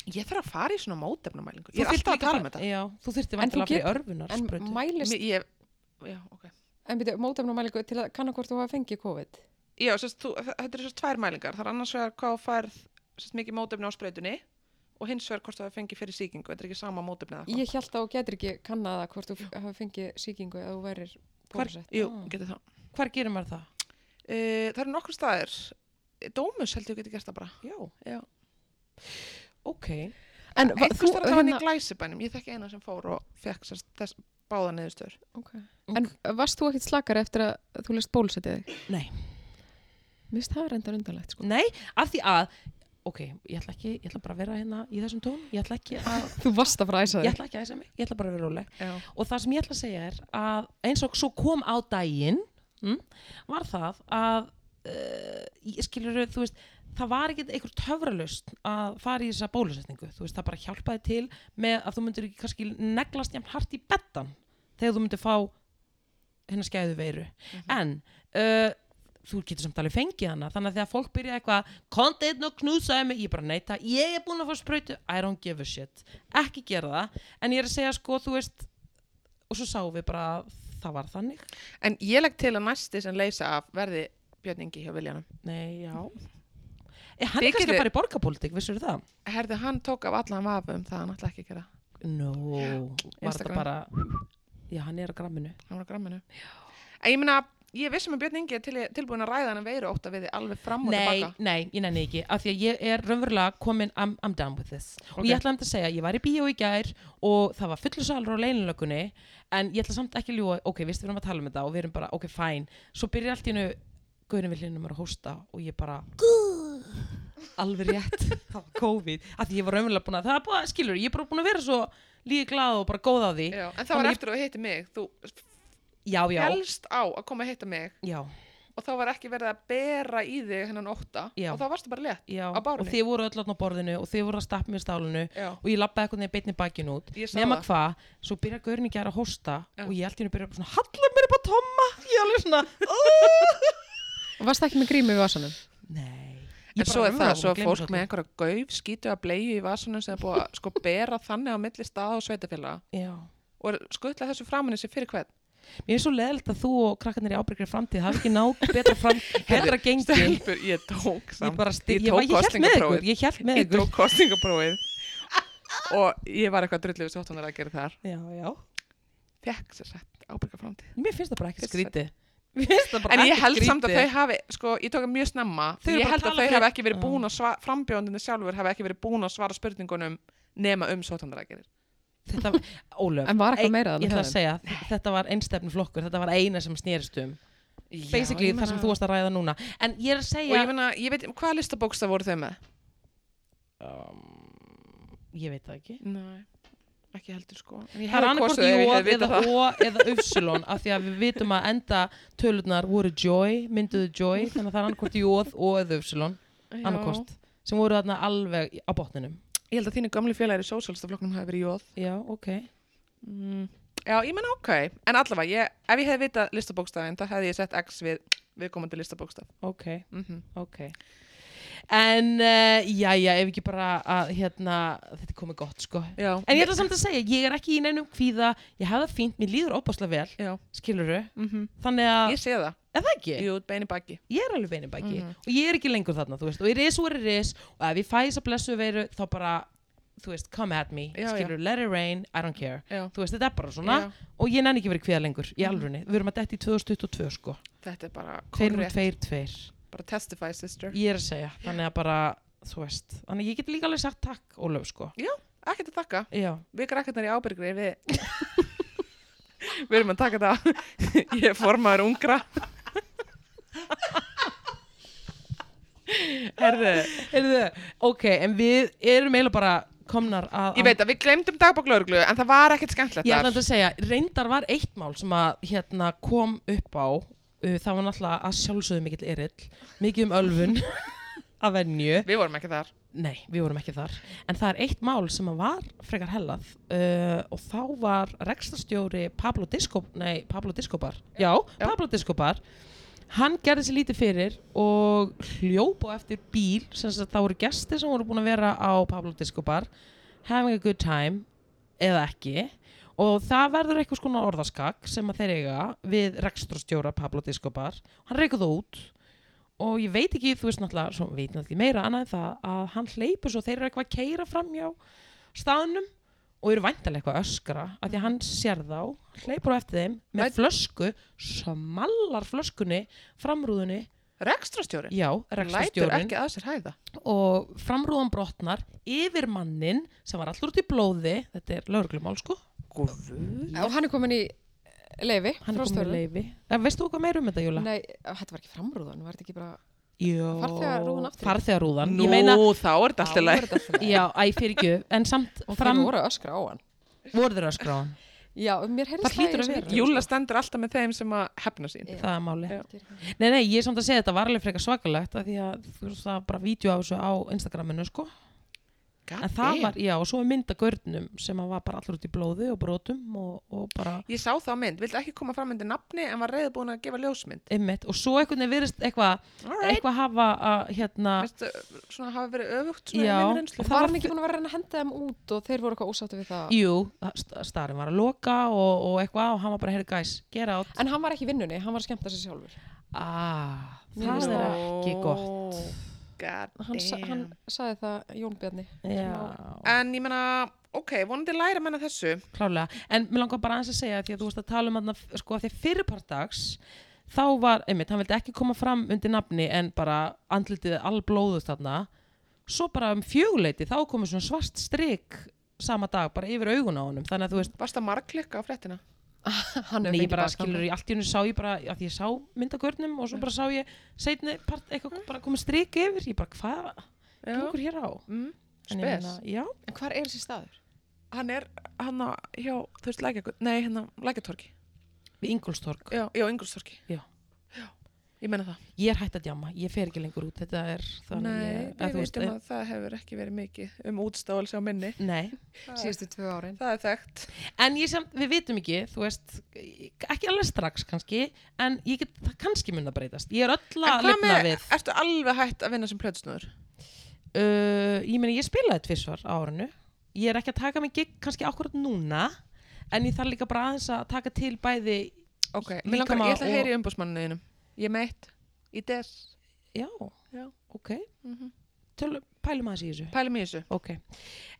Speaker 2: Ég þarf að fara í svona mótefnumælingu
Speaker 1: Þú
Speaker 2: Ég er
Speaker 1: þyrftir
Speaker 2: alltaf
Speaker 1: líka
Speaker 2: að tala um
Speaker 1: bara-
Speaker 2: þetta
Speaker 1: Já, þú þurfti
Speaker 3: En
Speaker 1: vantilega
Speaker 3: þú
Speaker 1: fyrir
Speaker 3: get-
Speaker 1: örfunar
Speaker 3: en mælist,
Speaker 2: Mér- Ég, já, ok
Speaker 3: en byrju, mótefnum mælingu til að kanna hvort þú hafa fengið COVID
Speaker 2: Já, sérst, þú, þ- þetta er sérst tvær mælingar Það er annars vegar hvað þú færð sérst, mikið mótefni á sprautunni og hins vegar hvort það fengi fyrir sýkingu Þetta er ekki sama mótefni eða
Speaker 3: ég held að þú getur ekki kannað það hvort þú hafa fengið sýkingu eða þú værir bólusett
Speaker 2: Jú,
Speaker 1: Ah.
Speaker 2: getur það
Speaker 1: Hvar gerir maður það?
Speaker 2: e, Það eru nokkur staðir Dómus held ég geti gert það bara
Speaker 1: Já,
Speaker 2: Já.
Speaker 1: ok
Speaker 3: en va-
Speaker 2: Einhvers
Speaker 3: þú,
Speaker 2: staðar það var hérna... í glæsibænum Ég þekki eina sem fór og fekk sérst, þess báða neðustur
Speaker 3: okay. en varst þú ekkit slakar eftir að þú leist bólusettið þig?
Speaker 1: Nei.
Speaker 3: Mér finnst það reyndar undanlegt sko.
Speaker 1: Nei, af því að Ok, ég ætla ekki, ég ætla bara að vera hérna í þessum tón Ég ætla ekki að,
Speaker 3: þú varst að fara að æsa
Speaker 1: ég
Speaker 3: þig
Speaker 1: ætla ekki að æsa mig Ég ætla bara að vera róleg
Speaker 2: Já.
Speaker 1: Og það sem ég ætla að segja er að eins og svo kom á daginn mm, Var það að uh, ég Skilur, þú veist Það var ekkert einhver töfralust að fara í þessa bólusetningu Þú veist, það bara hjálpaði til með að þú myndir ekki kannski neglast jafn hart í bettan þegar þú myndir fá hérna skæðu veiru en uh, þú getur samt alveg fengið hana þannig að þegar fólk byrja eitthvað konta einn og knúsaði mig, ég bara neita ég er búin að fá sprautu, I don't give a shit ekki gera það, en ég er að segja sko þú veist, og svo sáum við bara að það var þannig,
Speaker 2: En ég legg til að næsti sem leysa af verði Björn Ingi hjá Viljanum
Speaker 1: nei já e, hann
Speaker 2: Þið
Speaker 1: er kannski
Speaker 2: getið-
Speaker 1: að fara í borgarpólitík, vissur það
Speaker 2: Herði, hann tók af allan vafa um það hann ætla ekki að gera
Speaker 1: no, var
Speaker 2: Instagram.
Speaker 1: þetta bara já, hann er á gramminu
Speaker 2: hann var á gramminu en ég meina, ég vissum að Björn Ingi er til, tilbúin að ræða hann veiru ótt við þið alveg fram og
Speaker 1: Nei,
Speaker 2: tilbaka
Speaker 1: nei, ég nenni ekki af því að ég er raunverulega komin I'm, I'm done with this og ég
Speaker 2: Ok.
Speaker 1: ætla að að segja, ég var í bíó í gær og það var fullur salur á leinilökunni en ég ætla samt ekki að ljúa, ok, veistu við erum að tala um þetta og við erum bara, ok, fæn svo byrjar allt í hennu, gaurin við hlinnum að hósta og ég bara alveg rétt, [LAUGHS] það var COVID af því ég var raunverulega búin að, það er bara, skilur ég er bara búin að vera svo líka glað og bara góð á því
Speaker 2: Já, en það
Speaker 1: Þannig
Speaker 2: var
Speaker 1: ég-
Speaker 2: eftir að þú hitti mig þú
Speaker 1: já, já,
Speaker 2: helst á að koma að hitta mig
Speaker 1: já
Speaker 2: og þá var ekki verið að bera í þig hennan ótta
Speaker 1: Já.
Speaker 2: og þá varstu bara létt
Speaker 1: Já,
Speaker 2: Á bárunni?
Speaker 1: og þið voru öll á borðinu og þið voru að stappa mér stálinu
Speaker 2: Já.
Speaker 1: og ég lappaði eitthvað neður beinni bakinn út
Speaker 2: Ég sá
Speaker 1: nema
Speaker 2: það.
Speaker 1: hvað, svo byrja gaurin í gæra að hósta
Speaker 2: Já.
Speaker 1: og ég held henni að byrja bara svona hallar mér upp á tomma, ég alveg svona "Ó,
Speaker 3: Og varst ekki með grímu í vasanum?
Speaker 1: nei Ég
Speaker 2: en
Speaker 1: bara
Speaker 2: svo er
Speaker 1: umlaði
Speaker 2: það,
Speaker 1: og
Speaker 2: svo er
Speaker 1: gleymdi
Speaker 2: fólk
Speaker 1: þessu
Speaker 2: með einhverja gauf skýtu að bleiðu í vasunum sem er búið að sko bera þannig á milli staða og sveitafélaga
Speaker 1: öllu. Já.
Speaker 2: og er skutla þessu framinni sér fyrir hvern
Speaker 1: Mér er svo leðilt að þú og krakkarnir í ábyrgri framtíð hafi ekki nátt betra,
Speaker 2: [LAUGHS]
Speaker 1: fram, betra gengi Ég,
Speaker 2: Stelpur, ég tók samt
Speaker 1: bara styr,
Speaker 2: Ég
Speaker 1: ég,
Speaker 2: tók
Speaker 1: var- ég held með
Speaker 2: kosningaprófið.
Speaker 1: ykkur Ég held með
Speaker 2: ég
Speaker 1: ykkur
Speaker 2: tók kostingaprófið og ég var eitthvað drullið við 17 ára að gera þar
Speaker 1: já, já.
Speaker 2: fekk sér sett ábyrga framtíð
Speaker 1: Mér finnst það bara ekkert
Speaker 2: Fyrst sætt.
Speaker 1: skríti Mér finnst það bara
Speaker 2: en ég
Speaker 1: ekkert
Speaker 2: held samt að
Speaker 1: skrítið.
Speaker 2: þau hafi, sko, ég tók það mjög snemma
Speaker 1: Þau eru
Speaker 2: ég
Speaker 1: bara að
Speaker 2: held að
Speaker 1: tala
Speaker 2: þau
Speaker 1: fyrir-
Speaker 2: hafi ekki verið
Speaker 1: Já.
Speaker 2: búin að svara frambjóðundinu sjálfur hafi ekki verið búin að svara spurningunum nema um 17 ára að gera
Speaker 1: Þetta var, Ólöf
Speaker 3: En var eitthvað
Speaker 1: ein-
Speaker 3: meira þarna
Speaker 1: Ég ætla að
Speaker 3: þegar?
Speaker 1: segja, þetta var einstefnu flokkur Þetta var eina sem snerist um Basically það sem þú varst að ræða núna En ég er að
Speaker 2: og
Speaker 1: segja
Speaker 2: ég, meina, ég veit, hvaða listabóks það voru þau með?
Speaker 1: Um, Ég veit það ekki
Speaker 2: Nei, ekki heldur sko En ég
Speaker 1: Það er
Speaker 2: hefði
Speaker 1: annarkort
Speaker 2: kosið ef ég
Speaker 1: Jó
Speaker 2: hefði
Speaker 1: eða
Speaker 2: vitað
Speaker 1: Ó
Speaker 2: það.
Speaker 1: eða Upsilon af því að við vitum að enda tölurnar voru Joy, mynduðu Joy þannig að það er annarkort Jó Ó eða Upsilon
Speaker 2: Já.
Speaker 1: annarkort sem voru þarna alveg í- á botninum
Speaker 2: Ég held að þínu gamli félagir í sósjálfstaflokknum hafi verið jóð
Speaker 1: Já, ok
Speaker 2: mm. Já, ég menna ok En allavega, ég, ef ég hefði vitað listabókstafin þá hefði ég sett X við viðkomandi listabókstaf
Speaker 1: Ok,
Speaker 2: mm -hmm.
Speaker 1: ok Mhm. En, uh, já, já, ef ekki bara að, hérna, þetta er komið gott, sko
Speaker 2: Já,
Speaker 1: En ég ætla samt að segja, ég er ekki í neinum kvíða, ég hef það fínt, mér líður óbáslega vel,
Speaker 2: Já.
Speaker 1: skiluru,
Speaker 2: mm -hmm.
Speaker 1: þannig að,
Speaker 2: ég Mhm. sé það
Speaker 1: er það ekki?
Speaker 2: Jú, beini baki
Speaker 1: Ég er alveg beinu baki og ég er ekki lengur þarna, þú veist, og ég ris og er ris og ef ég fæ þess að blessu veiru, þá bara, þú veist, come at me,
Speaker 2: Já, já.
Speaker 1: skiluru, let it rain, I don't care.
Speaker 2: Já.
Speaker 1: Þú veist, þetta er bara svona
Speaker 2: Já. Mhm.
Speaker 1: og ég nenni ekki verið kvíða lengur, í alvörunni, við erum að detti í 2022, sko,
Speaker 2: Þetta er bara korrekt,
Speaker 1: 2-2-2,
Speaker 2: bara testify sister
Speaker 1: ég er að segja, þannig að bara, þú veist, þannig að ég get líka alveg sagt takk, Ólöf, sko.
Speaker 2: Ekkert að þakka,
Speaker 1: Já.
Speaker 2: við krakkarnar í ábyrgri við [LAUGHS] Við erum að taka þetta [LAUGHS] Ég er formaður ungra [LAUGHS] Herðu
Speaker 1: Heyrðu, ok, en við erum eiginlega bara komnar að...
Speaker 2: Ég veit að við glemdum dagbóklauruglu en það var ekkert skemmtilegt
Speaker 1: Ég
Speaker 2: þar.
Speaker 1: ætla að segja, reyndar var eitt mál sem að hérna kom upp á, uh, það var náttúrulega að sjálfsögðu mikill erill, mikið um [LAUGHS] ölfun að venju.
Speaker 2: Við vorum ekki þar.
Speaker 1: Nei, við vorum ekki þar. En það er eitt mál sem að var frekar hellað uh, og þá var rekstastjóri Pablo Discobar, nei, Pablo Discobar, já,
Speaker 2: Já.
Speaker 1: Pablo Discobar, hann gerði sér lítið fyrir og hljóp á eftir bíl, sem sagt það voru gestir sem voru búin að vera á Pablo Discobar, having a good time, eða ekki, og það verður eitthvað skona orðaskak sem að þeir eiga við rekstrastjóra Pablo Discobar, hann reykuð út og ég veit ekki, þú veist náttúrulega, svo veit náttúrulega ekki meira annað en það að hann hleypur svo þeir eru eitthvað að keira framjá staðnum og eru væntalega eitthvað að öskra af því að hann sér þá, hleypur á eftir þeim með
Speaker 2: Veit-
Speaker 1: flösku, smallar flöskunni framrúðunni,
Speaker 2: Rekstrastjórin?
Speaker 1: já,
Speaker 2: Lætur
Speaker 1: rekstastjórinn
Speaker 2: ekki að sér hæða.
Speaker 1: og framrúðan brotnar yfir mannin sem var allur út í blóði þetta er lauruglumál sko
Speaker 2: Guð.
Speaker 3: Og hann er komin í leifi
Speaker 1: hann
Speaker 3: frá
Speaker 1: er komin í
Speaker 3: störfum.
Speaker 1: leifi Eh, veistu þú hvað meira um þetta Júla?
Speaker 3: Nei, þetta var ekki framrúðan, var þetta ekki bara Farþegarúðan
Speaker 1: Jó,
Speaker 3: aftur.
Speaker 1: farþegarúðan
Speaker 2: Nú,
Speaker 1: ég meina,
Speaker 2: þá er þetta alltaf leið.
Speaker 3: leið
Speaker 1: já, æ, fyrir ekki en samt
Speaker 3: Og
Speaker 1: fram
Speaker 3: þeir voru að öskra á hann
Speaker 1: voru þeir að skrá hann
Speaker 3: Já, mér heyrðist
Speaker 1: Það hlýtur að
Speaker 3: í
Speaker 1: vera.
Speaker 3: þessu
Speaker 2: Júla stendur alltaf með þeim sem að hefna sín.
Speaker 3: Já.
Speaker 1: það er máli
Speaker 2: Já.
Speaker 1: nei, nei, ég er samt að segja þetta var alveg frekar svakalegt af því að þú veist það er bara vídeo á þessu á Instagraminu sko en það var, já, og svo er mynd að görnum sem að var bara allur út í blóði og brotum og, og bara
Speaker 2: Ég sá þá mynd, vildi ekki koma fram undir nafni en var reyði búin að gefa ljósmynd.
Speaker 1: Einmitt. og svo einhvern veginn virðist eitthvað
Speaker 2: Alright.
Speaker 1: eitthvað hafa að hérna
Speaker 2: Vistu, svona hafa verið öfugt svona
Speaker 1: Já.
Speaker 2: í minni
Speaker 1: Og
Speaker 2: reynslu.
Speaker 1: það
Speaker 3: Var
Speaker 1: var
Speaker 3: hann ekki búin að vera að reyna að henda þeim út og þeir voru eitthvað ósáttu við það
Speaker 1: jú, st- starinn var að loka og, og eitthvað og hann var bara, heyrðu gæs, get out
Speaker 3: En hann var ekki í vinnunni, hann var að skemmta sér sjálfur
Speaker 1: ah,
Speaker 3: Mér finnst
Speaker 1: það er ekki gott
Speaker 2: God
Speaker 3: Hann, sa
Speaker 2: damn.
Speaker 3: hann sagði það Jón Bjarni
Speaker 1: já,
Speaker 2: En ég menna, ok, vonandi læra menna þessu.
Speaker 1: klálega en mér langar bara aðeins að segja því að þú veist að tala um hann sko að því fyrirpartags þá var, einmitt, hann vildi ekki koma fram undir nafni en bara andlitið allblóðust þarna svo bara um fjöguleiti þá komið svona svart strik sama dag bara yfir augun á honum þannig að þú veist
Speaker 2: Varst það margklikka á fréttina?
Speaker 3: [LAUGHS] Hann hefur
Speaker 1: Nei, ég
Speaker 3: fengið
Speaker 1: bara
Speaker 3: bakfall.
Speaker 1: skilur, í allt í hennu sá ég bara, að ég sá myndagörnum og svo bara sá ég seinni part, eitthvað bara komið strik yfir, ég bara, hvað gengur hér á?
Speaker 2: Mm.
Speaker 1: En ég
Speaker 2: Spes.
Speaker 1: meina, Já,
Speaker 3: En hvar er þessi staður?
Speaker 2: hann er hann á, hjá, þú veist, lækja, nei, hérna, lækjatorki
Speaker 1: við Ingolstorg.
Speaker 2: já, já, Ingolstorki
Speaker 1: Já.
Speaker 2: ég menna það.
Speaker 1: ég er hætt að djama, ég fer ekki lengur út þetta er þannig
Speaker 2: Nei,
Speaker 1: ég,
Speaker 2: við
Speaker 1: þú
Speaker 2: veitum
Speaker 1: eh,
Speaker 2: að það hefur ekki verið mikið um útstáðalsi á minni.
Speaker 1: Nei,
Speaker 3: síðustu tvö árin.
Speaker 2: Það er þekkt.
Speaker 1: en ég samt, við vitum ekki, þú veist, ekki alveg strax kannski, en ég get, það kannski mun að breytast. Ég er öll
Speaker 2: En
Speaker 1: að
Speaker 2: hvað
Speaker 1: lifna
Speaker 2: með,
Speaker 1: við.
Speaker 2: ertu alveg hætt að vinna sem plötsnur?
Speaker 1: Uh, ég meina, ég spilaði tvisvar á árinu. Ég er ekki að taka mig gig kannski akkurat núna, en ég þarf líka bara aðeins að taka til bæði,
Speaker 2: Ok,
Speaker 1: Líkama
Speaker 2: mér langar, ég ætla að
Speaker 1: og-
Speaker 2: heyra í umbúsmanninu þínum. Ég meitt, í des.
Speaker 1: já,
Speaker 2: Já.
Speaker 1: ok,
Speaker 2: Mm -hmm.
Speaker 1: tölum, pælum aðeins í þessu.
Speaker 2: Pælum í þessu.
Speaker 1: Ok,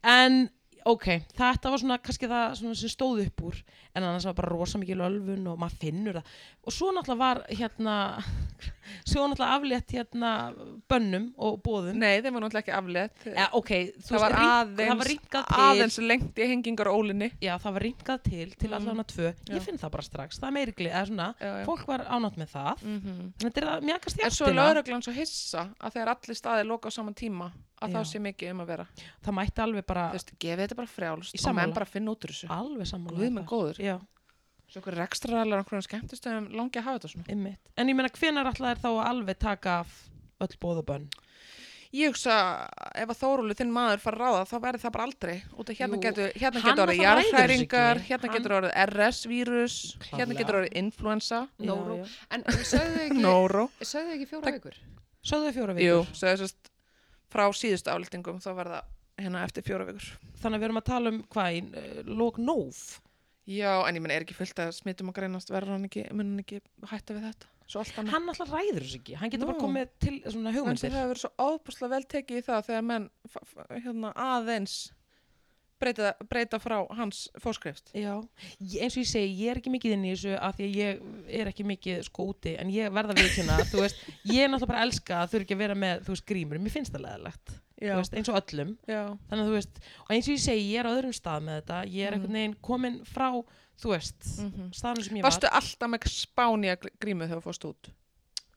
Speaker 1: en ok, þetta var svona kannski það svona sem stóð upp úr en annars var bara rosa mikil ölfun og maður finnur það og svo náttúrulega var hérna [LAUGHS] svo var náttúrulega aflétt hérna bönnum og bóðum
Speaker 2: Nei, þeim var náttúrulega ekki aflegt.
Speaker 1: ja, ok, þú
Speaker 2: það var
Speaker 1: rýmk-
Speaker 2: aðeins,
Speaker 1: það var rýmkað til
Speaker 2: aðeins lengt í hengingar ólinni.
Speaker 1: já, það var rýmkað til til
Speaker 2: Mhm.
Speaker 1: allavega tvö
Speaker 2: Já.
Speaker 1: ég finn það bara strax, það er meiri glið eða svona,
Speaker 2: Já, já.
Speaker 1: fólk var ánátt með það
Speaker 2: Mm -hmm.
Speaker 1: en þetta er að mjögast
Speaker 2: En svo er
Speaker 1: hjartina
Speaker 2: lauruglan svo hissa að þegar allir staðir loka á saman tíma að
Speaker 1: Já.
Speaker 2: þá sé mikið um að vera.
Speaker 1: það mætti alveg bara
Speaker 2: Þú veist, gefið þetta bara
Speaker 1: Ég
Speaker 2: frjálst og
Speaker 1: sammála.
Speaker 2: menn bara finna út úr þessu.
Speaker 1: alveg sammála
Speaker 2: Guð
Speaker 1: við
Speaker 2: minn
Speaker 1: það.
Speaker 2: góður.
Speaker 1: já,
Speaker 2: Svo okkur rekstraræðlar okkur skemmtistöðum langi að hafa þetta svona.
Speaker 1: einmitt en ég meina, hvenar alltaf er þá að alveg taka af öll bóð og bönn
Speaker 2: Ég hugsa ef að Þórólu þinn maður fara að ráða þá verður það bara aldrei út af hérna
Speaker 1: Jú,
Speaker 2: getur hérna
Speaker 1: hann
Speaker 2: getur orðið
Speaker 1: náttúrulega ræður þessu
Speaker 2: jarðhræringar,
Speaker 1: ekki.
Speaker 2: hérna
Speaker 1: Hann-
Speaker 2: getur orðið RS-vírus, hérna
Speaker 1: Klárlega.
Speaker 2: getur orðið influenza,
Speaker 1: Já,
Speaker 3: Nóró.
Speaker 1: já.
Speaker 3: En sögðu ekki,
Speaker 2: nóró.
Speaker 3: sögðu ekki fjóra
Speaker 2: Takk.
Speaker 3: vikur?
Speaker 1: Sögðu fjóra
Speaker 2: Jú,
Speaker 1: vikur.
Speaker 2: svo þessast frá síðustu aflýtingum þá verða hérna eftir fjóra vikur.
Speaker 1: Þannig að við erum að tala um hvað í uh, lók nóf.
Speaker 2: Já, en ég menn er ekki fullt að smitum að greinast verður hann ekki, mun hann ekki hætta við þetta. Svo allt annað.
Speaker 1: Hann alltaf ræður þessu ekki. Hann getur
Speaker 2: Nú.
Speaker 1: bara komið til eh, svona
Speaker 2: Þannig að
Speaker 1: hugmyndir.
Speaker 2: það hefur verið svo óbúslega vel tekið í það þegar menn fa- fa- hérna, aðeins breyta, breyta frá hans fórskrift.
Speaker 1: Já, ég, eins og ég segi, ég er ekki mikið inn í þessu af því að ég er ekki mikið sko úti en ég verða við kynna, þú veist, ég er náttúrulega bara að elska að þurfa ekki að vera með, þú veist, grímur, mér finnst það leðilegt, þú veist, eins og öllum,
Speaker 2: já.
Speaker 1: þannig að þú veist, og eins og ég segi, ég er á öðrum stað með þetta, ég er einhvern veginn komin frá, þú veist, mm
Speaker 2: Mhm.
Speaker 1: staðnum sem ég
Speaker 2: Varstu alltaf með spáni að grímu þegar þú fórst út?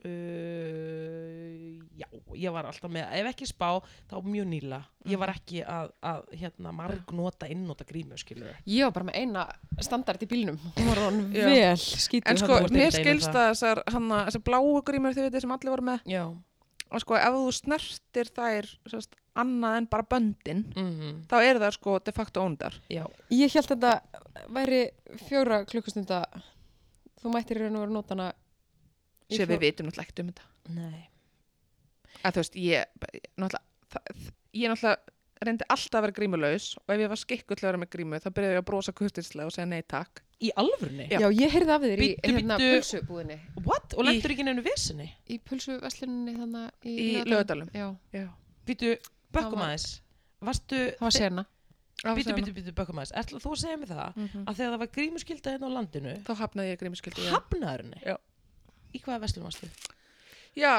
Speaker 1: var, uh, já, ég var alltaf með, ef ekki spá, þá mjög nýla, ég var ekki að, að hérna, margnota, innota grímu, skilur
Speaker 3: Ég var bara með eina standard í bílnum. Hún var hann
Speaker 2: Já.
Speaker 3: vel skítið.
Speaker 2: En
Speaker 1: þarna
Speaker 2: sko,
Speaker 1: voru þetta
Speaker 2: mér
Speaker 1: ekki deilur
Speaker 2: skilst að þessar, hana, þessar bláu grímur þau veitir sem allir voru með
Speaker 1: Já,
Speaker 2: og sko, ef þú snertir þær sérst, annað en bara böndin
Speaker 1: mhm,
Speaker 2: þá eru það sko de facto óndar
Speaker 1: já.
Speaker 3: Ég held að þetta væri fjóra klukkustunda. Þú mættir í raun og vera nótana.
Speaker 2: sem við vitum náttúrulega ekkert um þetta
Speaker 1: Nei.
Speaker 2: að þú veist, ég náttúrulega, það, ég náttúrulega reyndi alltaf að vera grímulaus og ef ég var skikkull að vera með grímu þá byrjaði ég að brosa kurtislega og segja nei takk
Speaker 1: Í alvörni?
Speaker 3: Já, ég heyrði af þér í
Speaker 1: Bíddu,
Speaker 3: hérna,
Speaker 1: bíddu.
Speaker 3: pulsubúðinni.
Speaker 1: What? Og lendur ekki nefnir vesinni?
Speaker 3: Í pulsuvesluninni þannig í,
Speaker 2: Í
Speaker 3: Laugardal-
Speaker 2: Laugardalnum.
Speaker 3: Já,
Speaker 2: Já,
Speaker 1: Býtu, bökkum
Speaker 3: Það var-
Speaker 1: aðeins. Varstu...
Speaker 3: það var sena.
Speaker 1: Býtu, býtu, býtu, bökkum aðeins. Ætla þú að segja mig það að þegar það var grímuskylda hérna á landinu,
Speaker 2: Þá hafnaði ég grímuskyldu já.
Speaker 1: hafnaður henni?
Speaker 2: Já.
Speaker 1: Í hvaða vestlum varstu?
Speaker 2: já,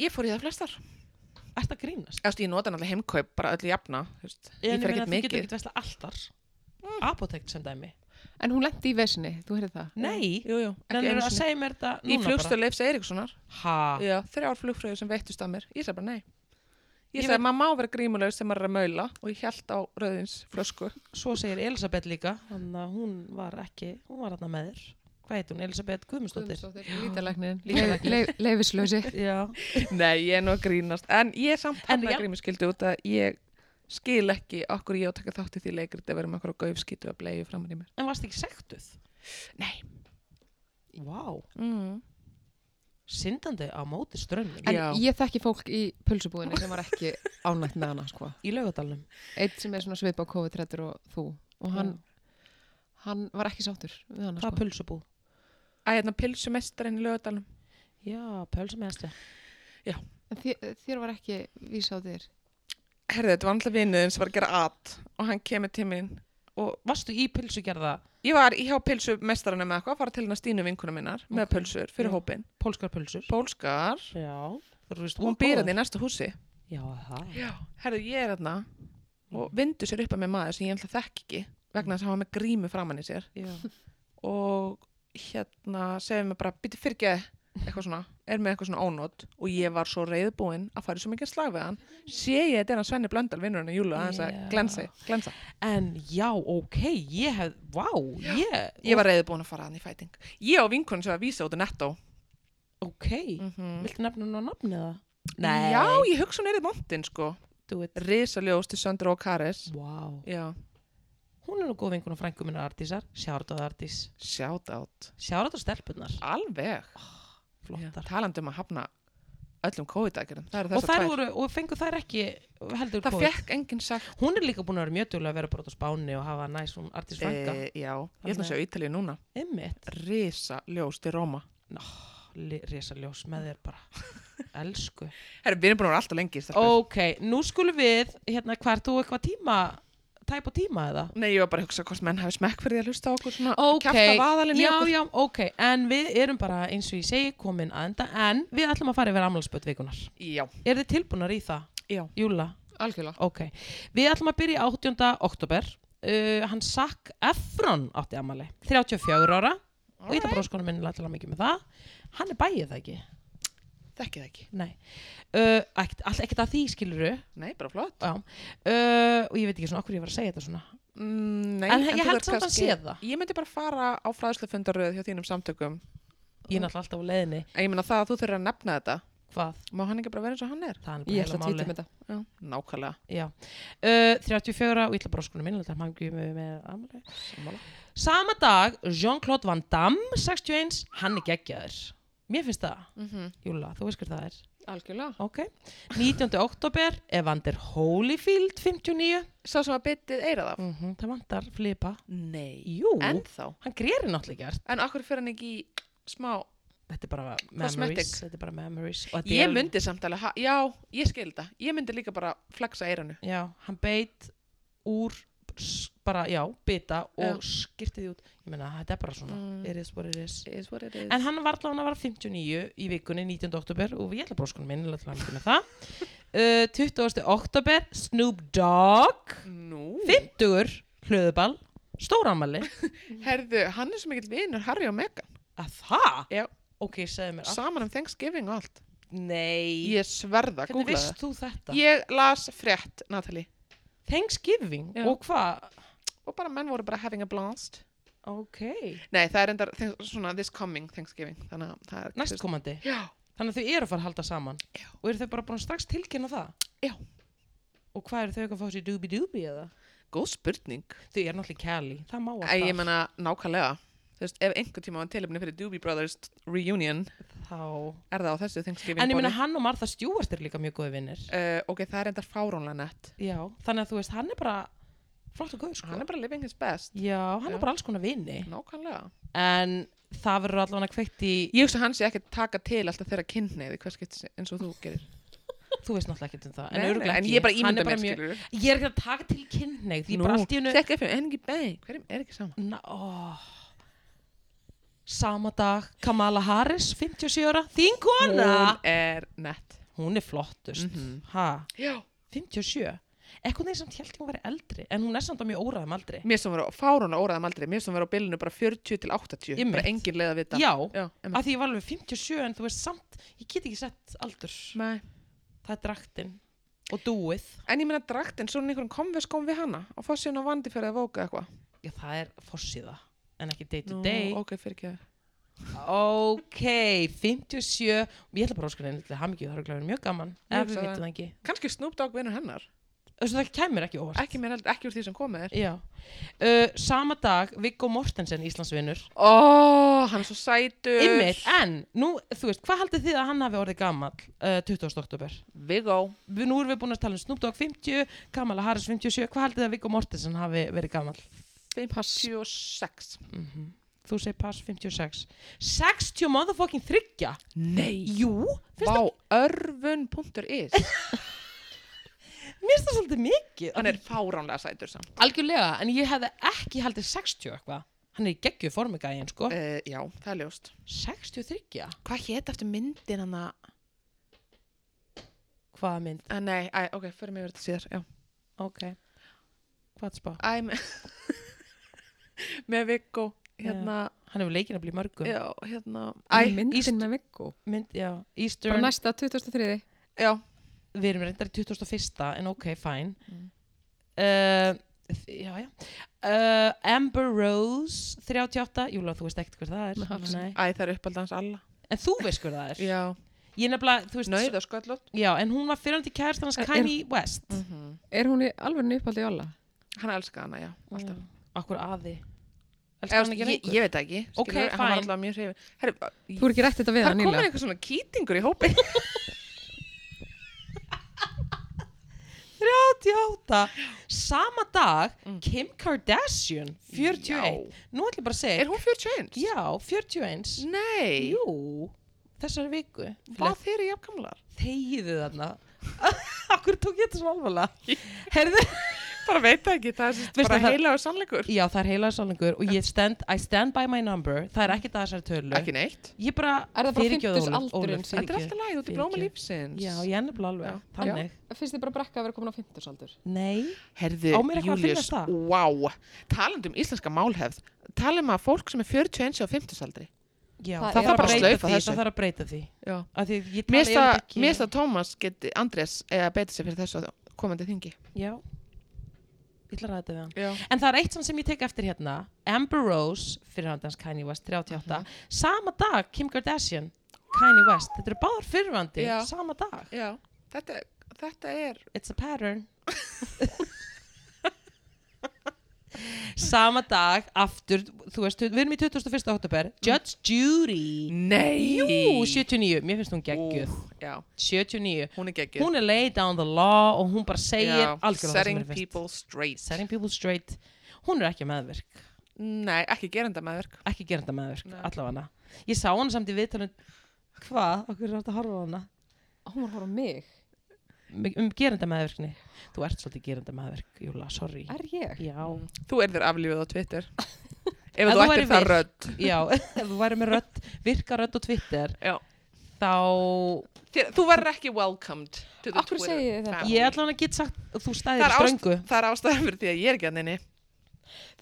Speaker 2: ég fór í það flestar
Speaker 1: Ert að grínast?
Speaker 2: Eftir, ég nota náttúrulega heimkaup bara öllu jafna þú veist. Ég
Speaker 1: En
Speaker 2: fyrir
Speaker 1: meina,
Speaker 2: ekkert
Speaker 1: Þú getur
Speaker 2: mikið
Speaker 1: ekkert vesla alltar. Mm. Apotekt sem dæmi.
Speaker 3: En hún lendi í vesinni, þú heyrði það.
Speaker 1: Nei,
Speaker 2: Jú, jú, ekki
Speaker 1: nefnir
Speaker 2: einu
Speaker 1: að
Speaker 2: sinni
Speaker 1: segja mér þetta
Speaker 2: Í
Speaker 1: núna bara. Ah.
Speaker 2: flugstöð Leifs Eiríkssonar
Speaker 1: Ha,
Speaker 2: já, Þrjár flugfröður sem veittust að mér Ég sagði bara nei Ég,
Speaker 1: Ég
Speaker 2: sagði,
Speaker 1: veit-
Speaker 2: maður má vera grímulegur sem maður er að maula og ég held á rauðins flösku
Speaker 1: svo segir Elisabeth líka, þannig að hún var ekki, hún var hérna með þér. Hvað heit hún? Elisabeth Guðmundsdóttir?
Speaker 3: Guðmundsdóttir, lítalæknin,
Speaker 1: Lýtalæknir.
Speaker 3: leif- leif- leifislausi.
Speaker 1: Já.
Speaker 2: Nei, ég er nú að grínast En ég er samt
Speaker 1: En
Speaker 2: hann að
Speaker 1: já.
Speaker 2: grímuskyldu út að ég skil ekki okkur ég á að taka þátt í því leikrit að vera með okkur á gaufskýtu að bleiðu framan í mér
Speaker 1: En varst ekki sektuð?
Speaker 2: Nei
Speaker 1: Vá. Mm. syndandi á móti strömmum
Speaker 3: En
Speaker 2: Já.
Speaker 3: ég þekki fólk í pulsubúðinni sem var ekki ánægt með hana, sko.
Speaker 1: í laugadalum
Speaker 3: Eitt sem er svona svipa á COVID-30 og þú. Og hann, hann var ekki sáttur við hana,
Speaker 1: hvað
Speaker 3: sko.
Speaker 1: pulsubú?
Speaker 2: Æ, hérna pilsumestarinn í lögadalum
Speaker 1: Já, pölsa með hestja
Speaker 3: En þér, þér var ekki vísa á þér.
Speaker 2: Herði, þetta var alltaf vinnuðin sem var að gera at og hann kemur til mín og
Speaker 1: Varstu í pulsugerða
Speaker 2: ég var í hjá pilsumestarinn með eitthvað að fara til hennar Stínu vinkuna minnar með
Speaker 1: Ok.
Speaker 2: pilsur fyrir
Speaker 1: Já.
Speaker 2: hópin
Speaker 1: pólskar pulsur?
Speaker 2: Pólskar
Speaker 1: Já Þú veist,
Speaker 2: hún býr hann í næsta húsi
Speaker 1: Já, það
Speaker 2: Já, herðu, ég er þarna og vindu sér upp að með maður sem ég ætla þekk ekki vegna þess að hafa með grímu framann í sér
Speaker 1: Já,
Speaker 2: og hérna segir mér bara, býti fyrirgeð eitthvað svona, er með eitthvað svona ónót og ég var svo reyðbúinn að fara í svo mikið slag við hann sé ég þetta er hann Svenni Blöndal vinnur hann að júlu aðeins að
Speaker 1: Já.
Speaker 2: glensa, glensa
Speaker 1: En já, ok, ég hef, vá, ég
Speaker 2: ég var reyðbúinn að fara hann í fæting ég og vinkunum sem var að vísa út í netto
Speaker 1: ok,
Speaker 2: Mhm.
Speaker 1: viltu nefna nú nafn eða?
Speaker 2: Mm. Já, ég hugsa hún er í montin sko
Speaker 1: do it
Speaker 2: Risaljós til Söndra og Karis
Speaker 1: wow.
Speaker 2: Já,
Speaker 1: hún er nú góð vingun og frængu minna artísar sjáratáð artís,
Speaker 2: shout out
Speaker 1: sjáratáð stelpunar
Speaker 2: Alveg
Speaker 1: flottar
Speaker 2: Talandi um að hafna öllum COVID-aðgerðum Það eru
Speaker 1: og
Speaker 2: þessar
Speaker 1: þær
Speaker 2: tvær
Speaker 1: voru, og fengu þær ekki heldur
Speaker 2: Það
Speaker 1: COVID.
Speaker 2: fekk enginn sagt
Speaker 1: hún er líka búin að vera mjög duglega að vera bara út á Spáni og hafa næs hún artís frænga
Speaker 2: Eh, Já, ég held að
Speaker 1: Þannig-
Speaker 2: sjá Ítalíu núna
Speaker 1: ymmit,
Speaker 2: Risaljós til Róma
Speaker 1: resa ljós með þér
Speaker 2: [LAUGHS]
Speaker 1: bara elsku
Speaker 2: Herra, við erum búin að vera alltaf lengi stelpur.
Speaker 1: ok, nú skulum við hérna, hvað er þú eitthvað tíma tæp á tíma eða?
Speaker 2: Nei, ég var bara að hugsa hvort menn hafi smekk fyrir því að hlusta á okkur svona
Speaker 1: ok,
Speaker 2: kjafta vaðalinn í
Speaker 1: já,
Speaker 2: okkur.
Speaker 1: já, ok en við erum bara eins og ég segi komin að enda en við ætlum að fara yfir ammalspöld vikunar
Speaker 2: Já,
Speaker 1: er þið tilbúnar í það?
Speaker 2: já.
Speaker 1: Júla,
Speaker 3: algjörlega
Speaker 1: ok við ætlum að byrja 8. oktober uh, hann Zac Efron átti ammali 34 ára og ég það bróskonum minn til að mikið með það hann er bæið það ekki?
Speaker 2: Þekki það ekki.
Speaker 1: Nei uh, ekkert, allt ekkert að því skiluru
Speaker 2: Nei, bara flott.
Speaker 1: Já, uh, og ég veit ekki svona okkur ég var að segja þetta svona
Speaker 2: Mm, nei,
Speaker 1: En ég
Speaker 2: þú
Speaker 1: held
Speaker 2: ert
Speaker 1: samt að hann
Speaker 2: kannski-
Speaker 1: sé það.
Speaker 2: Ég myndi bara fara á fræðslufundaröð hjá þínum samtökum.
Speaker 1: Ég er náttúrulega alltaf á leiðinni
Speaker 2: En ég meina það að þú þurfir að nefna þetta.
Speaker 1: Hvað?
Speaker 2: Má hann ekki bara vera eins og hann er?
Speaker 1: Það er
Speaker 3: Ég
Speaker 1: bara heila
Speaker 3: ætla að tvíta
Speaker 1: máli
Speaker 3: um þetta
Speaker 2: Já. Nákvæmlega.
Speaker 1: Já. uh, 34 og ég ætla bara skonum minn Þetta er mangi með, með afmæli.
Speaker 2: Sammála.
Speaker 1: Sama dag, Jean-Claude Van Damme 61, hann er geggjaður Mér finnst það,
Speaker 2: Mhm.
Speaker 1: Júla, þú veist hver það er
Speaker 3: Algjörlega
Speaker 1: Ok 19. oktober, Evander Holyfield 59
Speaker 2: Sá sem að byttið eirað af.
Speaker 1: mm Það vantar flipa
Speaker 2: Nei.
Speaker 1: Jú,
Speaker 2: Mhm. En þá.
Speaker 1: hann greirir náttúrulega gert
Speaker 2: En akkur fyrir hann ekki í smá...
Speaker 1: Þetta er bara memories
Speaker 2: Cosmetic.
Speaker 1: Þetta er bara memories Og þetta
Speaker 2: Ég
Speaker 1: er-
Speaker 2: myndi samt alveg... ha- Já, ég skil þetta. Ég myndi líka bara flexa eiranu.
Speaker 1: Já, hann beit úr s- bara, já, bita og skipti því út, ég meina þetta er bara svona
Speaker 2: Mm.
Speaker 1: it is what it is
Speaker 2: Is what it is.
Speaker 1: en hann var allavega hann var 59 í vikunni 19. oktober og ég ætla bróskunum minn til hann með
Speaker 2: [LAUGHS]
Speaker 1: það uh, 20. oktober Snoop Dogg
Speaker 2: Nú.
Speaker 1: 50 hlöðuball stóramali
Speaker 2: Herðu, hann er svo mikill vinur Harry og Meghan.
Speaker 1: að það?
Speaker 2: Já.
Speaker 1: Ok, segðu mér allt
Speaker 2: Saman um Thanksgiving og allt.
Speaker 1: Nei,
Speaker 2: Ég sverða,
Speaker 1: hvernig
Speaker 2: googlaði það.
Speaker 1: veist þú þetta?
Speaker 2: Ég las frétt, Natalie.
Speaker 1: Thanksgiving
Speaker 2: Já.
Speaker 1: og hvað?
Speaker 2: og bara menn voru bara having a blast
Speaker 1: Ok,
Speaker 2: nei það er endar þeng- svona this coming Thanksgiving þannig að það er
Speaker 1: næstkomandi
Speaker 2: já,
Speaker 1: Þannig að þau eru að fara að halda saman
Speaker 2: Já.
Speaker 1: og eru þau bara búin að strax tilkynna það?
Speaker 2: Já.
Speaker 1: Og hvað eru þau ekki að fá sér dooby-dooby eða?
Speaker 2: góð spurning
Speaker 1: Þau eru náttúrulega kæli, það má
Speaker 2: Æ, ég
Speaker 1: alltaf.
Speaker 2: menna nákvæmlega þú veist ef einhver tíma var tilöfni fyrir Doobie Brothers reunion
Speaker 1: Þá...
Speaker 2: er það á þessu Thanksgiving
Speaker 1: En ég meina
Speaker 2: borði.
Speaker 1: hann og Martha Stewart eru líka mjög góði vinnir.
Speaker 2: Eh, ok, það er endar fárónlega nett
Speaker 1: Já, þannig að þú veist, hann er bara flott og góð sko.
Speaker 2: hann er bara living his best
Speaker 1: Já, hann
Speaker 2: Já.
Speaker 1: er bara alls konar vinni.
Speaker 2: nákvæmlega
Speaker 1: En það verður allavega kveikt í,
Speaker 2: ég hugsa hann sé ekki að taka til alltaf þeirra kynneiði hvers getur eins og þú gerir
Speaker 1: þú veist náttúrulega ekkert um það.
Speaker 2: Nei, nei,
Speaker 1: örugglega
Speaker 2: en
Speaker 1: ekki.
Speaker 2: ég bara
Speaker 1: Hann
Speaker 2: ímynda
Speaker 1: bara
Speaker 2: mér
Speaker 1: mjög-
Speaker 2: skilur
Speaker 1: Ég er ekki að taka til kynneið, því ég bara allt í hennu...
Speaker 2: Sekk FM, engi bæ, hverjum er ekki sama?
Speaker 1: Na, ó, sama dag, Kamala Harris, 57 ára, þín kona!
Speaker 2: Hún er nett
Speaker 1: hún er flottust
Speaker 2: Mhm.
Speaker 1: ha,
Speaker 2: Já
Speaker 1: 57 eitthvað þeir samt held ég hún væri eldri en hún er samt á mjög óraðum aldri
Speaker 2: Mér sem vera á fárun og óraðum aldrei, mér sem vera á bilinu bara 40 til 80,
Speaker 1: Einmitt.
Speaker 2: bara engin leið að vita.
Speaker 1: já,
Speaker 2: Já
Speaker 1: af því ég var alveg 57 en þú veist samt, ég get ekki sett aldur
Speaker 2: Nei.
Speaker 1: það er draktin og dúið
Speaker 2: En ég meina draktin, svo er hún í einhverjum konverskóm við hana og fór síðan á vandi fyrir að vóka eitthvað.
Speaker 1: já, það er fossiða en ekki day to day
Speaker 2: Nú, ok, fyrir ekki það.
Speaker 1: ok, 57 ég ætla bara að óskar henni til hamingju það er örugglega verið mjög gaman
Speaker 2: Ég
Speaker 1: ef við
Speaker 2: hugsa það.
Speaker 1: vitum það ekki
Speaker 2: Kanski Snoop Dogg vinnur hennar.
Speaker 1: Þessu, það kæmur ekki óvart
Speaker 2: Ekki mér heldur, ekki úr því sem komið er.
Speaker 1: Já. Uh, sama dag, Viggo Mortensen Íslandsvinnur
Speaker 2: Ó, hann er svo sætur.
Speaker 1: Einmitt, en nú, þú veist, hvað haldið þið að hann hafi orðið gamall uh, 20. oktober?
Speaker 2: Viggo.
Speaker 1: Við, nú erum við búin að tala um Snoop Dogg 50, Kamala Harris 57, hvað haldið þið að Viggo Mortensen hafi verið gamall?
Speaker 2: 56.
Speaker 1: Þú segir pass 56. 60 motherfucking þryggja?
Speaker 2: Nei.
Speaker 1: Jú, finnst
Speaker 2: Vá,
Speaker 1: það,
Speaker 2: örfun.is.
Speaker 1: mér finnst það svolítið mikið.
Speaker 2: Hann er fáránlega sætur samt.
Speaker 1: algjörlega, en ég hefði ekki haldið 60 eitthvað. Hann er í geggju formigægin, sko.
Speaker 2: Uh, já, það er ljóst.
Speaker 1: 63?
Speaker 2: Hvað hétt eftir myndin hann að...
Speaker 1: Hvaða mynd?
Speaker 2: Eh, Nei, æ, ok, fyrir mig verið þetta síðar, já.
Speaker 1: Ok. Hvað spá?
Speaker 2: Æ, me- [LAUGHS] með Viggo hérna,
Speaker 1: Hann hefur leikin að bli mörgum.
Speaker 2: já, hérna
Speaker 3: Æ,
Speaker 2: Æ,
Speaker 1: íst-
Speaker 3: myndin með Viggo
Speaker 1: Mynd, já. Eastern.
Speaker 3: Bara næsta 2003
Speaker 2: já,
Speaker 1: við erum reyndar í 2001 en ok, fine mm.
Speaker 2: Mm.
Speaker 1: já, já uh, Amber Rose 38, Júla, þú veist ekkert hver það er
Speaker 3: Nei.
Speaker 1: Nei.
Speaker 2: æ, það er uppaldans alla
Speaker 1: en þú veist hver það er
Speaker 2: já,
Speaker 1: ég nefnilega, þú veist,
Speaker 2: nöiða sköllótt
Speaker 1: já, en hún var fyrrandi kærist hans
Speaker 3: Er-
Speaker 1: Kanye West
Speaker 3: Er hún í alveg uppaldi í alla?
Speaker 2: hann elska hana, já, alltaf
Speaker 1: okkur aði elskar
Speaker 2: Eða,
Speaker 1: hann ekki
Speaker 2: ég, ég,
Speaker 1: lengur
Speaker 2: ég veit það Mm. ekki, skilur,
Speaker 1: Ok,
Speaker 2: hann var
Speaker 1: fine.
Speaker 2: alltaf mjög hrifin Herri,
Speaker 3: Þú er ekki rætt þetta við
Speaker 2: það
Speaker 3: hann
Speaker 2: er komin
Speaker 3: nýlega?
Speaker 2: eitthvað svona kýtingur í [LAUGHS] hópi
Speaker 1: 38, sama dag Kim Kardashian, 41
Speaker 2: Já.
Speaker 1: nú ætlum ég bara að segja,
Speaker 2: er hún 41?
Speaker 1: já, 41
Speaker 2: nei,
Speaker 1: jú, þessari viku
Speaker 2: hvað þeir eru jafn gamlar?
Speaker 1: þegiðu þarna [LAUGHS] okkur tók ég þetta svo alvarlega herðu,
Speaker 2: bara veit það ekki, það er
Speaker 1: Veistu
Speaker 2: bara
Speaker 1: það-
Speaker 2: heila og sannleikur
Speaker 1: já það er heilaður sálingur og ég stand, I stand by my number það er ekkert að þessari tölu
Speaker 2: ekki neitt,
Speaker 1: ég bara,
Speaker 3: Er það bara
Speaker 1: fyrirgefðu, Ólöf,
Speaker 3: 50s aldurinn
Speaker 1: Ólöf,
Speaker 3: sem-
Speaker 2: þetta er
Speaker 1: fyrirgefðu.
Speaker 2: alltaf læg, þú ert í
Speaker 1: fyrirgefðu.
Speaker 2: blóma lífsins
Speaker 1: já, ég er nefnilega alveg,
Speaker 2: Já.
Speaker 1: þannig
Speaker 3: Finnst þið bara brekka að vera komin á 50 saldur?
Speaker 1: nei,
Speaker 2: Herði,
Speaker 1: Á mér eitthvað að
Speaker 2: Július,
Speaker 1: finnast það?
Speaker 2: wow, talandi um íslenska málhefð, talum að fólk sem er 41 á 50 aldri.
Speaker 1: já,
Speaker 3: Það
Speaker 1: það,
Speaker 3: er
Speaker 1: þarf að
Speaker 3: bara
Speaker 2: að
Speaker 1: breyta
Speaker 2: slaufa
Speaker 1: því
Speaker 2: þessu.
Speaker 1: það þarf að breyta því
Speaker 2: Já.
Speaker 1: Af því ég tala
Speaker 2: Mér finnst að-
Speaker 1: yfirleitt ekki-
Speaker 2: mér finnst að Tómas geti, Andrés, eða beita sér fyrir þessu á komandi þingi.
Speaker 1: já, ég ætla að ræða þetta við hann
Speaker 2: Já.
Speaker 1: En það er eitt samt sem ég tek eftir hérna Amber Rose, fyrirhandans Kanye West 38, sama dag Kim Kardashian Kanye West, þetta eru báðar fyrirhandi
Speaker 2: Já.
Speaker 1: sama dag,
Speaker 2: Já. Þetta, þetta er,
Speaker 1: it's a pattern Sama dag, aftur þú veist, við erum í 21. oktober Judge Judy
Speaker 2: nei.
Speaker 1: Jú, 79, mér finnst hún geggjöð
Speaker 2: Já,
Speaker 1: 79,
Speaker 2: hún er geggjöð.
Speaker 1: hún er laid down the law og hún bara segir algjörlega það sem
Speaker 2: setting
Speaker 1: henni finnst.
Speaker 2: people straight.
Speaker 1: setting people straight hún er ekki meðverk
Speaker 2: Nei, ekki gerenda meðverk.
Speaker 1: ekki gerenda meðverk,
Speaker 2: Nei.
Speaker 1: allavega ég sá hana samt í viðtalun hvað, okkur er þetta að horfa á hana
Speaker 3: Hún var að horfa á mig.
Speaker 1: M- um gerenda meðverkni, þú ert svolítið gerenda meðverk Júla, sorry
Speaker 3: Er ég?
Speaker 1: já,
Speaker 2: Þú erðir aflífið á [LAUGHS] Twitter. Ef
Speaker 1: Ef
Speaker 2: þú
Speaker 1: þú
Speaker 2: ættir
Speaker 1: værir
Speaker 2: það
Speaker 1: virk.
Speaker 2: rödd.
Speaker 1: já, [LAUGHS] ef þú væri með rödd virka rödd og Twitter
Speaker 2: Já.
Speaker 1: þá,
Speaker 2: Þér- Þú verður ekki welcomed to the
Speaker 3: Af hverju
Speaker 2: Twitter
Speaker 3: segið þið þetta?
Speaker 2: family.
Speaker 1: ég ætla hann að geta sagt að þú
Speaker 2: Það
Speaker 1: stæðir
Speaker 2: er
Speaker 1: í
Speaker 2: ást-
Speaker 1: ströngu
Speaker 2: Það er ástæðan fyrir því að ég er ekki að neini.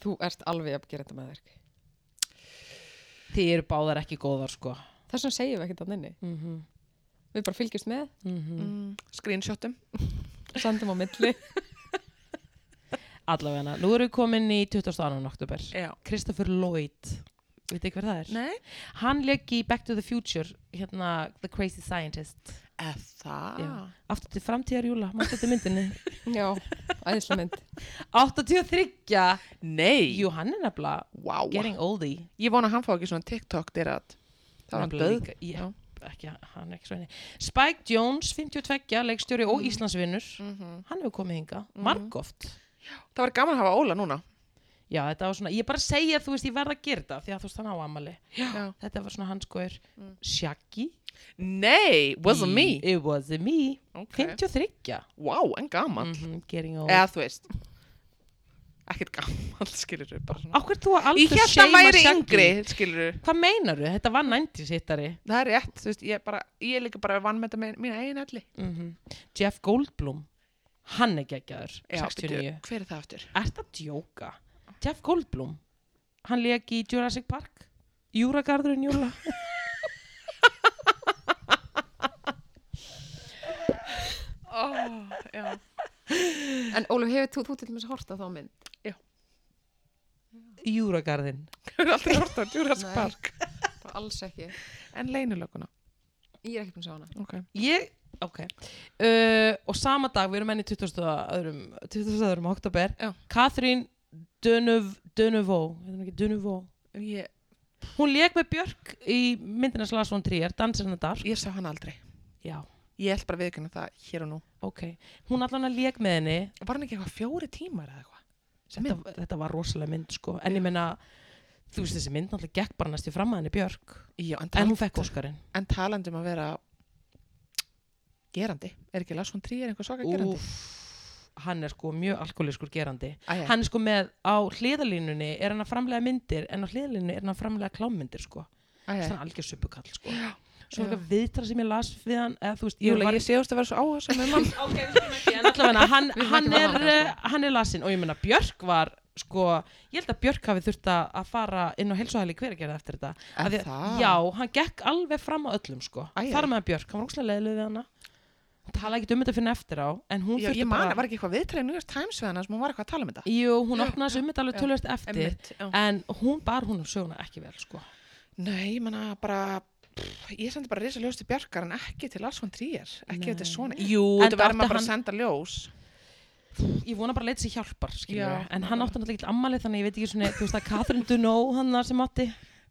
Speaker 3: Þú ert alveg að gera þetta með þér.
Speaker 1: þið eru báðar ekki góðar sko
Speaker 3: Þess vegna segjum við ekkert að nynni.
Speaker 1: mm
Speaker 2: Mhm,
Speaker 1: -hmm.
Speaker 3: Við bara fylgjumst með,
Speaker 2: Mm, screenshotum.
Speaker 3: sendum á milli.
Speaker 1: allavega, nú erum við komin í 22. oktober
Speaker 2: Já.
Speaker 1: Christopher Lloyd veit ekki hver það er?
Speaker 2: Nei.
Speaker 1: hann leik í Back to the Future hérna The Crazy Scientist
Speaker 2: Eða það?
Speaker 1: Já. aftur til framtíðar júla, maður þetta myndinni [LAUGHS]
Speaker 3: [LAUGHS] Já, æðislega mynd.
Speaker 1: 83,
Speaker 2: Nei.
Speaker 1: jú hann er nefnilega
Speaker 2: Vá.
Speaker 1: getting oldie
Speaker 2: Ég vona að hann fá ekki svona TikTok dyrat. Það var hann
Speaker 1: Nefnilega
Speaker 2: döð.
Speaker 1: líka- ég- ekki, hann er ekki sveini Spike Jones, 52, leikstjóri og Íslandsvinnur hann hefur komið hinga, margóft
Speaker 2: Það var gaman að hafa Óla núna.
Speaker 1: já þetta var svona, ég bara segja þú veist ég verð að gera þetta því að þú veist hann á amali
Speaker 2: Já.
Speaker 1: þetta var svona hans skoður Shaggy,
Speaker 2: Nei, wasn't me.
Speaker 1: it was me
Speaker 2: Ok.
Speaker 1: 53,
Speaker 2: Vá, en gaman.
Speaker 1: mm getting old
Speaker 2: Eða þú veist. Ekkert gaman, [LAUGHS] skilur þú bara svona.
Speaker 1: Akkur þú að aldur
Speaker 2: Ég held að hann
Speaker 1: shama
Speaker 2: væri
Speaker 1: Shaggy?
Speaker 2: yngri, skilur þú.
Speaker 1: Hvað meinar þú? Þetta var 90s hittari.
Speaker 2: Það er rétt, þú veist, ég, bara, ég er líka bara vann með þetta með mína eigin allir.
Speaker 1: Jeff Goldblum, hann er geggjaður, 69.
Speaker 2: Hver er það aftur?
Speaker 1: Ert að djóka? Jeff Goldblum, hann leik í Jurassic Park, Júragarðurinn Júla.
Speaker 2: Ó, já.
Speaker 3: En Óluf, hefur þú, þú til dæmis hort á þá mynd?
Speaker 1: Júragarðinn.
Speaker 2: [LAUGHS] Þú er aldrei hort á Jurassic
Speaker 3: Nei.
Speaker 2: Park.
Speaker 3: Bara alls ekki.
Speaker 2: En leinulökunna.
Speaker 3: Ég er ekki búin að sjá hana.
Speaker 2: Okay.
Speaker 1: Ég, ok. Uh, og sama dag, við erum enn í 20. öðrum, 20. öðrum oktober,
Speaker 2: Já.
Speaker 1: Catherine Dunev, Dunevaux, hefur hún ekki Dunevaux?
Speaker 2: Ég,
Speaker 1: Hún leik með Björk í myndina Slags von Trier, Dansirna Dark.
Speaker 2: ég sá hann aldrei.
Speaker 1: Já,
Speaker 2: Ég ætla bara að viðkynna það hér og nú.
Speaker 1: ok. Hún allan að leik með henni,
Speaker 2: Var hann ekki eitthvað fjóri tímar eða eitthvað? Sem mynd?
Speaker 1: þetta, þetta var rosalega mynd sko en ég meina þú veist þessi mynd náttúrulega gekk bara næstu fram að henni Björk
Speaker 2: Já, en,
Speaker 1: en
Speaker 2: taland,
Speaker 1: hún fekk Óskarinn
Speaker 2: en talandi um að vera gerandi. Er ekki Lars von Trier einhver svaka gerandi?
Speaker 1: Úff, hann er sko mjög alkoholiskur gerandi
Speaker 2: Æ, æ.
Speaker 1: hann er sko með á hliðalínunni er hann að framlega myndir en á hliðalínunni er hann að framlega klámyndir sko
Speaker 2: Æ, æ.
Speaker 1: þannig algjör suppukall sko
Speaker 2: Já,
Speaker 1: svo
Speaker 2: já.
Speaker 1: eitthvað viðtara sem ég las við hann eða þú veist
Speaker 2: Júla,
Speaker 1: var
Speaker 2: ég séðust að vera svo áhersa með mann.
Speaker 1: ok, við skulum ekki en allavega
Speaker 3: [LAUGHS]
Speaker 1: hann,
Speaker 3: Við skulum
Speaker 1: hann,
Speaker 3: ekki
Speaker 1: er,
Speaker 3: fara þangað,
Speaker 1: uh, hann er lasin og ég meina Björk var sko, ég held að Björk hafi þurft að að fara inn á heilsuhæli hver að gera eftir þetta [LAUGHS]
Speaker 2: Er
Speaker 1: Af því að-
Speaker 2: það?
Speaker 1: já, hann gekk alveg fram á öllum sko,
Speaker 2: Æ,
Speaker 1: þar með Björk, hann var ógstlega leiðileg við hana hún talaði ekkert um þetta fyrir eftir á en hún
Speaker 2: Já,
Speaker 1: þurfti
Speaker 2: ég man,
Speaker 1: bara
Speaker 2: var ekki eitthvað viðtræðið New York Times við hann sem hún var eitthvað að tala um þetta?
Speaker 1: jú, hún opnaði þessu um þetta alveg
Speaker 2: já,
Speaker 1: tölvöld eftir
Speaker 2: Einmitt, já.
Speaker 1: en hún bar hún um söguna ekki vel sko
Speaker 2: Nei, ég manna bara ég sendi bara risa ljós til Bjarkar en ekki til Lars von Trier ekki
Speaker 1: Nei.
Speaker 2: að þetta er svona jú,
Speaker 1: En
Speaker 2: þetta verður
Speaker 1: átti
Speaker 2: maður bara að
Speaker 1: hann-
Speaker 2: senda ljós
Speaker 1: ég vona bara að leita sér hjálpar skilur
Speaker 2: Já,
Speaker 1: við. en hann
Speaker 2: nákvæmlega.
Speaker 1: átti náttúrulega ekki ammalið þannig ég veit ekki svona, þú veist að Catherine Dunó hann þar sem átti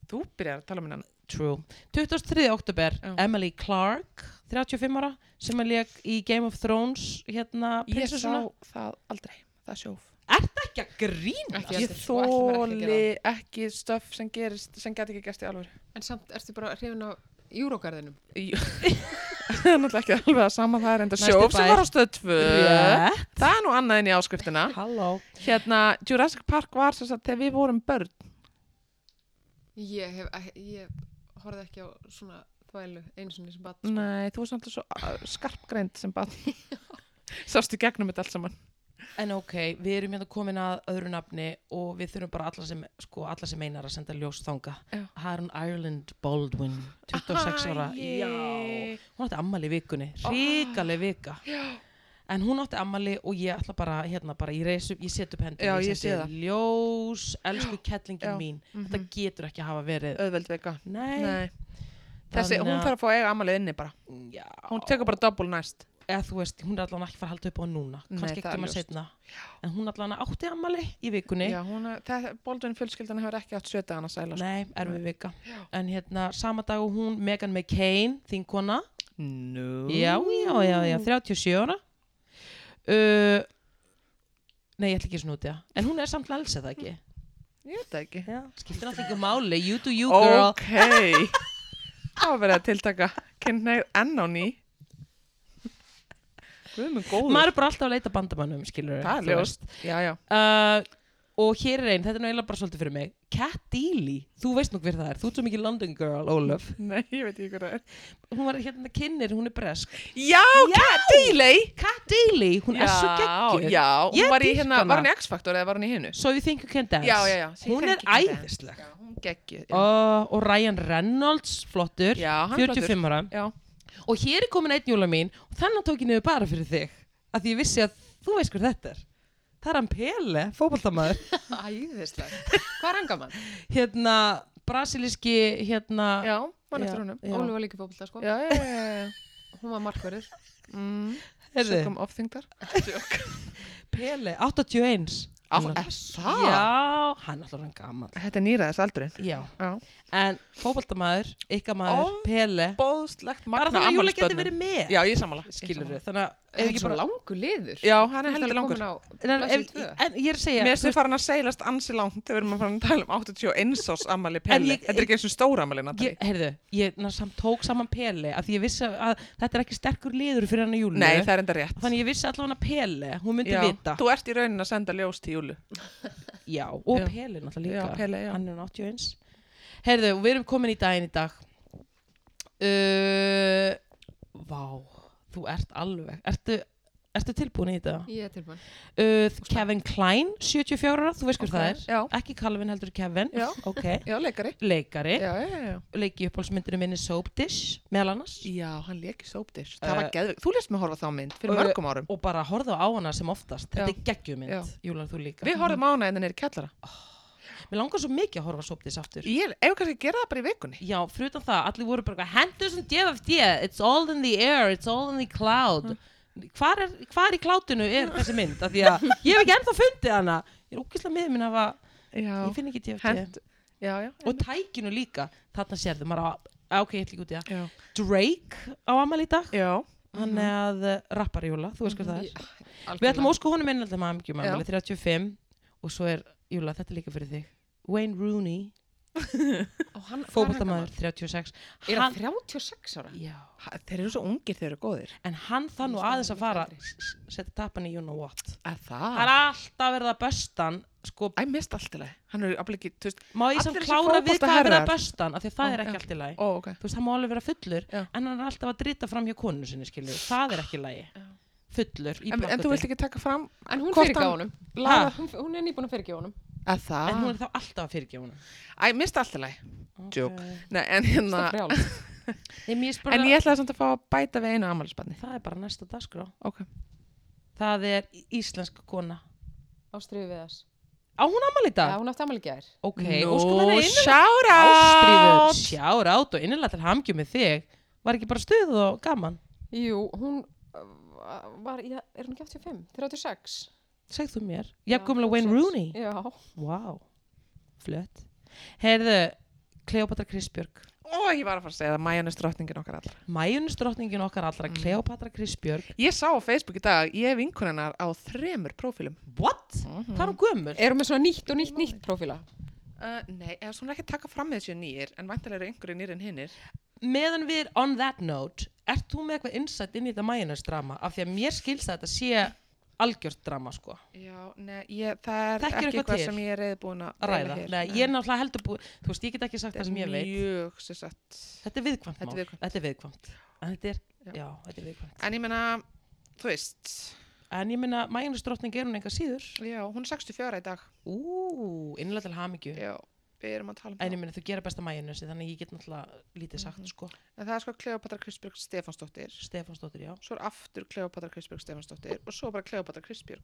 Speaker 2: þú byrjar að tala um hann
Speaker 1: True. 23. oktober,
Speaker 2: Já.
Speaker 1: Emily Clark 35 ára, sem er leik í Game of Thrones hérna,
Speaker 2: ég sá
Speaker 1: prinsessuna
Speaker 2: það aldrei, það er sjóf
Speaker 1: ekki að grína
Speaker 3: Ekki
Speaker 2: ég
Speaker 3: heldur, og ætla mér ekki að
Speaker 2: þóli ekki stöf sem gerist sem gæti ekki gerst í alveg
Speaker 3: En samt ertu bara hrifin á júrógarðinum.
Speaker 2: [LAUGHS] það er náttúrulega ekki alveg að sama það er enda
Speaker 1: Næsti
Speaker 2: sjóf
Speaker 1: bær.
Speaker 2: sem var á stöð 2
Speaker 1: Rétt.
Speaker 2: það er nú annað en í áskriftina
Speaker 1: Halló
Speaker 2: hérna, Jurassic Park var sem sagt þegar við vorum börn
Speaker 3: Ég hef, ek- ég horfði ekki á svona þvælu einu sinni sem sko. bat. [LAUGHS]
Speaker 2: nei, þú varst náttúrulega svo uh, skarpgreind sem [LAUGHS] bara sástu í gegnum þetta allt saman
Speaker 1: En ok, við erum hérna komin að öðru nafni og við þurfum bara alla sem, sko, alla sem einar að senda ljós þanga.
Speaker 2: Já.
Speaker 1: Harun Ireland Baldwin, 26 ára.
Speaker 2: Æi.
Speaker 1: Já, hún átti ammali í vikunni, ríkaleg vika.
Speaker 2: já
Speaker 1: En hún átti ammali og ég ætla bara, hérna bara, ég reis upp, ég set upp hendur.
Speaker 2: Já, ég sé það.
Speaker 1: Ljós, elsku kettlingin
Speaker 2: Já.
Speaker 1: mín. Þetta getur ekki að hafa verið.
Speaker 2: auðveld veika
Speaker 1: Nei.
Speaker 2: Nei. Þessi, hún þarf að fá að eiga amalið inni bara
Speaker 1: Já.
Speaker 2: hún tekur bara doppul næst
Speaker 1: eða þú veist, hún er allan ekki fara að halda upp á hann núna.
Speaker 2: Nei,
Speaker 1: Kannski
Speaker 2: það
Speaker 1: ekki
Speaker 2: er
Speaker 1: maður
Speaker 2: ljóst.
Speaker 1: setna. En hún allan átti ammali í vikunni.
Speaker 2: Já, hún, það, Baldwin fjölskyldan hefur ekki átt sjöta hann að sæla
Speaker 1: Nei, erfið vika. En hérna, sama dag og hún, Megan McCain, þín kona.
Speaker 2: no.
Speaker 1: Já, já, já, já, 37 ára. Uh, nei, ég ætla ekki að snúti það. En hún er samt lelsið það ekki.
Speaker 2: Ég veit það ekki
Speaker 1: Já. Skiptir alltaf ekki máli, you do you girl.
Speaker 2: Ok Það var verið að tiltaka kynneið enn á ný Guð með góður
Speaker 1: Maður er bara alltaf að leita bandamannum, skilur
Speaker 2: Það er ljóst Já, já
Speaker 1: Uh, og hér er einn, þetta er nú eiginlega bara svolítið fyrir mig. Kat Deely, þú veist nú hver það er. Þú ert svo mikið London girl, Ólaf.
Speaker 2: Nei, ég veit ekki hvað það er
Speaker 1: Hún var hérna kynir, hún er bresk.
Speaker 2: Já, Kat Dealey
Speaker 1: Kat Deely, hún er svo geggjur.
Speaker 2: Já, hún
Speaker 1: Ég
Speaker 2: var í
Speaker 1: dýrka
Speaker 2: hérna,
Speaker 1: hana.
Speaker 2: var hún í X-Factor eða var hún í hinu?
Speaker 1: So you think you can dance.
Speaker 2: Já, já, já Ég
Speaker 1: Hún
Speaker 2: þekki
Speaker 1: er
Speaker 2: ekki þetta.
Speaker 1: æðisleg.
Speaker 2: Já, hún geggjuð já.
Speaker 1: uh, og Ryan Reynolds flottur,
Speaker 2: Já, hann
Speaker 1: 45 ára
Speaker 2: Já,
Speaker 1: og hér er komin einn júla mín og þannig tók ég niður bara fyrir þig af því ég vissi að þú veist hver þetta er það er hann Pele, fótballtamaður
Speaker 3: Æðislega. Hvað er enga mann?
Speaker 1: hérna, brasilíski hérna,
Speaker 2: já, mann
Speaker 1: Já.
Speaker 2: eftir honum
Speaker 1: Já.
Speaker 3: Ólu var líka fókbalta, sko.
Speaker 2: Já, já, já, já, já.
Speaker 3: Hún var markverður.
Speaker 2: Mm,
Speaker 1: heyrðu,
Speaker 2: Sökum ofþyngdar
Speaker 1: Pele 81
Speaker 2: Á,
Speaker 1: Hann-
Speaker 2: er það?
Speaker 1: já, hann er alltaf hann gaman
Speaker 2: Þetta er nýraðis aldurinn
Speaker 1: já,
Speaker 2: Já.
Speaker 1: en fótballtamaður ykkar maður,
Speaker 2: Ó,
Speaker 1: Pele
Speaker 2: Bóðslegt
Speaker 1: bara þannig að júla geti verið með
Speaker 2: Já, ég sammála
Speaker 1: skilur við, þannig að
Speaker 3: Er
Speaker 1: ef
Speaker 3: ekki
Speaker 1: ekki
Speaker 3: bara
Speaker 1: bara
Speaker 3: langu liður?
Speaker 2: Já, hann er
Speaker 3: Hann er
Speaker 2: heldur langur
Speaker 3: komin á
Speaker 1: en, ef,
Speaker 3: blaðsíðu tvö.
Speaker 1: en ég er að segja
Speaker 2: Mér
Speaker 1: þú
Speaker 2: sem farin að seilast ansi langt þegar við erum að fara að tala um 81 ás ammali peli.
Speaker 1: ég-
Speaker 2: Þetta er ekki eins og stóra ammali, Natalie.
Speaker 1: Ég, heyrðu, ég ná, samt tók saman Pele af því ég vissi að þetta er ekki sterkur liður fyrir hann að Júlu
Speaker 2: Nei, það er enda rétt.
Speaker 1: þannig ég vissi allavega hann að Pele, hún myndi
Speaker 2: Já,
Speaker 1: vita
Speaker 2: Þú ert í raunin að senda ljós til Júlu.
Speaker 1: já, og
Speaker 2: Já.
Speaker 1: Pele náttúrulega líka
Speaker 2: Já, Pele, já.
Speaker 1: hann er 81 heyrðu, og við erum komin í daginn í dag uh, Vá, þú ert alveg ertu, ertu tilbúin í þetta?
Speaker 3: Ég er tilbúin.
Speaker 1: Uh, Kevin Klein, 74 ára, þú veist hver
Speaker 2: Ok, já.
Speaker 1: það er ekki Calvin heldur Kevin
Speaker 2: Já.
Speaker 1: ok,
Speaker 2: Já, leikari.
Speaker 1: leikari,
Speaker 2: Já, já, já.
Speaker 1: leiki uppáhaldsmyndinu minni Soap Dish, meðal annars
Speaker 2: Já, hann leikir sóptir.
Speaker 1: Eh,
Speaker 2: Það var geðvig. Þú lést mig horfa þá mynd fyrir
Speaker 1: Eh,
Speaker 2: mörgum árum.
Speaker 1: og bara horfðu á hana sem oftast þetta
Speaker 2: Já.
Speaker 1: er geggjumynd,
Speaker 2: Já.
Speaker 1: Júlar þú líka
Speaker 2: Við horfum á hana en það er í kellara.
Speaker 1: mér langar svo mikið að horfa á Soptis aftur
Speaker 2: Ég er, ef kannski að gera það bara í vikunni.
Speaker 1: já, frutan það, allir voru bara hendur sem DFD, it's all in the air it's all in the cloud hvar er, hvar í klátinu er þessi mynd af því að
Speaker 2: [LAUGHS]
Speaker 1: ég hef ekki ennþá fundið hana ég er ógislega miður minn af að
Speaker 2: Já.
Speaker 1: ég finn ekki DFD
Speaker 2: Hent. Já, já.
Speaker 1: og tækinu líka, þarna sérðu maður á á, ok, ég ætla ekki út í það
Speaker 2: Já. Mhm.
Speaker 1: Drake á amal í dag,
Speaker 2: Já.
Speaker 1: hann er að rappar Júla, þú
Speaker 2: Mhm.
Speaker 1: veist hvað það er
Speaker 3: Ég-
Speaker 1: Við ætlum
Speaker 3: algjörlega.
Speaker 1: að ósku honum innaldum að amgjum
Speaker 2: Já.
Speaker 1: ammali 35 og svo er, Júla, þetta er líka fyrir þig Wayne Rooney,
Speaker 3: Og hann- hvað er
Speaker 1: fótboltamaður 36
Speaker 3: enga maður? Er hann
Speaker 1: hann,
Speaker 3: 36 ára?
Speaker 1: já,
Speaker 2: Ha- Þeir eru svo ungir þeir eru góðir.
Speaker 1: En hann það nú
Speaker 3: Hann er
Speaker 1: aðeins að fara
Speaker 3: eldri.
Speaker 1: setja tappan í you know what
Speaker 2: Að
Speaker 1: Það er alltaf verið að böstan sko,
Speaker 2: Æ, mist allt í lagi. Hann er alveg ekki, þú veist,
Speaker 1: má ég
Speaker 2: allir
Speaker 1: samt
Speaker 2: þessir
Speaker 1: klára við hvað er verið að
Speaker 2: fótboltaherrar.
Speaker 1: böstan af því að það
Speaker 2: Ó,
Speaker 1: er ekki
Speaker 2: já.
Speaker 1: allt í lagi
Speaker 2: ó, ok.
Speaker 1: Þú veist, hann má alveg vera fullur
Speaker 2: Já. Ah.
Speaker 1: en hann er alltaf að drita fram hjá konu sinni skilur. það er ekki í lagi fullur í
Speaker 2: En, en þú
Speaker 1: plakati.
Speaker 2: vilt ekki taka fram
Speaker 3: En hún
Speaker 2: Hvort
Speaker 3: fyrir ekki á
Speaker 2: hann-
Speaker 3: honum.
Speaker 1: Ha?
Speaker 3: Hún- Hún er nýbúin að fyrir ekki á honum.
Speaker 2: að það?
Speaker 1: en hún er þá alltaf að fyrirgefa hún
Speaker 2: Æ, mist allt í lagi. Ah. Joke. Nei, en hérna,
Speaker 3: Það er frjálst.
Speaker 2: en ég ætlaði samt að fá að bæta við einu ammælisbarni.
Speaker 1: það er bara næsta dagskrá
Speaker 2: Ok.
Speaker 1: Það er í- íslensk kona
Speaker 3: Ástriði við þess.
Speaker 1: Á hún ammali í
Speaker 3: Já,
Speaker 1: dag?
Speaker 3: hún átti amal í gær.
Speaker 1: Ok,
Speaker 2: Nú,
Speaker 1: óskum henni innilega
Speaker 2: shout
Speaker 1: ástríður,
Speaker 2: out
Speaker 1: sjáur át og innilega til hamgju með þig var ekki bara stuð og gaman
Speaker 3: Jú, hún uh, var, já, er hún ekki 85? 36?
Speaker 1: segð þú mér,
Speaker 3: Já,
Speaker 1: jafnkvæmlega Wayne
Speaker 3: 36.
Speaker 1: Rooney
Speaker 3: Já.
Speaker 1: wow, flött heyrðu, Kleopatra Krisbjörg
Speaker 2: Ó, ég var að fara að segja það, majónis drottningin okkar allra
Speaker 1: mæjunusdrottningin okkar
Speaker 3: Mm.
Speaker 1: allra, Kleopatra Krisbjörg
Speaker 2: Ég sá á Facebook í dag, ég hef vinkunennar á þremur prófílum
Speaker 1: what?
Speaker 3: Mhm.
Speaker 1: hvað er hún gömul?
Speaker 3: Er hún með svona nýtt og nýtt, nýtt prófíla?
Speaker 2: uh, Nei, eða svona ekki að taka fram með þessu nýjir en væntalega eru einhverju nýjir en hinnir
Speaker 1: meðan við on that note ert þú með eitthvað innsætt inn í þetta mæjunusdrama af því að mér skilst að þetta sé algjört drama sko
Speaker 2: Já, nei, ég, það er
Speaker 1: Þekkir
Speaker 2: ekki
Speaker 1: eitthvað
Speaker 2: eitthvað
Speaker 1: til?
Speaker 2: sem ég er reyðbúin að
Speaker 1: að
Speaker 2: deila
Speaker 1: ræða,
Speaker 2: hér.
Speaker 1: Nei, ég er náttúrulega heldur búið þú veist, ég get ekki sagt það sem ég veit
Speaker 2: Mjög, sem sagt
Speaker 1: Þetta er viðkvæmt
Speaker 2: Þetta er
Speaker 1: mál.
Speaker 2: viðkvæmt.
Speaker 1: Þetta er viðkvæmt. En þetta er,
Speaker 2: Já.
Speaker 1: já, þetta er viðkvæmt.
Speaker 2: En ég meina, þú veist
Speaker 1: En ég minna, mæjunusdrottning er hún enga síður.
Speaker 2: Já, hún er 64 í dag
Speaker 1: Ú, innlega til hamingju.
Speaker 2: Já, við erum að tala um
Speaker 1: En ég
Speaker 2: það
Speaker 1: minna, þú gera besta mæjunusi, þannig að ég get náttúrulega lítið
Speaker 2: Mhm.
Speaker 1: sagt, sko.
Speaker 2: En það er sko Kleopatra Kristbjörg Stefansdóttir
Speaker 1: Stefansdóttir, já.
Speaker 2: Svo er aftur Kleopatra Kristbjörg Stefansdóttir Og svo bara Kleopatra Kristbjörg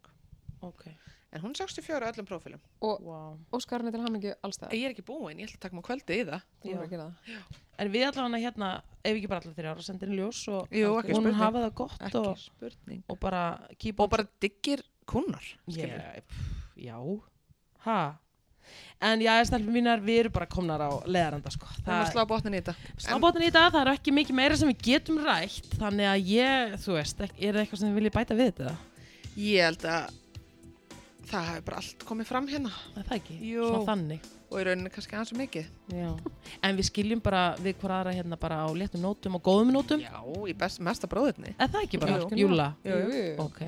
Speaker 1: Ok.
Speaker 2: En hún er 64 á öllum prófílum
Speaker 1: Wow.
Speaker 3: Óskar henni til hamingju allstað.
Speaker 2: Ég er ekki búin, ég ætla að taka mig á kvöldi í það
Speaker 3: Þú voru að gera það.
Speaker 1: En við allavega hérna, ef ekki bara allavega þeirra ára, sendir henni ljós og
Speaker 2: Jú, ekki
Speaker 1: hún
Speaker 2: spurning.
Speaker 1: hafa það gott
Speaker 2: Ekki
Speaker 1: og,
Speaker 2: spurning
Speaker 1: og bara keep
Speaker 2: Og bara diggir kunnar skilurðu.
Speaker 1: Yeah, pff, já. Ha. En já, stelpum mínar, við erum bara komnar á leðaranda, sko.
Speaker 2: Við erum að slá botnin í þetta
Speaker 1: Snábótin í dag, það er ekki mikið meira sem við getum rætt þannig að ég, þú veist, ek- er það eitthvað sem þið viljið bæta við þetta?
Speaker 2: Ég held að það hefur bara allt komið fram hérna
Speaker 1: Er Það ekki,
Speaker 2: Jú.
Speaker 1: svona þannig
Speaker 2: og í rauninni kannski aðeins og mikið.
Speaker 1: Já. [LAUGHS] En við skiljum bara við hver aðra hérna bara á léttum nótum og góðum nótum
Speaker 2: Já, í best, mesta bróðurni.
Speaker 1: Er það ekki bara,
Speaker 3: Jú.
Speaker 1: Júla?
Speaker 2: Jú, jú.
Speaker 3: Jú.
Speaker 1: Ok,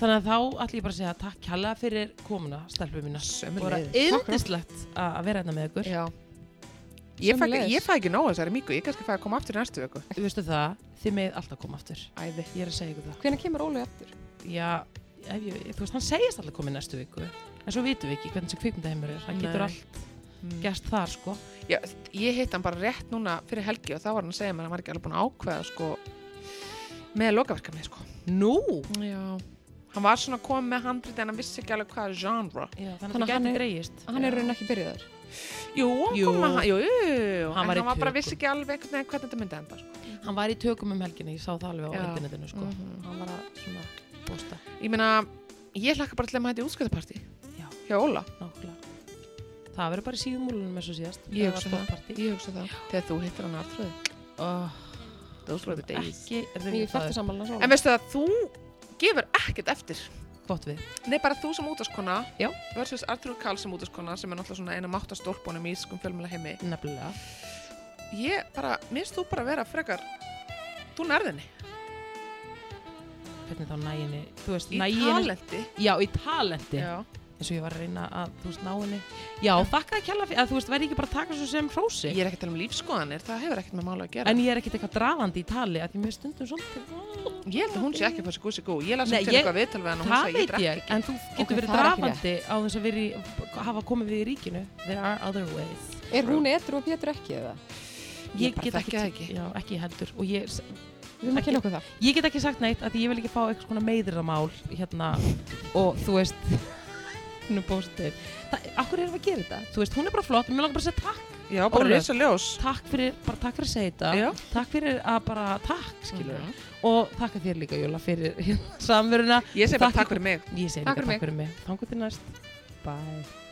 Speaker 1: þannig að þá ætlum ég bara að segja takk kjallaða fyrir komuna, stelpum mína
Speaker 2: Sömu
Speaker 1: Bara yndislegt að að vera hérna með ykkur
Speaker 2: Já. Ég fæ,
Speaker 3: Sömuleiðis.
Speaker 2: ég fæ ekki nóg þessari miku, ég kannski fæ að koma aftur í næstu vöku.
Speaker 1: Þú veistu það, þið með alltaf koma aftur
Speaker 2: Æði.
Speaker 1: Ég er að segja ykkur það
Speaker 3: Hvenær kemur Óli eftir?
Speaker 1: Já, ef ég, þú veist, hann segist alltaf komið næstu viku En svo vitum við ekki hvernig sem kvikmyndaheimur er Hann getur
Speaker 2: Nei.
Speaker 1: allt gerst þar, sko
Speaker 2: Mm. Já, ég hitt hann bara rétt núna fyrir helgi og þá var hann að segja mér að hann var ekki alveg búin að ákveða sko með lokaverkefni sko.
Speaker 1: Nú?
Speaker 2: Já. Hann var svona komið með handrit en hann vissi ekki alveg hvað er genre.
Speaker 1: Já, þannig
Speaker 3: Þannig
Speaker 1: að
Speaker 3: að
Speaker 1: það
Speaker 3: hann
Speaker 1: gæti
Speaker 3: er-
Speaker 1: dreigist.
Speaker 3: Hann er í rauninni ekki byrjaður.
Speaker 2: Jú, hann
Speaker 1: Jú.
Speaker 2: kom með hann, jú, jú, jú.
Speaker 1: Hann
Speaker 2: en
Speaker 1: var í
Speaker 2: hann var bara
Speaker 1: tökum.
Speaker 2: vissi ekki alveg einhvern veginn hvernig þetta myndi enda. Sko.
Speaker 1: Hann var í tökum um helginu, ég sá það alveg á
Speaker 2: Já.
Speaker 1: internetinu, sko.
Speaker 2: Mhm.
Speaker 1: Hann var að svona posta,
Speaker 2: Ég meina, ég hlakka bara til að maður hætti útskjöðapartí
Speaker 1: Já.
Speaker 2: hjá Óla.
Speaker 1: nákvæmlega. Það verður bara í síðumúlunum eins og síðast.
Speaker 2: Ég hugsa það.
Speaker 1: Partí.
Speaker 2: Ég hugsa það. Þegar þú hittir hann aftröðu.
Speaker 1: Oh,
Speaker 2: Those were the days.
Speaker 1: ekki, er það
Speaker 3: Ég
Speaker 1: ekki það
Speaker 3: fætti saman hans
Speaker 2: En
Speaker 3: Óli.
Speaker 2: veistu það, þú gefur ekkert eftir.
Speaker 1: er gott við.
Speaker 2: Nei, bara þú sem útaskona
Speaker 1: Já.
Speaker 2: versus Artur Karl sem útaskona sem er náttúrulega svona eina máttastólpunum í ískum fjölmjöla heimi.
Speaker 1: Nefnilega.
Speaker 2: Ég bara, minnst þú bara vera frekar, þú nærðinni.
Speaker 1: Hvernig þá næginni, þú veist,
Speaker 2: Í
Speaker 1: næginni.
Speaker 2: talenti.
Speaker 1: Já, í talenti.
Speaker 2: Já.
Speaker 1: Eins og ég var að reyna að, þú veist, náinni. Já, þakka að kjalla fyrir, að þú veist, verði ekki bara að taka svo sem hrósi.
Speaker 2: Ég er ekki að tala um lífskoðanir, það hefur ekkert með mála að gera.
Speaker 1: En ég er ekkit eitthvað drafandi í tali, að ég mér stundum svolítið.
Speaker 2: ég held að hún sé ekki að fara sér gúsi gú. Ég las
Speaker 1: Nei,
Speaker 2: um til
Speaker 1: ég-
Speaker 2: eitthvað viðtal við hann og hún
Speaker 1: Það
Speaker 2: sagði ég
Speaker 1: veit
Speaker 2: drekk
Speaker 1: ég, en þú getur
Speaker 3: Ok,
Speaker 1: verið
Speaker 3: það er ekki
Speaker 1: drafandi á þess að veri, hafa komið við í ríkinu. There are other ways.
Speaker 3: Er hún etru og Pétur ekki eða?
Speaker 2: Ég bara þekki það ekki.
Speaker 1: Já, ekki heldur. Og ég,
Speaker 3: Við erum
Speaker 1: Ekki.
Speaker 3: að kynna okkur það.
Speaker 1: ég get ekki sagt neitt að ég vil ekki fá eitthvað svona meiðirðamál hérna og þú veist, [LAUGHS] hún er bóstir. Akkur erum við að gera þetta? Þú veist, hún er bara flott, mér langar bara að segja takk.
Speaker 2: Já, bara
Speaker 1: Ólöf.
Speaker 2: reysa ljós.
Speaker 1: Takk fyrir, bara takk fyrir að segja þetta.
Speaker 2: Já. Mhm.
Speaker 1: Takk fyrir að bara, takk, skilur. Og takk að þér líka, Jóla, fyrir [LAUGHS] hérna, samveruna.
Speaker 2: Ég segi bara
Speaker 1: Takk
Speaker 2: takk fyrir mig.
Speaker 1: Ég segi
Speaker 3: Takk
Speaker 1: líka
Speaker 3: fyrir mig.
Speaker 1: takk fyrir mig. Þangu til næst. Bye.